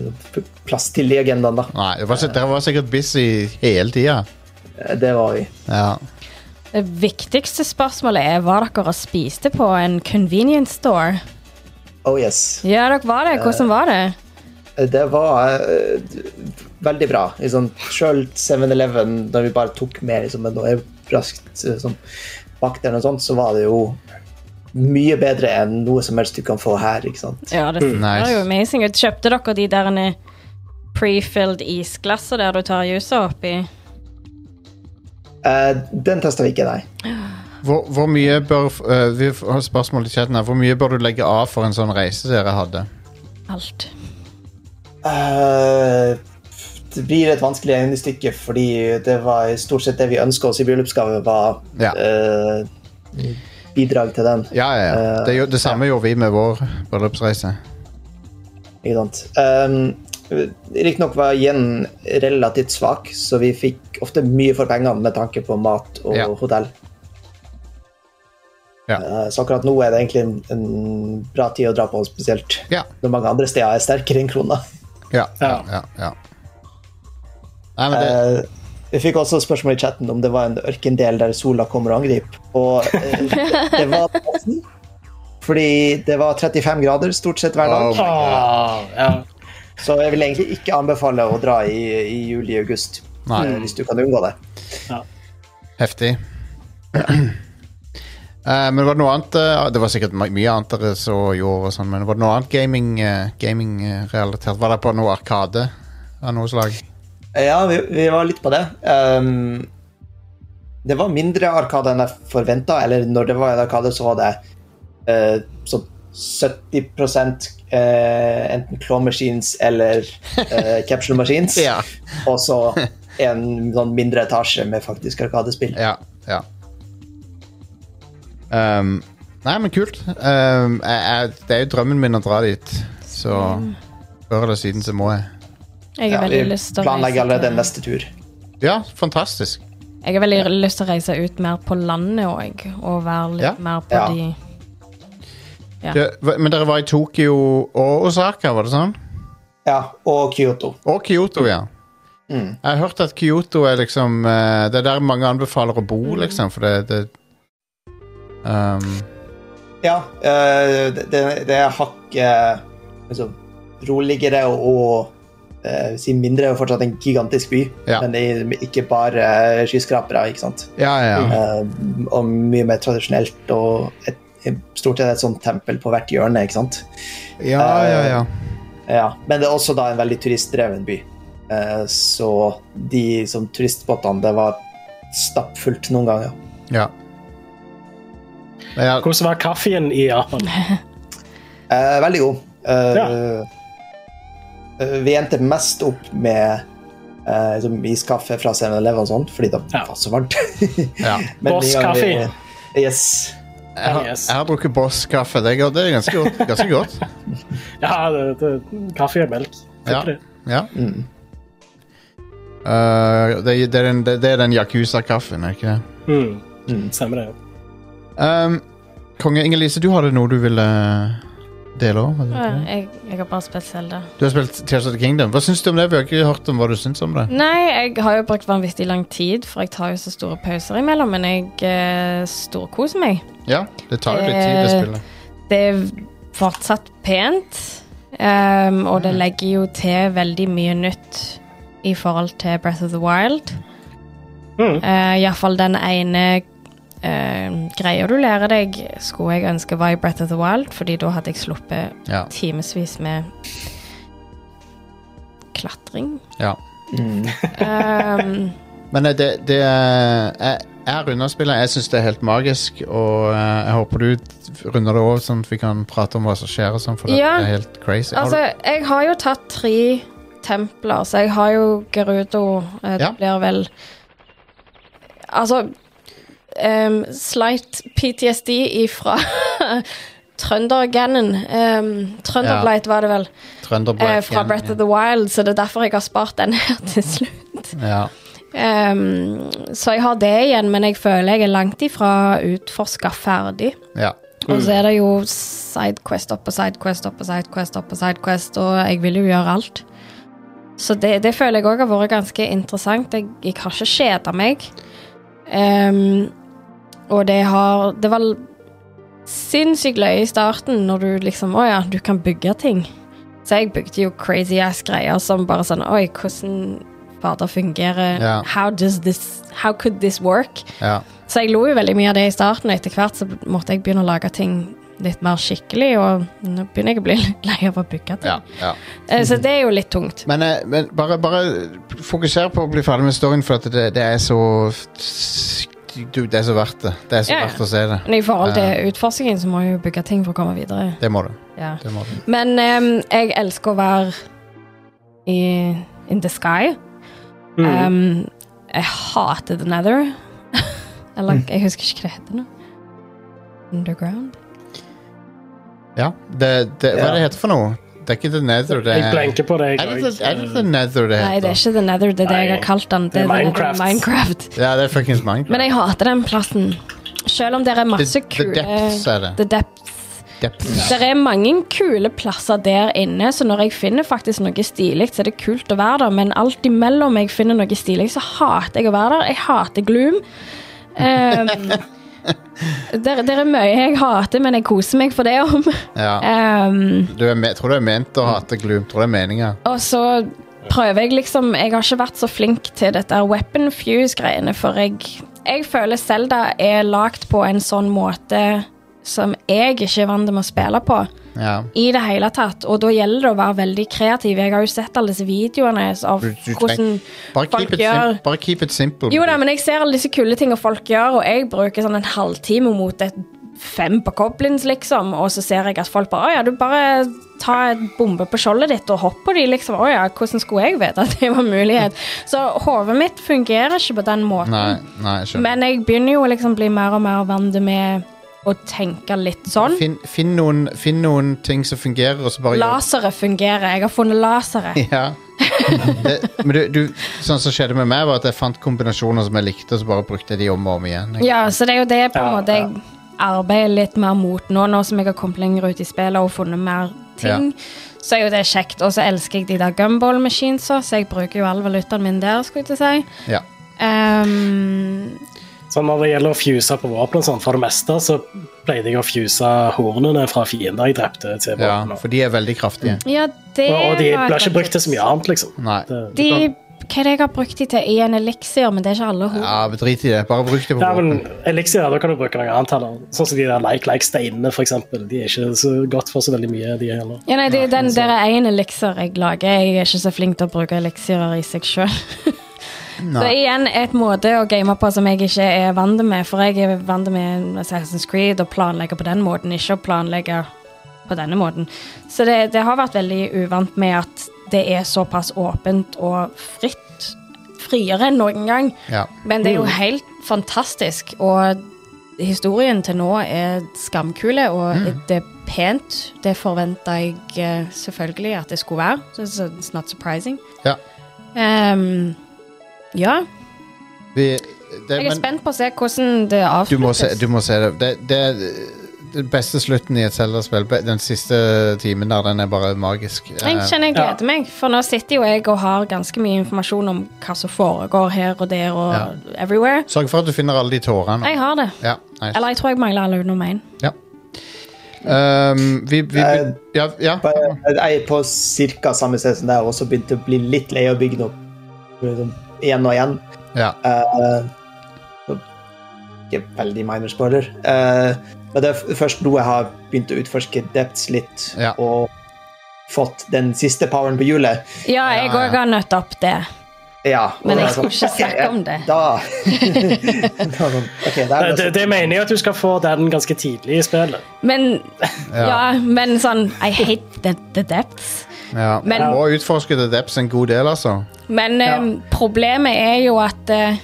plass til de agendaene, da.
Nei, det var, si- dere var sikkert busy hele tida.
Eh, Det var vi.
Ja.
Det viktigste spørsmålet er hva dere spiste på en convenience store.
Oh yes.
Ja, dere var det. Hvordan var det?
Det var eh, veldig bra. Liksom, selv 7-Eleven, da vi bare tok med liksom, noe raskt eh, sånn, bakt eller noe sånt, så var det jo mye bedre enn noe som helst du kan få her. ikke sant?
Ja, det ser
Nice.
jo amazing ut. Kjøpte dere de der pre-filled isglasset der du tar jusa oppi?
Eh, den testa vi ikke, nei.
Hvor, hvor mye bør f- øh, vi har et spørsmål til chatten her. Hvor mye bør du legge av for en sånn reise dere hadde?
Alt.
Eh, det blir et vanskelig regnestykke, fordi det var stort sett det vi ønska oss i bryllupsgave, var
Ja.
eh, bidrag til den.
Ja, ja, ja. Det, er jo- det samme gjorde vi med vår bryllupsreise.
Ikke sant. Um, Riktignok var yen relativt svak, så vi fikk ofte mye for pengene med tanke på mat og
Ja.
hotell.
Ja.
Eh, Så akkurat nå er det egentlig en, en bra tid å dra på, spesielt
Ja.
når mange andre steder er sterkere enn krona.
Ja, ja,
Ja.
ja. ja. Nei, men det,
Eh, Vi fikk også spørsmål i chatten om det var en ørkendel der sola kommer og angriper. Og eh, det det var det nesten. Fordi det var 35 grader stort sett hver dag.
Oh my
ah, ja.
Så jeg vil egentlig ikke anbefale å dra i, i juli-august,
Nei.
hvis du kan unngå det.
Heftig. Eh, men var det noe annet eh, Det var sikkert my- mye annet dere så og gjorde, og sånn, men var det noe annet eh, gaming-relatert? var det på noe Arkade av noe slag?
Ja, vi, vi var litt på det. Ehm, det var mindre arkade enn jeg forventa. Eller når det var en arkade, så var det eh, sånn 70 eh, enten claw machines eller eh, capsule machines.
Ja.
Og så en sånn mindre etasje med faktisk arkadespill.
Ja. ja. Ehm, nei, men kult. Ehm, jeg, jeg, det er jo drømmen min å dra dit, så før eller siden så må jeg.
Jeg har
Ja, vi
veldig lyst til å
planlegger
reise
allerede
til
neste tur.
Ja, fantastisk.
Jeg har veldig lyst til å reise ut mer på landet òg, og være litt
Ja.
mer på
Ja.
de Ja.
Det- hva- Men dere var i Tokyo og Osaka, var det sånn?
Ja, og Kyoto.
Og Kyoto, ja.
Mm.
Jeg har hørt at Kyoto er liksom eh, Det er der mange anbefaler å bo, liksom, for det, det um,
Ja, eh, det, det- det er hakket liksom, roligere og eh, si mindre, og fortsatt en gigantisk by,
Ja.
men det er ikke bare eh, skyskrapere, ikke sant?
Ja, ja. ja.
Eh, og mye mer tradisjonelt, og et, stort sett et sånt tempel på hvert hjørne, ikke sant?
ja, ja, ja.
Ja, men det er også da en veldig turistdreven by. Eh, Så de som turistbåtene, det var stappfullt noen ganger.
ja. Men ja
Hvordan var kaffen i Japan?
Eh, Veldig god. Eh, eh, Vi endte mest opp med eh, liksom iskaffe fra 7-Eleven og sånn, fordi det
Ja.
var så varmt.
ja.
Men en
Boss
gang vi-
kaffe.
Yes.
Jeg, har,
Yes.
jeg har drukket Boss-kaffe. Det er godt- det er ganske godt. Ganske godt.
Ja, det, det, kaffe og melk.
Ja.
Det.
Ja.
Mm.
Uh, det, det, er den, det, det er den Yakuza-kaffen, er ikke det?
Mm. Stemmer det.
Um, Konge Inger-Lise, du hadde noe du ville dele òg?
Jeg, jeg har bare spilt Zelda.
Du har spilt Tears of the Kingdom. Hva syns du om det? Vi har ikke hørt om hva du syns om det.
Nei, jeg har jo brukt vanvittig lang tid, for jeg tar jo så store pauser imellom, men jeg eh, storkoser meg.
Ja, det tar jo litt tid, det
Eh,
spillet.
Det er fortsatt pent, ehm, og det legger jo til veldig mye nytt i forhold til Breath of the Wild.
Mm.
Uh, Iallfall den ene eh, greia du lærer deg, skulle jeg ønske var i Breath of the Wild, fordi da hadde jeg sluppet
Ja,
timevis med klatring.
ja.
Ehm,
Men eh, det, det eh, Jeg, jeg runder spillet. Jeg syns det er helt magisk, og eh, jeg håper du runder det òg, sånn at vi kan prate om hva som skjer og sånn, for
Ja.
det er helt crazy. Har
altså, jeg har jo tatt tre templer, så jeg har jo Gerudo. eh, Det
Ja.
blir vel Altså ehm, Slight PTSD ifra Trøndergannen. Um, Trønderblight var det vel.
du Trønderbrett
eh, fra
igjen?
Breath of the Wild, så det er derfor jeg har spart den her til slutt.
Ja.
Ehm, så jeg har det igjen, men jeg føler jeg er langt ifra utforska ferdig.
ja.
Og så er det jo sidequest opp og sidequest opp og sidequest opp og sidequest, og jeg vil jo gjøre alt. Så det, det føler jeg òg har vært ganske interessant. Jeg, jeg har ikke kjeda meg. Ehm, og det har Det var l- sinnssykt løye i starten, når du liksom Å ja, du kan bygge ting. Så jeg bygde jo crazy ass greier som bare sånn Oi, hvordan fader fungerer
Ja.
How does this How could this work?
ja.
Så jeg lo jo veldig mye av det i starten, og etter hvert så måtte jeg begynne å lage ting litt mer skikkelig, og nå begynner jeg å bli litt lei av å bygge ting.
ja. ja.
Eh, Så det er jo litt tungt.
Men, eh, men bare, bare fokuser på å bli ferdig med storyen, for at det, det er så du, Det er så verdt det. Det er så
Ja, ja.
verdt å se det.
Men i forhold til utforskingen så må jeg jo bygge ting for å komme videre.
Det må du.
Ja.
Det må du.
Men ehm, jeg elsker å være i in the sky.
Mm.
Ehm, jeg hater The Nether. Eller jeg husker ikke hva det heter nå. Underground?
Ja. Det, det, hva
Ja.
er det heter for noe? Det er ikke The Nether, det
Jeg blenker på deg.
Er det,
og-
the, er det The Nether det heter?
Nei, det er ikke The Nether. Det er det jeg har kalt den.
Det er
The Nether i
Minecraft.
Minecraft.
Ja, det er fuckings Minecraft.
Men jeg hater den plassen. Selv om det er
The,
masse
the
kule
Depths er det.
The Depths.
Depths.
Det er mange kule plasser der inne, så når jeg finner faktisk noe stilig, så er det kult å være der, men alt imellom jeg finner noe stilig, så hater jeg å være der. Jeg hater gloom. Um, der, der er mye jeg hater, men jeg koser meg for det om.
Ja.
Um,
Du er me, tror du er ment å hate Gloom? Tror det er meninga?
Og så prøver jeg liksom Jeg har ikke vært så flink til dette her weapon fuse-greiene, for jeg, jeg føler Selda er lagd på en sånn måte som jeg ikke er vant med å spille på
Ja.
i det hele tatt. Og da gjelder det å være veldig kreativ. Jeg har jo sett alle disse videoene av
Du- du
hvordan
trenger- Bare keep,
folk
it
gjør
sim, bare keep it simple.
Jo da, men jeg ser alle disse kule tingene folk gjør, og jeg bruker sånn en halvtime mot et fem på Goblins, liksom, og så ser jeg at folk bare Å ja, du bare ta et bombe på skjoldet ditt og hopp på de, liksom. Å ja, hvordan skulle jeg vite at det var en mulighet? Så hodet mitt fungerer ikke på den måten.
Nei, nei, skjønner.
Men jeg begynner jo å liksom bli mer og mer vant med å tenke litt sånn.
Finn, finn, noen, finn noen ting som fungerer, og så bare gjør
Laseret fungerer. Jeg har funnet laseret.
Ja. Det, men du, du, sånn som skjedde med meg, var at jeg fant kombinasjoner som jeg likte, og så bare brukte jeg de om og om igjen. ikke?
Ja, så det er jo det på en
Ja,
måte jeg arbeider litt mer mot nå, nå som jeg har kommet lenger ut i spillet og funnet mer ting, så er jo det kjekt. Og så elsker jeg de der gumball machines, også, så jeg bruker jo all valutaen min der, skulle jeg til å si.
Ja.
Ehm,
Så når det gjelder å fuse på våpen, og sånn, for det meste så pleide jeg å fuse hornene fra fiender jeg drepte, til
ja,
våpen.
for de er veldig kraftige.
ja, det
og, og de
var et
ble ikke
godt
brukt til så mye annet, liksom.
Nei.
Det,
De, hva er det jeg har brukt de til? I en eliksir, men det er ikke alle hår.
Ja, Drit i det. Bare bruk det på
Nei, men
våpen.
Elixir, da kan du bruke noe annet heller. Sånn som de der like-like-steinene, for eksempel. De er ikke så godt for så veldig mye, de heller.
Ja, nei, det, er den der er én eliksir jeg lager. Jeg er ikke så flink til å bruke eliksirer i seg sjøl. Så igjen et måte å game på som jeg ikke er vant med. For jeg er vant med Assassin's Creed og planlegger på den måten, ikke å planlegge på denne måten. Så det, det har vært veldig uvant med at det er såpass åpent og fritt. Friere enn noen gang.
Ja.
Men det er jo
Mm.
helt fantastisk, og historien til nå er skamkule, og
Mm.
det er pent. Det forventa jeg eh, selvfølgelig at det skulle være, så så it's not surprising.
ja.
Ehm, ja,
Vi, det,
jeg er
men
spent på å se hvordan det avsluttes.
du må, se, du må se det. Det, det er den beste slutten i et Zelda-spill. Be- Den siste timen der, den er bare magisk.
Jeg
Eh,
kjenner jeg gleder meg, for nå sitter jo jeg og har ganske mye informasjon om hva som foregår her og der og everywhere.
Sørg for at du finner alle de tårene.
Jeg har det.
Ja, nice.
Eller jeg tror jeg mangler alle utenom én.
ja. Um, vi, vi,
Eh,
ja, ja.
Bare- Jeg er på ca. samme sted som deg, og også begynte å bli litt lei av å bygge noe liksom, igjen og igjen.
ja.
Eh, ikke veldig minor spoiler. Eh, men det er f- først nå jeg har begynt å utforske depths litt,
Ja.
og fått den siste poweren på hjulet.
Ja, jeg òg har nødt opp det,
Ja, og
men
da er
jeg skulle
sånn,
ikke
ok,
snakke om det.
Da, da er sånn, Ok, det
Det,
er
det,
det.
det mener jeg at du skal få den ganske tidlig i spillet.
Men
Ja.
ja. men sånn I hate the, the depths.
Ja.
Men-
du må utforske The Depths en god del, altså.
Men eh, problemet er jo at eh,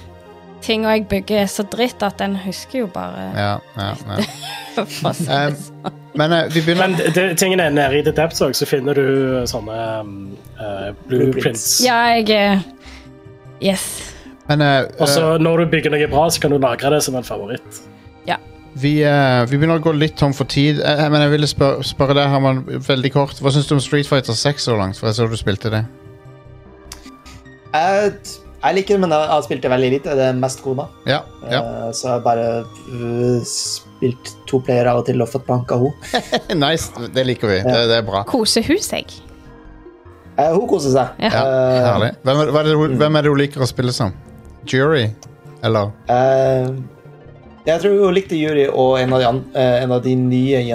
tinga jeg bygger, er så dritt at den husker jo bare
Ja, ja, ja.
for å si
Eh,
det sånn.
men eh, vi begynner
Men det, det- tingen er, nede i The Depths også, så finner du sånne um, eh, blueprints.
Ja, jeg eh, Yes.
Men eh,
Og
eh,
så når du bygger noe bra, så kan du lagre det som en favoritt.
vi, eh, vi begynner å gå litt tom for tid. Eh, eh, men jeg ville spør spørre deg, Herman, veldig kort. Hva syns du om Street Fighter 6 så langt? For jeg så du spilte det.
Jeg, jeg liker det, men jeg har spilt det veldig lite. Det er mest kona.
Ja, ja.
Eh, så jeg har bare øh, spilt to playere av og til og fått banka henne.
nice. Det liker vi. Det, det er bra.
Kosehus, jeg.
Eh, hun koser seg.
Ja.
Ja,
Eh,
herlig. Hvem er, hva er det, hun- hvem er det hun liker å spille som? Jury? Eller?
Eh, jeg tror hun likte Juri og en av de, an- eh, en av de nye
Mm.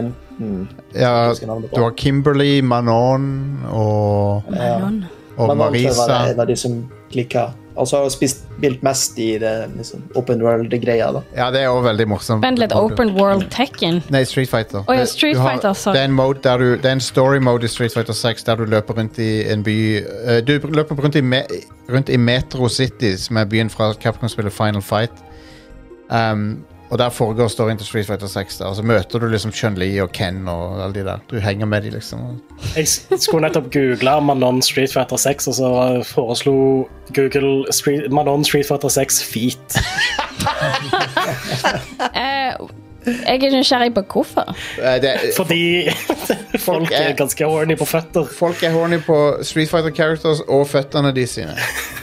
jentene.
Ja,
husker navnet på.
du har Kimberley, Manon og,
Manon.
og
Men antar jeg var det
Marisa.
en av de som klikka. Og så har hun spist- spilt mest i det liksom, open world-greia. da.
Ja, det er òg veldig morsomt.
Vent litt. Open World Tekken.
Nei, Street Fighter.
Å ja,
Det-
Street
du har-
Fighter, sorry.
Det er en, mode der du, det er en story mode i Street Fighter 6 der du løper rundt i en by eh, Du løper rundt i, me, rundt i Metro City, som er byen fra Capcom-spillet Final Fight. Um, og der foregår storyen til Street Fighter 6. Der. Og så møter du liksom Chun-Li og Ken og alle de der. Du henger med de liksom.
Jeg s- skulle nettopp google Manon Street Fighter 6, og så foreslo Google Street, Manon Street Fighter 6 Feet.
Eh, jeg er nysgjerrig på hvorfor.
Eh, det, er-
Fordi folk er ganske horny på føtter.
Folk er horny på Street Fighter characters og føttene de sine.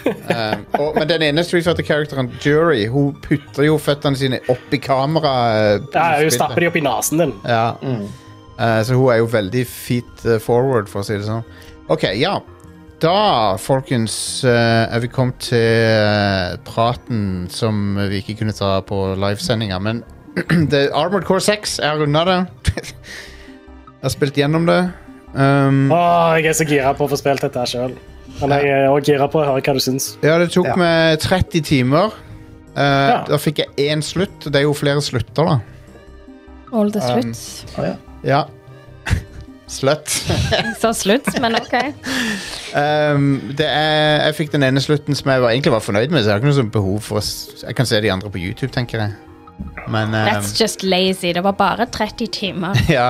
Um, og, men den ene Street Fighter characteren, Jury, hun putter jo føttene sine opp i kameraet. eh,
Ja,
i
hun
spillet.
stapper de opp i nesen din.
Ja. Eh, så hun er jo veldig feet eh, forward, for å si det sånn. OK, ja. Da, folkens, eh, er vi kommet til eh, praten som vi ikke kunne ta på livesendinga, men det, Armored Core 6 er unna det. Jeg har spilt gjennom det. Um,
Åh, jeg er så gira på å få spilt dette her sjøl. Men jeg er også gira på å høre hva du syns.
Ja, det tok meg 30 timer. Eh,
Ja.
Da fikk jeg én slutt. Det er jo flere slutter, da.
All the sluts.
Ah, Ja. Slutt.
Jeg sa sluts, men OK.
Um, det er, jeg fikk den ene slutten som jeg var, egentlig var fornøyd med. Så jeg har ikke noe sånt behov for å s- Jeg kan se de andre på YouTube, tenker jeg. Men um,
That's just lazy. Det var bare 30 timer.
ja.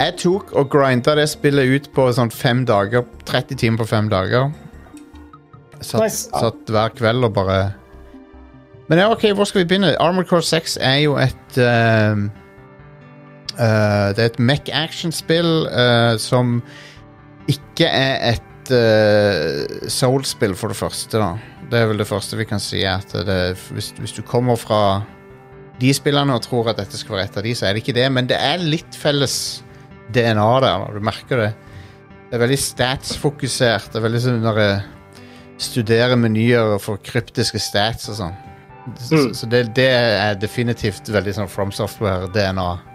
Jeg tok og grinda det spillet ut på sånn fem dager. 30 timer på fem dager. Satt,
Nice.
satt hver kveld og bare Men ja, ok, hvor skal vi begynne? Armored Core 6 er jo et eh, Eh, det er et mech action-spill eh, som ikke er et eh, soul-spill, for det første. da. Det er vel det første vi kan si. at det, hvis, hvis du kommer fra de spillene og tror at dette skal være et av de, så er det ikke det. Men det er litt felles DNA der. da. Du merker det. Det er veldig stats-fokusert. Det er veldig sånn når jeg studerer menyer og får kryptiske stats og sånn. Så,
Mm.
så det, det er definitivt veldig sånn From Software-DNA.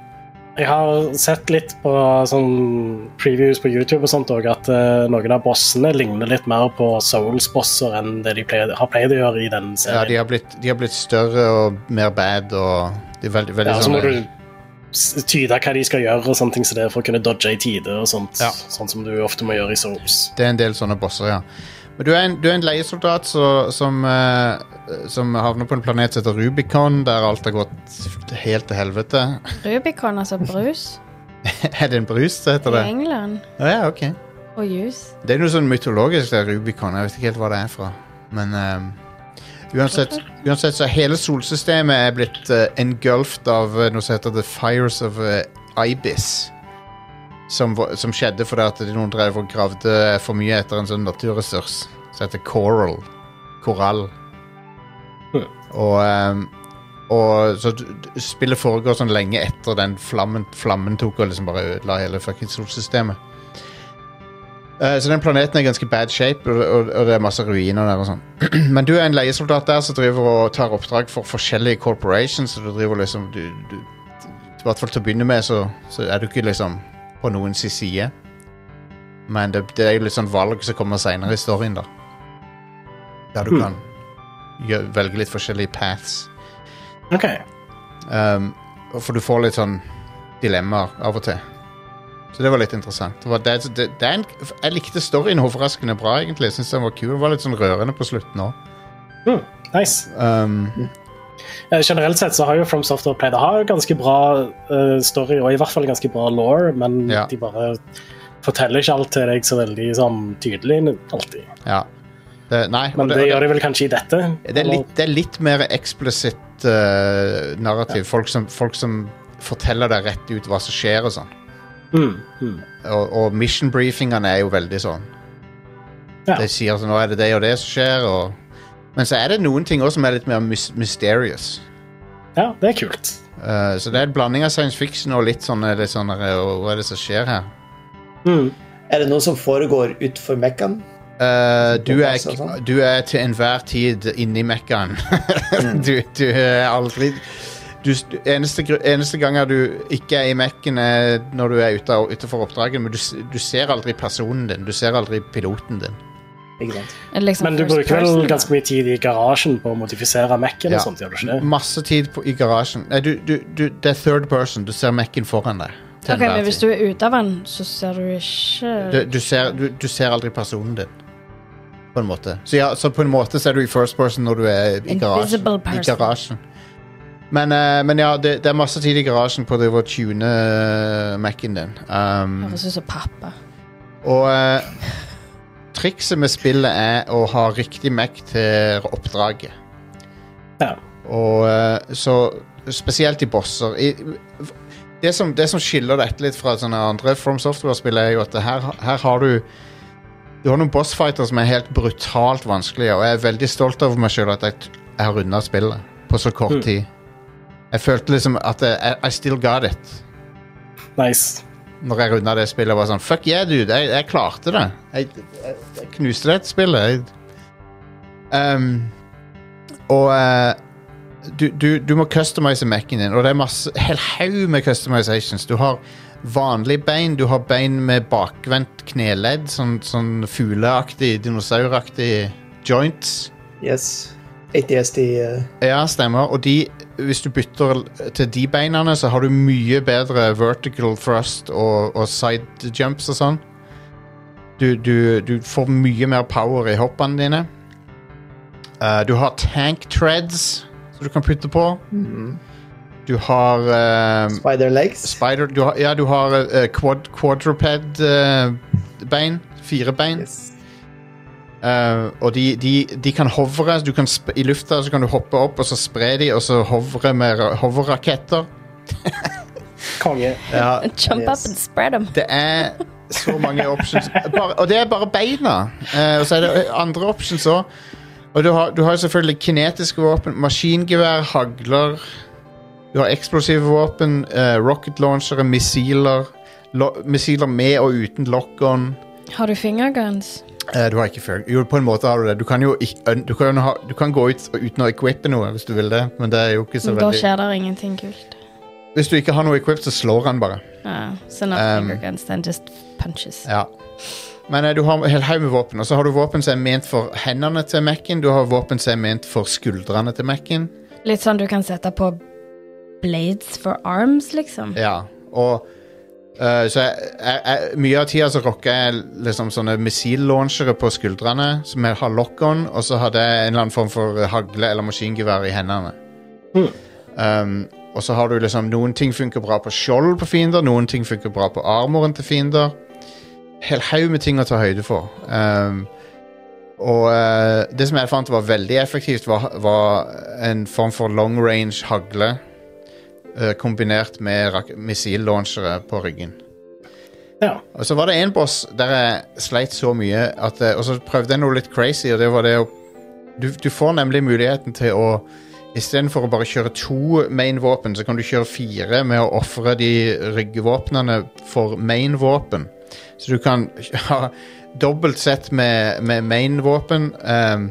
Jeg har sett litt på sånn previews på YouTube og sånt også, at eh, noen av bossene ligner litt mer på Souls-bosser enn det de pleier, har pleid å gjøre i den
Ja, de
serien.
har, blitt, de har blitt større og mer bad og de er veldig, veldig
Ja, så må
sånn,
du s- tyde hva de skal gjøre og sånne ting som det er for å kunne dodge i tide og sånt.
Ja.
Sånn som du ofte må gjøre i Souls.
Det er en del sånne bosser, ja. Men du er en, du er en leiesoldat så, som, eh, som havner på en planet som heter Rubicon, der alt har gått helt til helvete.
Rubicon, altså brus
er det en brus som heter
i
det?
England.
Å ja, ok.
Og juice.
Det er noe sånn mytologisk der Rubicon. Jeg vet ikke helt hva det er fra. Men ehm, uansett, uansett så er hele solsystemet er blitt uh, engulfed av eh, noe som heter The Fires of eh, Ibis. Som, var- som skjedde fordi at noen drev og gravde for mye etter en sånn naturressurs som heter coral. Korall.
Hm.
Og, ehm, og så d- d- spillet foregår sånn lenge etter den flammen, flammen tok og liksom bare ødela hele fucking solsystemet. Eh, Så den planeten er i ganske bad shape, og, og, og det er masse ruiner der. og sånn. Men du er en leiesoldat der som driver og tar oppdrag for forskjellige corporations. Så du driver liksom du, du, I hvert fall til å begynne med så, så er du ikke liksom på noens side. Men det, det er jo litt sånn valg som kommer seinere i storyen, da. Der du
Hmm.
kan gjø- velge litt forskjellige paths.
Ok.
Um, og for du får litt sånn dilemmaer av og til. Så det var litt interessant. Det var det, det, det er en, jeg likte storyen overraskende bra, egentlig. Jeg synes den var kul. Den var litt sånn rørende på slutten òg.
Mm, nice.
Um,
Eh, Generelt sett så har jo From Software pleid å ha ganske bra eh, story, og i hvert fall ganske bra lore, men
Ja.
de bare forteller ikke alt til deg så veldig sånn, tydelig alltid.
ja. Det, nei, og
Men det,
og
gjør de vel kanskje i dette?
Det er litt, det er litt mer eksplisitt eh, narrativ. Folk, som, folk som forteller deg rett ut hva som skjer og sånn.
Mm, mm.
Og, og mission briefingene er jo veldig sånn.
Ja.
De sier at nå er det det og det som skjer, og Men så er det noen ting også som er litt mer mys mysterious.
Ja, det er kult.
Eh, så det er en blanding av science fiction og litt sånn litt sånn der, og Hva er det som skjer her?
Mm.
Er det noe som foregår utfor Mekkan?
Eh, du, er,
Sånn passe, sånn.
du er til enhver tid inni Mekkaen. du, du er aldri du, du- eneste, gru- eneste ganger du ikke er i Mekken, er når du er ute, av- utenfor oppdraget, men du, s- du ser aldri personen din. Du ser aldri piloten din.
Ikke sant?
Er det Liksom
Men du
first
bruker
person,
vel
da?
ganske mye tid i garasjen på å modifisere Mac-en
Ja.
og sånt, gjør du ikke det?
Masse tid på, i garasjen. Nei, du, du, du, det er third person. Du ser Mekken foran deg. til
Ok,
enhver
men Hvis
tid.
du er ute av den, så ser du ikke
du, du, ser, du, du ser aldri personen din. På en måte. Så, ja, så på en måte så er du i first person når du er i garasjen.
Invisible
I
person.
garasjen. Men, eh, men ja, det, det er masse tid i garasjen på å drive og tune eh, Mac-en din. Um,
Høres ut som pappa.
og eh, trikset med spillet er å ha riktig Mac til oppdraget.
Ja.
Og eh, så Spesielt i bosser. I, det, som, det som skiller dette litt fra sånne andre From Software-spill, er jo at det her, her har du Du har noen bossfighter som er helt brutalt vanskelige, og jeg er veldig stolt over meg sjøl at jeg, t- jeg har runda spillet på så kort
Mm.
tid. Jeg følte liksom at jeg, I still got it
Nice.
når jeg runda det spillet, var sånn Fuck yeah, dude. Jeg, jeg klarte det. Jeg, jeg, jeg knuste det spillet. Jeg, Ehm, og eh, du, du, du må customize Mac-en din, og det er masse, hel haug med customizations. Du har vanlige bein, du har bein med bakvendt kneledd, sånn, sånn fugleaktig, dinosauraktig joints.
Yes. ATST eh,
Ja, stemmer. Og de, hvis du bytter til de beinene, så har du mye bedre vertical thrust og, og side jumps og sånn. Du, du, du får mye mer power i hoppene dine. Eh, du har tank treads som du kan putte på. Du har eh,
Spider Legs.
spider du har, Ja, du har eh, quad, quadruped eh, bein. Fire bein.
Yes.
Eh, og de, de, de kan hovre du kan sp i lufta, så kan du hoppe opp, og så spre de, og så hovre med ra- hoverraketter.
Konge.
Ja,
Jump
Yes.
up and spread them.
det er så mange options. Bare, og det er bare beina. Eh, og så er det andre options òg. Og du har, du har jo selvfølgelig kinetiske våpen, maskingevær, hagler Du har eksplosive våpen, eh, rocket launchere, missiler. Lo missiler med og uten lock-on.
Har du fingerguns?
Eh, du har ikke før. Jo, på en måte har du det. Du kan jo ikk- un- du kan ha, du kan gå ut uten å equippe noe, hvis du vil det, men det er jo ikke så
Da
veldig
skjer det ingenting kult.
Hvis du ikke har noe equipped, så slår han bare.
Ah, so not
Um,
finger guns, then just punches.
Ja. Men eh, du har en hel haug med våpen, og så har du våpen som er ment for hendene til Mac-en. Du har våpen som er ment for skuldrene til Mac-en.
Litt sånn du kan sette på blades for arms, liksom.
Ja. Og eh, så jeg, jeg, jeg, mye av tida så rocker jeg liksom sånne missillauncher på skuldrene, som jeg har lock-on, og så hadde jeg en eller annen form for hagle eller maskingevær i hendene.
Mm.
Um, og så har du liksom Noen ting funker bra på skjold på fiender, noen ting funker bra på armoren til fiender. Hel haug med ting å ta høyde for. Um, og eh, det som jeg fant var veldig effektivt, var, var en form for long range hagle eh, kombinert med rak- missillauncher på ryggen.
Ja.
Og så var det en boss der jeg sleit så mye at eh, Og så prøvde jeg noe litt crazy, og det var det å Du, du får nemlig muligheten til å Istedenfor å bare kjøre to main-våpen, så kan du kjøre fire med å ofre de ryggvåpnene for main-våpen. Så du kan ha dobbelt sett med, med main-våpen. ehm,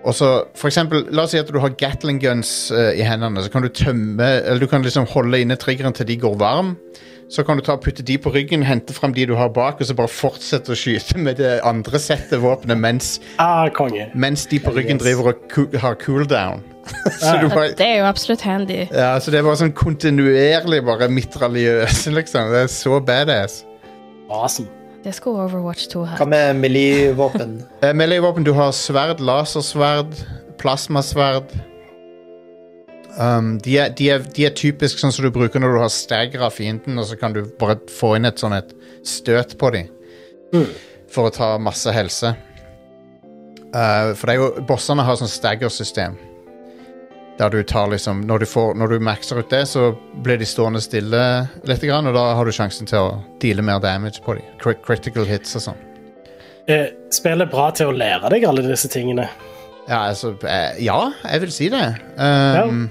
og så, for eksempel, La oss si at du har Gatling guns eh, i hendene. Så kan du tømme Eller du kan liksom holde inne triggeren til de går varm. Så kan du ta og putte de på ryggen, hente frem de du har bak, og så bare fortsette å skyte med det andre settet våpenet mens,
Ah, konge.
mens de på ryggen
Yes.
driver og ku- har cooldown. så du bare
Det er jo absolutt handy.
ja, så det var sånn kontinuerlig bare mitraljøse, liksom. Det er så badass.
Awesome.
Det skulle Overwatch 2 ha.
Hva med melee-våpen?
Eh, Melee-våpen, du har sverd, lasersverd, plasmasverd. Um, de, er, de, er, de er typisk sånn som du bruker når du har stagger av fienden, og så kan du bare få inn et sånn et støt på dem
Mm.
for å ta masse helse. Eh, for det er jo, bossene har sånn stagger-system. Der du tar liksom når du, får, når du maxer ut det, så blir de stående stille litt, grann, og da har du sjansen til å deale mer damage på dem. Crit critical hits og sånn.
Eh, Spillet er bra til å lære deg alle disse tingene.
Ja, altså, eh, ja, jeg vil si det. Um,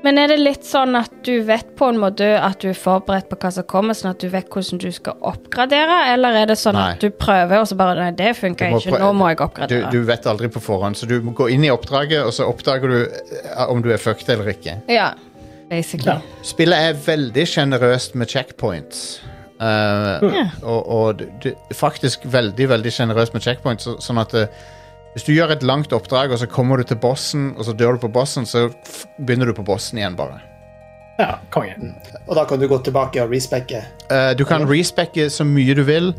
Men er det litt sånn at du vet på en måte at du er forberedt på hva som kommer, sånn at du vet hvordan du skal oppgradere, eller er det sånn
Nei.
at du prøver, og så bare Nei, det
Du
funker
må
ikke,
prø-
nå må jeg
du,
oppgradere.
du vet aldri på forhånd, så du må gå inn i oppdraget, og så oppdager du eh, om du er fucked eller ikke.
Ja, basically.
Ja.
Spillet er veldig sjenerøst med checkpoints. Eh, Og, og du, du, faktisk veldig veldig sjenerøst med checkpoints. Så, sånn at eh, hvis du gjør et langt oppdrag, og så kommer du til bossen, og så dør du på bossen, så f begynner du på bossen igjen, bare.
Ja,
Mm.
konge.
Og da kan du gå tilbake og respecke.
Eh, du kan respecke så mye du vil.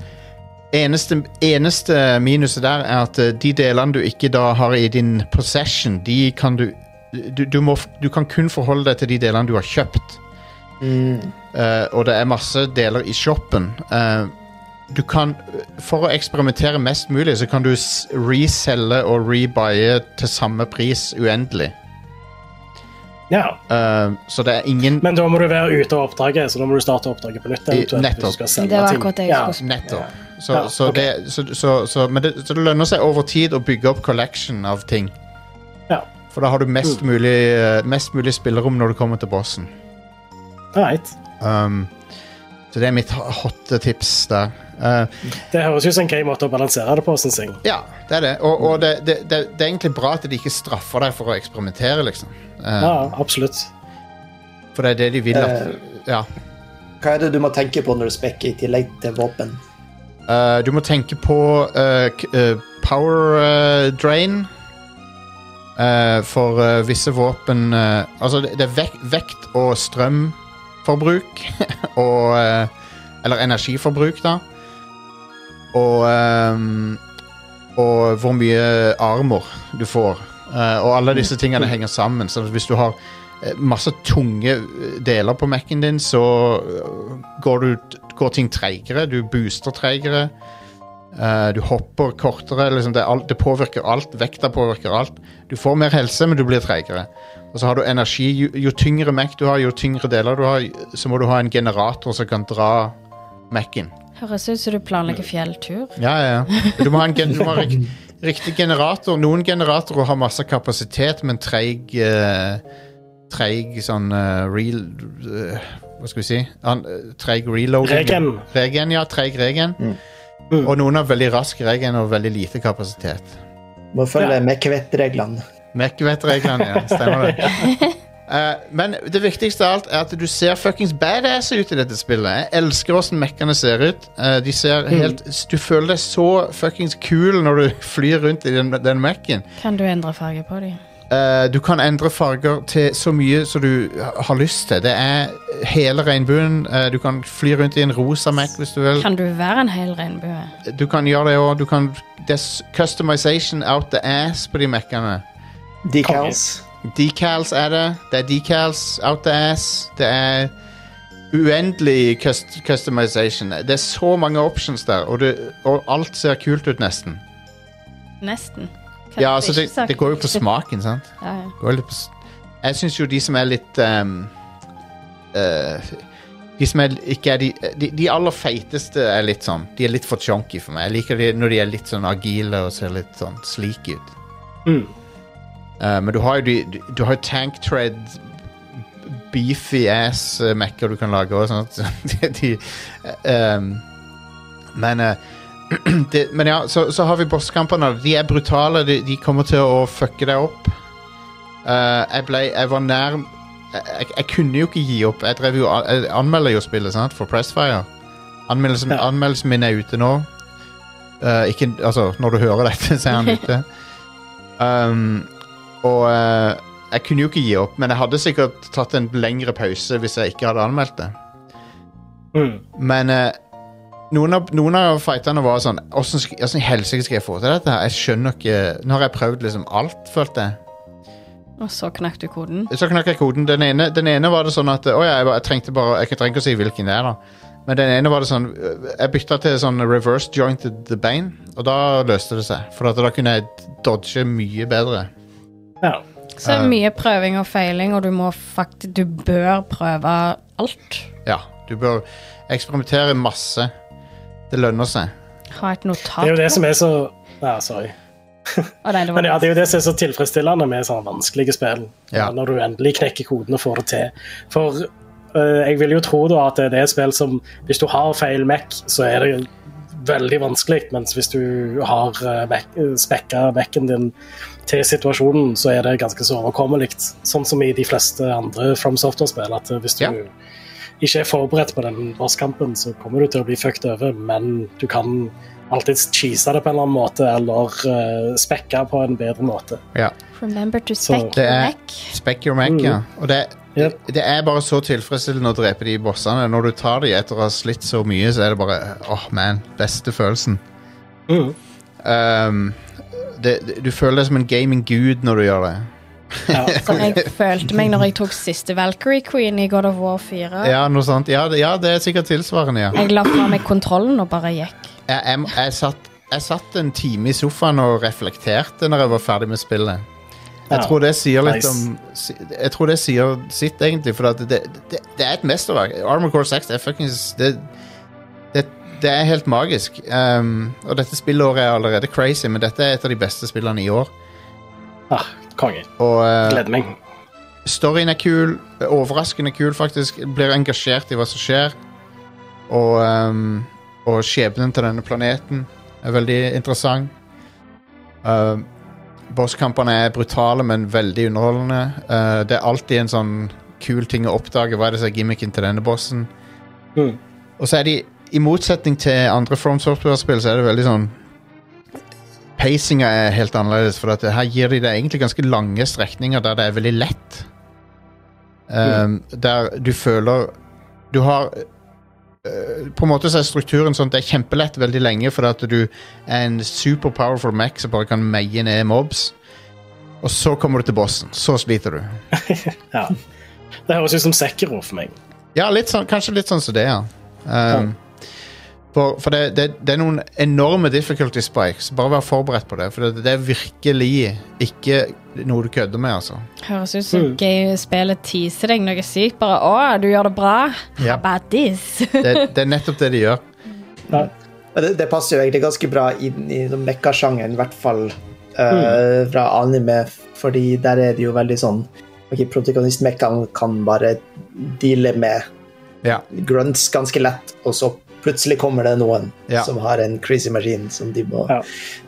Eneste, eneste minuset der er at eh, de delene du ikke da har i din possession, de kan du du, du, må, f- du kan kun forholde deg til de delene du har kjøpt. Eh, og det er masse deler i shoppen. Eh, du kan, for å eksperimentere mest mulig, så kan du s- reselge og rebuye til samme pris uendelig.
Ja.
Eh, så det er ingen
Men da må du være ute av oppdraget, så da må du starte oppdraget på nytt. eventuelt, hvis
nettopp.
du skal
Det
selge
var
ting.
akkurat det jeg
Ja.
skulle spørre.
Nettopp. Så,
Ja,
så,
ok.
det, så, så, så, men det, så det lønner seg over tid å bygge opp collection av ting.
Ja.
For da har du mest,
Mm.
mulig, eh, mest mulig spillerom når du kommer til bossen.
Alright.
Um, så det er mitt ho- hotte tips der. Eh,
Det høres ut som en grei måte å balansere det på, syns jeg.
ja, det er det. Og, og det, det, det, det er egentlig bra at de ikke straffer deg for å eksperimentere, liksom. Eh,
Ja, absolutt.
For det er det de vil at
Eh.
Ja.
Hva er det du må tenke på når du spekker i tillegg til våpen?
Eh, du må tenke på eh, k- eh, power eh, drain. Eh, for eh, visse våpen eh, Altså, det det er vek vekt og strømforbruk. og eh, Eller energiforbruk, da. Og ehm, Og hvor mye armor du får. Eh, og alle disse tingene henger sammen. Så hvis du har eh, masse tunge eh, deler på Mac-en din, så eh, går, du, går ting treigere. Du booster treigere. Eh, du hopper kortere. Liksom det, er alt, det påvirker alt. Vekta påvirker alt. Du får mer helse, men du blir treigere. Og så har du energi. Jo, jo tyngre Mac du har, jo tyngre deler du har, så må du ha en generator som kan dra Mac-en.
Høres ut som du planlegger fjelltur.
Ja, ja, ja. Du må ha en gen du må ha rik riktig generator. Noen generatorer har masse kapasitet, men treig eh, Treig sånn eh, real eh, Hva skal vi si? Han, eh, treig reloading.
Regen.
Regen, ja. Treig regen.
Mm.
Mm.
Og noen har veldig rask regen og veldig lite kapasitet.
Må følge med kvettreglene.
Mekk-vet-reglene, ja. Stemmer det. Eh, men det viktigste av alt er at du ser fuckings badass ut i dette spillet. Jeg elsker åssen mekkene ser ut. Eh, de ser helt, Du føler deg så fuckings kul når du flyr rundt i den, den mekken.
Kan du endre farge på dem?
Eh, du kan endre farger til så mye som du har lyst til. Det er hele regnbuen. Eh, du kan fly rundt i en rosa Mac hvis du vil.
Kan du være en hel regnbue?
Du kan gjøre det òg. Du kan Det er s- customization out the ass på de mekkene.
Decals.
Decals er det. Det er decals out the ass. Det er uendelig cust customization. Det er så mange options der, og, det, og alt ser kult ut, nesten.
Nesten. Kan
Ja,
du
altså,
ikke
det,
sagt-
det går jo på smaken, sant?
Ja, ja.
går litt på s- Jeg syns jo de som er litt ehm, eh, De som er ikke er de, eh, de De aller feiteste er litt sånn De er litt for chunky for meg. Jeg liker de når de er litt sånn agile og ser litt sånn sleek ut.
Mm.
Eh, men du har jo de du- Du har jo tank tread Beefy ass eh, Mac-er du kan lage òg, sant? de, de, ehm, men eh, det, Men ja, så, så har vi bosskampene. De er brutale. De, de kommer til å fucke deg opp. Eh, jeg ble Jeg var nær jeg, jeg, jeg kunne jo ikke gi opp. Jeg, drev jo, an- jeg anmelder jo spillet sant? for Pressfire. Anmeldelsen,
Ja.
anmeldelsen min er ute nå. Eh, ikke Altså, når du hører dette, så er den ute. Um, og eh, jeg kunne jo ikke gi opp, men jeg hadde sikkert tatt en lengre pause hvis jeg ikke hadde anmeldt det.
Mm.
Men eh, noen, av, noen av fightene var sånn Åssen sk- åssen i helsike skal jeg få til dette? her? Jeg skjønner ikke Nå har jeg prøvd liksom alt, følte jeg.
Og så knakk du koden.
Så knakk jeg koden. Den ene, den ene var det sånn at Å ja, jeg, bare- jeg trengte bare Jeg trenger ikke å si hvilken det er, da. Men den ene var det sånn øh, Jeg bytta til sånn reverse jointed the bane, og da løste det seg. For at da kunne jeg dodge mye bedre.
Ja.
Så
Eh.
mye prøving og feiling, og du må faktisk Du bør prøve alt.
Ja. Du bør eksperimentere masse. Det lønner seg.
Ha et
Det
notat.
er jo det som er så ja, sorry.
Å, nei, det var
Men ja, det er jo det som er så tilfredsstillende med sånne vanskelige spill.
Ja.
Når du endelig knekker koden og får det til. For eh, jeg vil jo tro da at det er et spill som Hvis du har feil Mac, så er det jo veldig vanskelig. Mens hvis du har eh, Mac- eh, spekka Mac-en din til situasjonen, så er det ganske så overkommelig. Sånn som i de fleste andre From Software-spill. At eh, hvis du
Ja.
ikke er forberedt på den bosskampen, så kommer du til å bli fucked over, men du kan alltid cheese det på en eller annen måte, eller eh, spekke på en bedre måte.
Ja.
Remember to
Så-
spec
Det er-
back.
Spekk your mac, ja. Og det,
Yep.
det er bare så tilfredsstillende å drepe de bossene. Når du tar de etter å ha slitt så mye, så er det bare Åh, man. Beste følelsen.
Mhm.
Um, det, det, du føler deg som en gaming-gud når du gjør det.
Ja.
Som jeg følte meg når jeg tok siste Valkyrie Queen i God of War 4.
Ja, noe sånt. Ja, det, ja, det er sikkert tilsvarende, ja.
Jeg la fra meg kontrollen og bare gikk.
Jeg, jeg, jeg, satt, jeg satt en time i sofaen og reflekterte når jeg var ferdig med spillet. Jeg
Ja.
tror det sier litt
Nice.
om si- Jeg tror det sier sitt, egentlig, for at det, det, det er et mesterverk. Armor Core 6 er fuckings det, det, det er helt magisk. Um, og dette spillåret er allerede crazy, men dette er et av de beste spillene i år.
Ah, konge.
Og uh,
Gleder meg.
Storyen er kul, overraskende kul faktisk. Blir engasjert i hva som skjer. Og, ehm, og skjebnen til denne planeten er veldig interessant. Ehm, Bosskampene er brutale, men veldig underholdende. Eh, det er alltid en sånn kul ting å oppdage. Hva er det som er gimmicken til denne bossen?
Mhm.
Og så er de, i motsetning til andre From Software-spill, så er det veldig sånn Pacinga er helt annerledes, for at her gir de deg egentlig ganske lange strekninger der det er veldig lett. Um, Der du føler Du har øh, På en måte så er strukturen sånn at det er kjempelett veldig lenge, fordi at du er en super powerful Mac som bare kan meie ned mobs. Og så kommer du til bossen. Så sliter du.
Ja. Det høres ut som Sekiro for meg.
Ja, litt sånn, kanskje litt sånn som det, ja. Um, For, for det, det, det er noen enorme difficulty spikes. Bare vær forberedt på det. For det, det er virkelig ikke noe du kødder med, altså.
Høres ut som Mm. gøy eh, spillet teaser deg noe sykt. Bare 'Å, du gjør det bra'.
Ja.
Bad this.
Det, det er nettopp det de gjør.
Ja.
Men det, det passer jo egentlig ganske bra inn i sånn mekka-sjangeren, i hvert fall eh, fra anime, fordi der er det jo veldig sånn Ok, protagonist-mekkaen kan bare deale med
Ja.
grunts ganske lett, og så plutselig kommer det noen
Ja.
som har en crazy maskin som de må
Ja.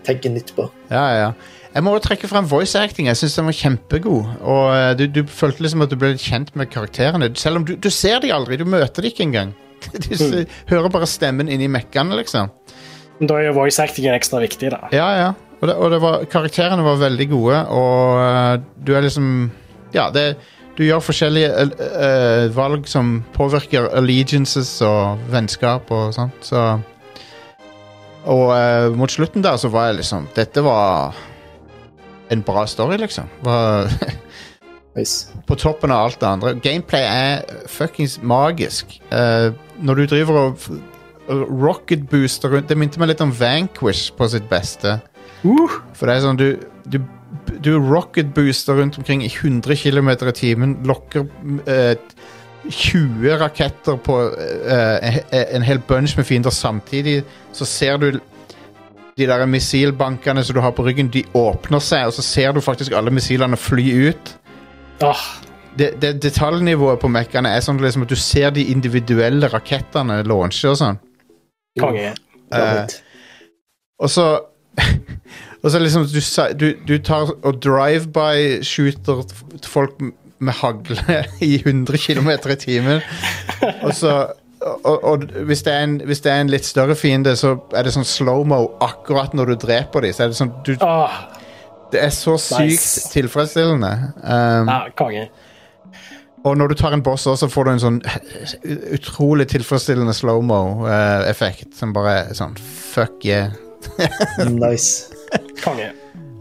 tenke nytt på.
Ja, ja. Jeg må jo trekke frem voice acting. Jeg synes den var kjempegod. Og eh, du, du følte liksom at du ble litt kjent med karakterene. Selv om du, du ser dem aldri. Du møter dem ikke engang. Du s- hører bare stemmen inni mekkene, liksom.
Men da er jo voice acting ekstra viktig, da.
Ja, ja. Og, det, og det var, karakterene var veldig gode, og eh, du er liksom Ja, det, du gjør forskjellige eh, eh, valg som påvirker allegiances og vennskap og sånt, så Og eh, mot slutten der så var jeg liksom Dette var en bra story, liksom. Var
Nice.
på toppen av alt det andre. Gameplay er fuckings magisk. Eh, når du driver og f- rocket-booster rundt Det minte meg litt om Vanquish på sitt beste.
Uh,
For det er sånn, du, du, du rocket-booster rundt omkring i 100 km i timen, lokker eh, 20 raketter på eh, eh, en hel bunch med fiender samtidig, så ser du de der missilbankene som du har på ryggen, de åpner seg, og så ser du faktisk alle missilene fly ut.
åh,
Det, det detaljnivået på mekkene er sånn liksom at du ser de individuelle rakettene launche og sånn.
konge.
Love
Eh,
it.
Og så Og så liksom du, sa- du, du tar og drive-by-shooter f- folk m- med hagle i 100 km i timen. Og så og, og hvis, det er en, hvis det er en litt større fiende, så er det sånn slow-mo akkurat når du dreper dem. Så er det sånn du,
Åh,
Det er så sykt
Nice.
tilfredsstillende. Um,
ja, konge.
Og når du tar en boss også, så får du en sånn utrolig tilfredsstillende slow-mo-effekt. som bare er sånn fuck yeah.
nice.
Konge.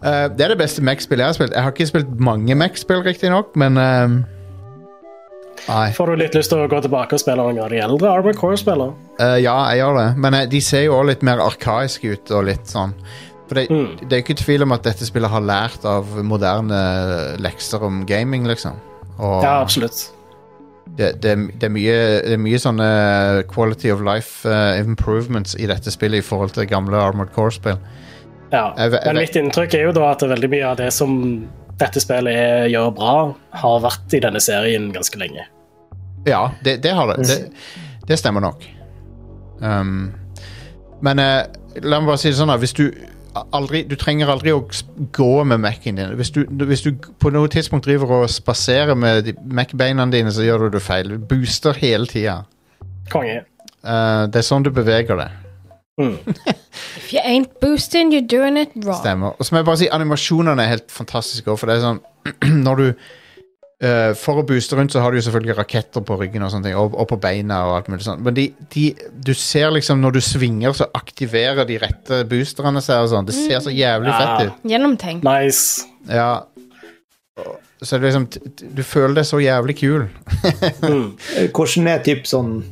Eh, det er det beste Mac-spillet jeg har spilt. Jeg har ikke spilt mange Mac-spill, riktignok, men ehm, Nei.
Får du litt lyst til å gå tilbake og spille noen av de eldre Armored Core-spillene?
Eh, ja, jeg gjør det, men eh, de ser jo også litt mer arkaiske ut og litt sånn. For det,
Mm.
det er jo ikke tvil om at dette spillet har lært av moderne lekser om gaming, liksom. Og
Ja, absolutt.
det, det, er- det, er mye, det er mye sånne quality of life eh, improvements i dette spillet i forhold til gamle Armored Core-spill.
Ja.
Jeg ve- jeg
Men
ve-
mitt inntrykk er jo da at veldig mye av det som dette spillet er, gjør bra, har vært i denne serien ganske lenge.
Ja, det, det har det. det. Det stemmer nok. Um, men eh, la meg bare si det sånn, da. Hvis du aldri Du trenger aldri å s- gå med Mac-en din. Hvis du, hvis du på noe tidspunkt driver og spaserer med de- Mac-beina dine, så gjør du det feil. Du booster hele tida.
Konge.
Eh, det er sånn du beveger det.
Mm.
If you ain't boosting, you're doing it wrong.
Stemmer. Og så må jeg bare si animasjonene er helt fantastiske også, for det er sånn Når du eh, For å booste rundt, så har du jo selvfølgelig raketter på ryggen og sånne ting, og, og på beina og alt mulig sånt, men de, de Du ser liksom når du svinger, så aktiverer de rette boosterne seg og sånn. Det ser så jævlig
Ja.
fett ut.
Gjennomtenkt.
Nice.
Ja. Og- Så det er liksom t- t- Du føler deg så jævlig kul.
Mm.
Hvordan er typ sånn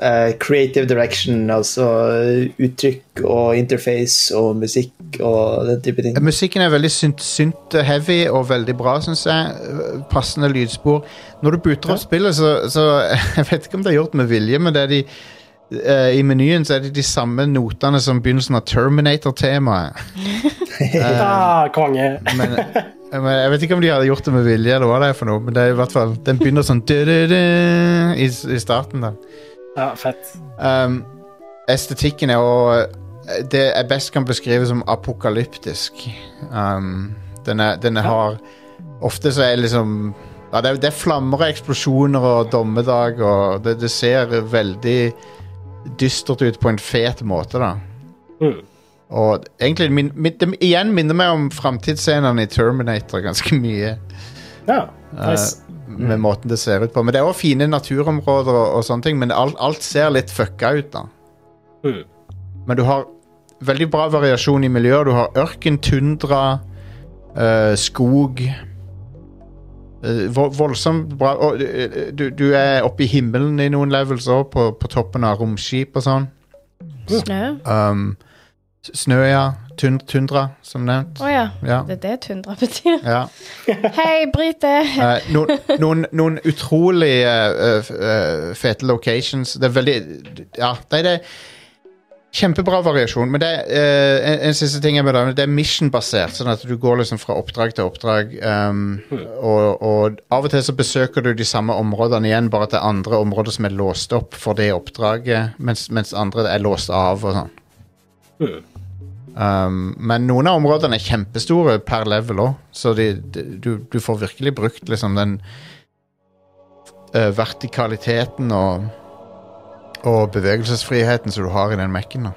eh, creative direction, altså uttrykk og interface og musikk og den type ting?
Musikken er veldig synt, synt heavy og veldig bra, syns jeg. Øh, Passende lydspor. Når du booter opp spillet, så, så Jeg vet ikke om det er gjort med vilje, men det er de eh, I menyen så er det de samme notene som begynnelsen av Terminator-temaet. Eh.
Ah, konge.
Men, men jeg vet ikke om de hadde gjort det med vilje, eller hva det er for noe, men det er i hvert fall Den begynner sånn du-du-du i, i starten der.
Ja, fett.
Um, estetikken er jo Det jeg best kan beskrive som apokalyptisk. Um, den er, den er har Ofte så er det liksom ja, det, er, det er flammer og eksplosjoner og dommedag og det, det ser veldig dystert ut på en fet måte, da.
Mm.
Og egentlig min, min, det igjen minner meg om framtidsscenene i Terminator ganske mye.
Ja,
Eh.
nice.
Med måten det ser ut på. Men det er òg fine naturområder og, og sånne ting, men alt, alt ser litt fucka ut, da.
Mm.
Men du har veldig bra variasjon i miljøer. Du har ørken, tundra, eh, skog Eh, vo- Voldsomt bra og, eh, du, du er oppe i himmelen i noen levels òg, på, på toppen av romskip og sånn.
Snø?
Um, s- snø, ja. Tund, tundra, som nevnt.
Å ja.
Ja.
Det er det tundra betyr.
ja.
Hei, Brite!
Eh, noen, noen, noen utrolig eh, f- eh, fete locations. Det er veldig Ja, nei, det er kjempebra variasjon. Men det er, eh, en, en siste ting jeg vil nevne, det er mission-basert. Sånn at du går liksom fra oppdrag til oppdrag. ehm, og, og av og til så besøker du de samme områdene igjen, bare at det er andre områder som er låst opp for det oppdraget, mens, mens andre er låst av og sånn.
Mm.
Um, men noen av områdene er kjempestore per level òg, så de, de, du, du får virkelig brukt liksom den eh, vertikaliteten og, og bevegelsesfriheten som du har i den Mac-en. da.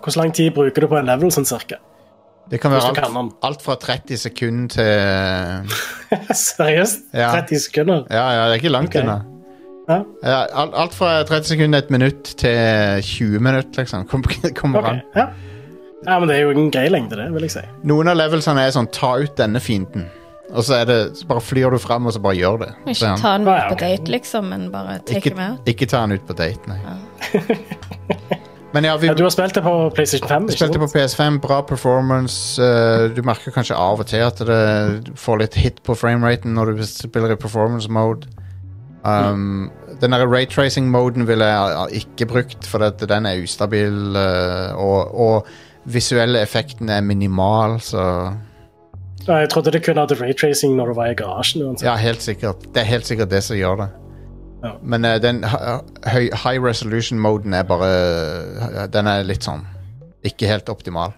Hvor lang tid bruker du på en level, sånn cirka?
Det kan være
Hvis du kan
alt,
den.
alt fra 30 sekunder til
Seriøst?
Ja.
30 sekunder?
Ja, ja, det er ikke langt
Ok.
unna.
Ja.
Ja, alt, alt fra 30 sekunder, et minutt, til 20 minutter, liksom. Kom, kommer
Ok,
an.
ja. ja, men det er jo en grei lengde, det, vil jeg si.
Noen av levelsene er sånn 'ta ut denne fienden', og så, er det, så bare flyr du fram og så bare gjør det. Sånn. Så
Ikke
han-
ta den
Ja,
med
ja,
på
ok.
date, liksom, men bare take
ikke,
him out.
ikke ta han ut på date, nei. Men ja, vi
Ja, du har spilt det på PlayStation 5? ikke
spilte på PS5,
sant?
bra performance. eh, du merker kanskje av og til at det du får litt hit på frameraten når du spiller i performance mode. Um, Den der raytracing-moden ville jeg eh, ikke brukt, for at den er ustabil, eh, og, og visuelle effekten er minimal, så
Ja, Jeg trodde det kun hadde raytracing når du var i garasjen. uansett.
Ja, helt sikkert. Det er helt sikkert det som gjør det.
Ja.
Men eh, den ha- høy, high resolution-moden er bare Den er litt sånn ikke helt optimal.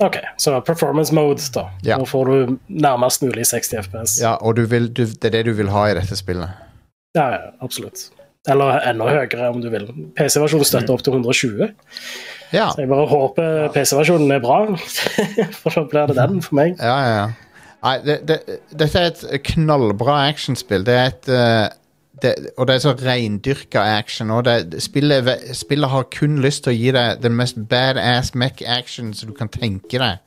Ok, Så performance mode, da.
Ja.
Nå får du nærmest mulig 60 FPS.
Ja, og du vil, du, det er det du vil ha i dette spillet.
Ja, ja, absolutt. Eller enda høyere, om du vil. PC-versjonen støtter opp til 120.
Ja,
Jeg bare håper PC-versjonen er bra, for da blir det den for meg.
ja, ja. ja. Nei, det, det, dette er et knallbra actionspill. Det er et eh, det, Og det er så reindyrka action. Og det, det- spillet, er ve- spillet har kun lyst til å gi deg den mest badass mech-action som du kan tenke deg.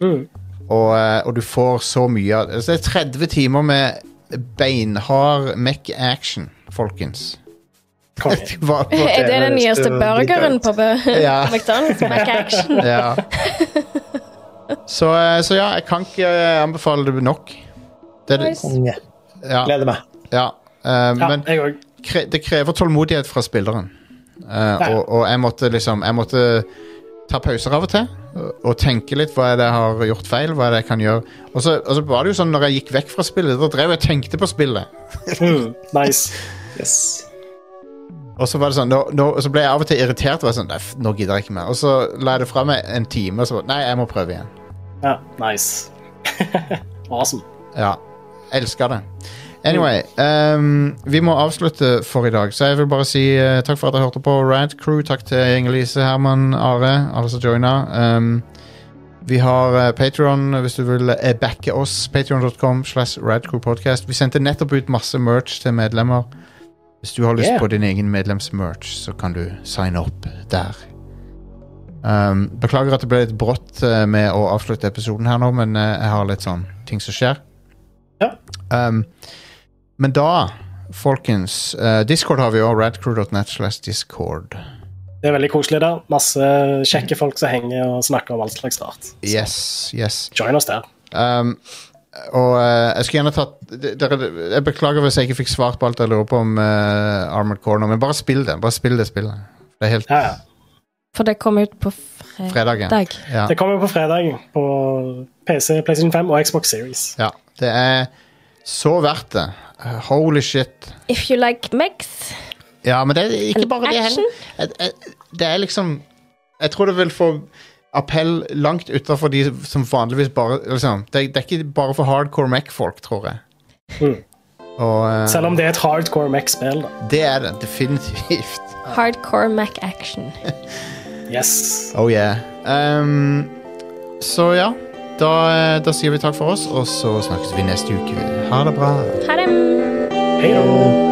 Mm.
Og, eh, og du får så mye av det. Så det er 30 timer med beinhard mech-action, folkens.
Konge.
Hva, hva?
Er det den
høres
nyeste
jo
burgeren
dritt
på Bø-
Ja.
McDonald's? Mac Action.
Ja. Så, eh, så ja, jeg kan ikke eh, anbefale det nok. Det, er det-
Konge.
ja,
Gleder meg.
ja. Eh,
Ja,
men
jeg òg.
kre, det krever tålmodighet fra spilleren. Eh,
Ja.
og, og jeg måtte liksom Jeg måtte ta pauser av og til og- og tenke litt hva er det jeg har gjort feil, hva er det jeg kan gjøre. Og så, og så var det jo sånn når jeg gikk vekk fra spillet, da drev jeg og tenkte på spillet.
Mm, nice.
Yes.
Og så var det sånn, nå, nå, og så ble jeg av og til irritert. Og var sånn, nei, f- nå gidder jeg ikke mer. Og så la jeg det fra meg en time, og så bare, nei, jeg må prøve igjen.
Ja, nice. awesome.
Ja, Elsker det. Anyway, ehm, vi må avslutte for i dag, så jeg vil bare si eh, takk for at dere hørte på Rad Crew. Takk til Inger-Lise, Herman, Are, alle som joina. Ehm, vi har uh, Patron, hvis du vil eh, backe oss. Patreon.com slash radcrewpodcast. Vi sendte nettopp ut masse merch til medlemmer. Hvis du har lyst
Yeah.
på din egen medlemsmerch, så kan du signe opp der. Um, beklager at det ble litt brått eh, med å avslutte episoden her nå, men eh, jeg har litt sånn ting som skjer.
Ja.
Um, men da, folkens eh, Discord har vi òg. Radcrew.net slash discord.
Det er veldig koselig der. Masse kjekke folk som henger og snakker om all slags rart.
Yes, yes.
Join oss der.
Um, og eh, jeg skulle gjerne tatt d- dere- Jeg beklager hvis jeg ikke fikk svart på alt jeg lurer på om eh, Armored Corner, men bare spill det. Bare spill det spillet. Det er helt
Ja, ja.
For det kom ut på fredag.
fredagen. Ja.
Det kommer på fredag på PC, PlayStation 5 og Xbox Series.
ja. Det er så verdt det. Eh, Holy shit.
If you like Mex.
Ja, men det er ikke bare det
action?
heller. Et- et- Det er liksom Jeg tror det vil få appell langt utenfor de som vanligvis bare liksom, det, det er ikke bare for hardcore Mac-folk, tror jeg.
Mm.
Og eh,
Selv om det er et hardcore Mac-spill, da.
det er det definitivt.
Hardcore Mac Action.
Yes.
Oh yeah. Ehm, så ja, da, da sier vi takk for oss, og så snakkes vi neste uke. Ha det bra.
Ha det.
Hei da.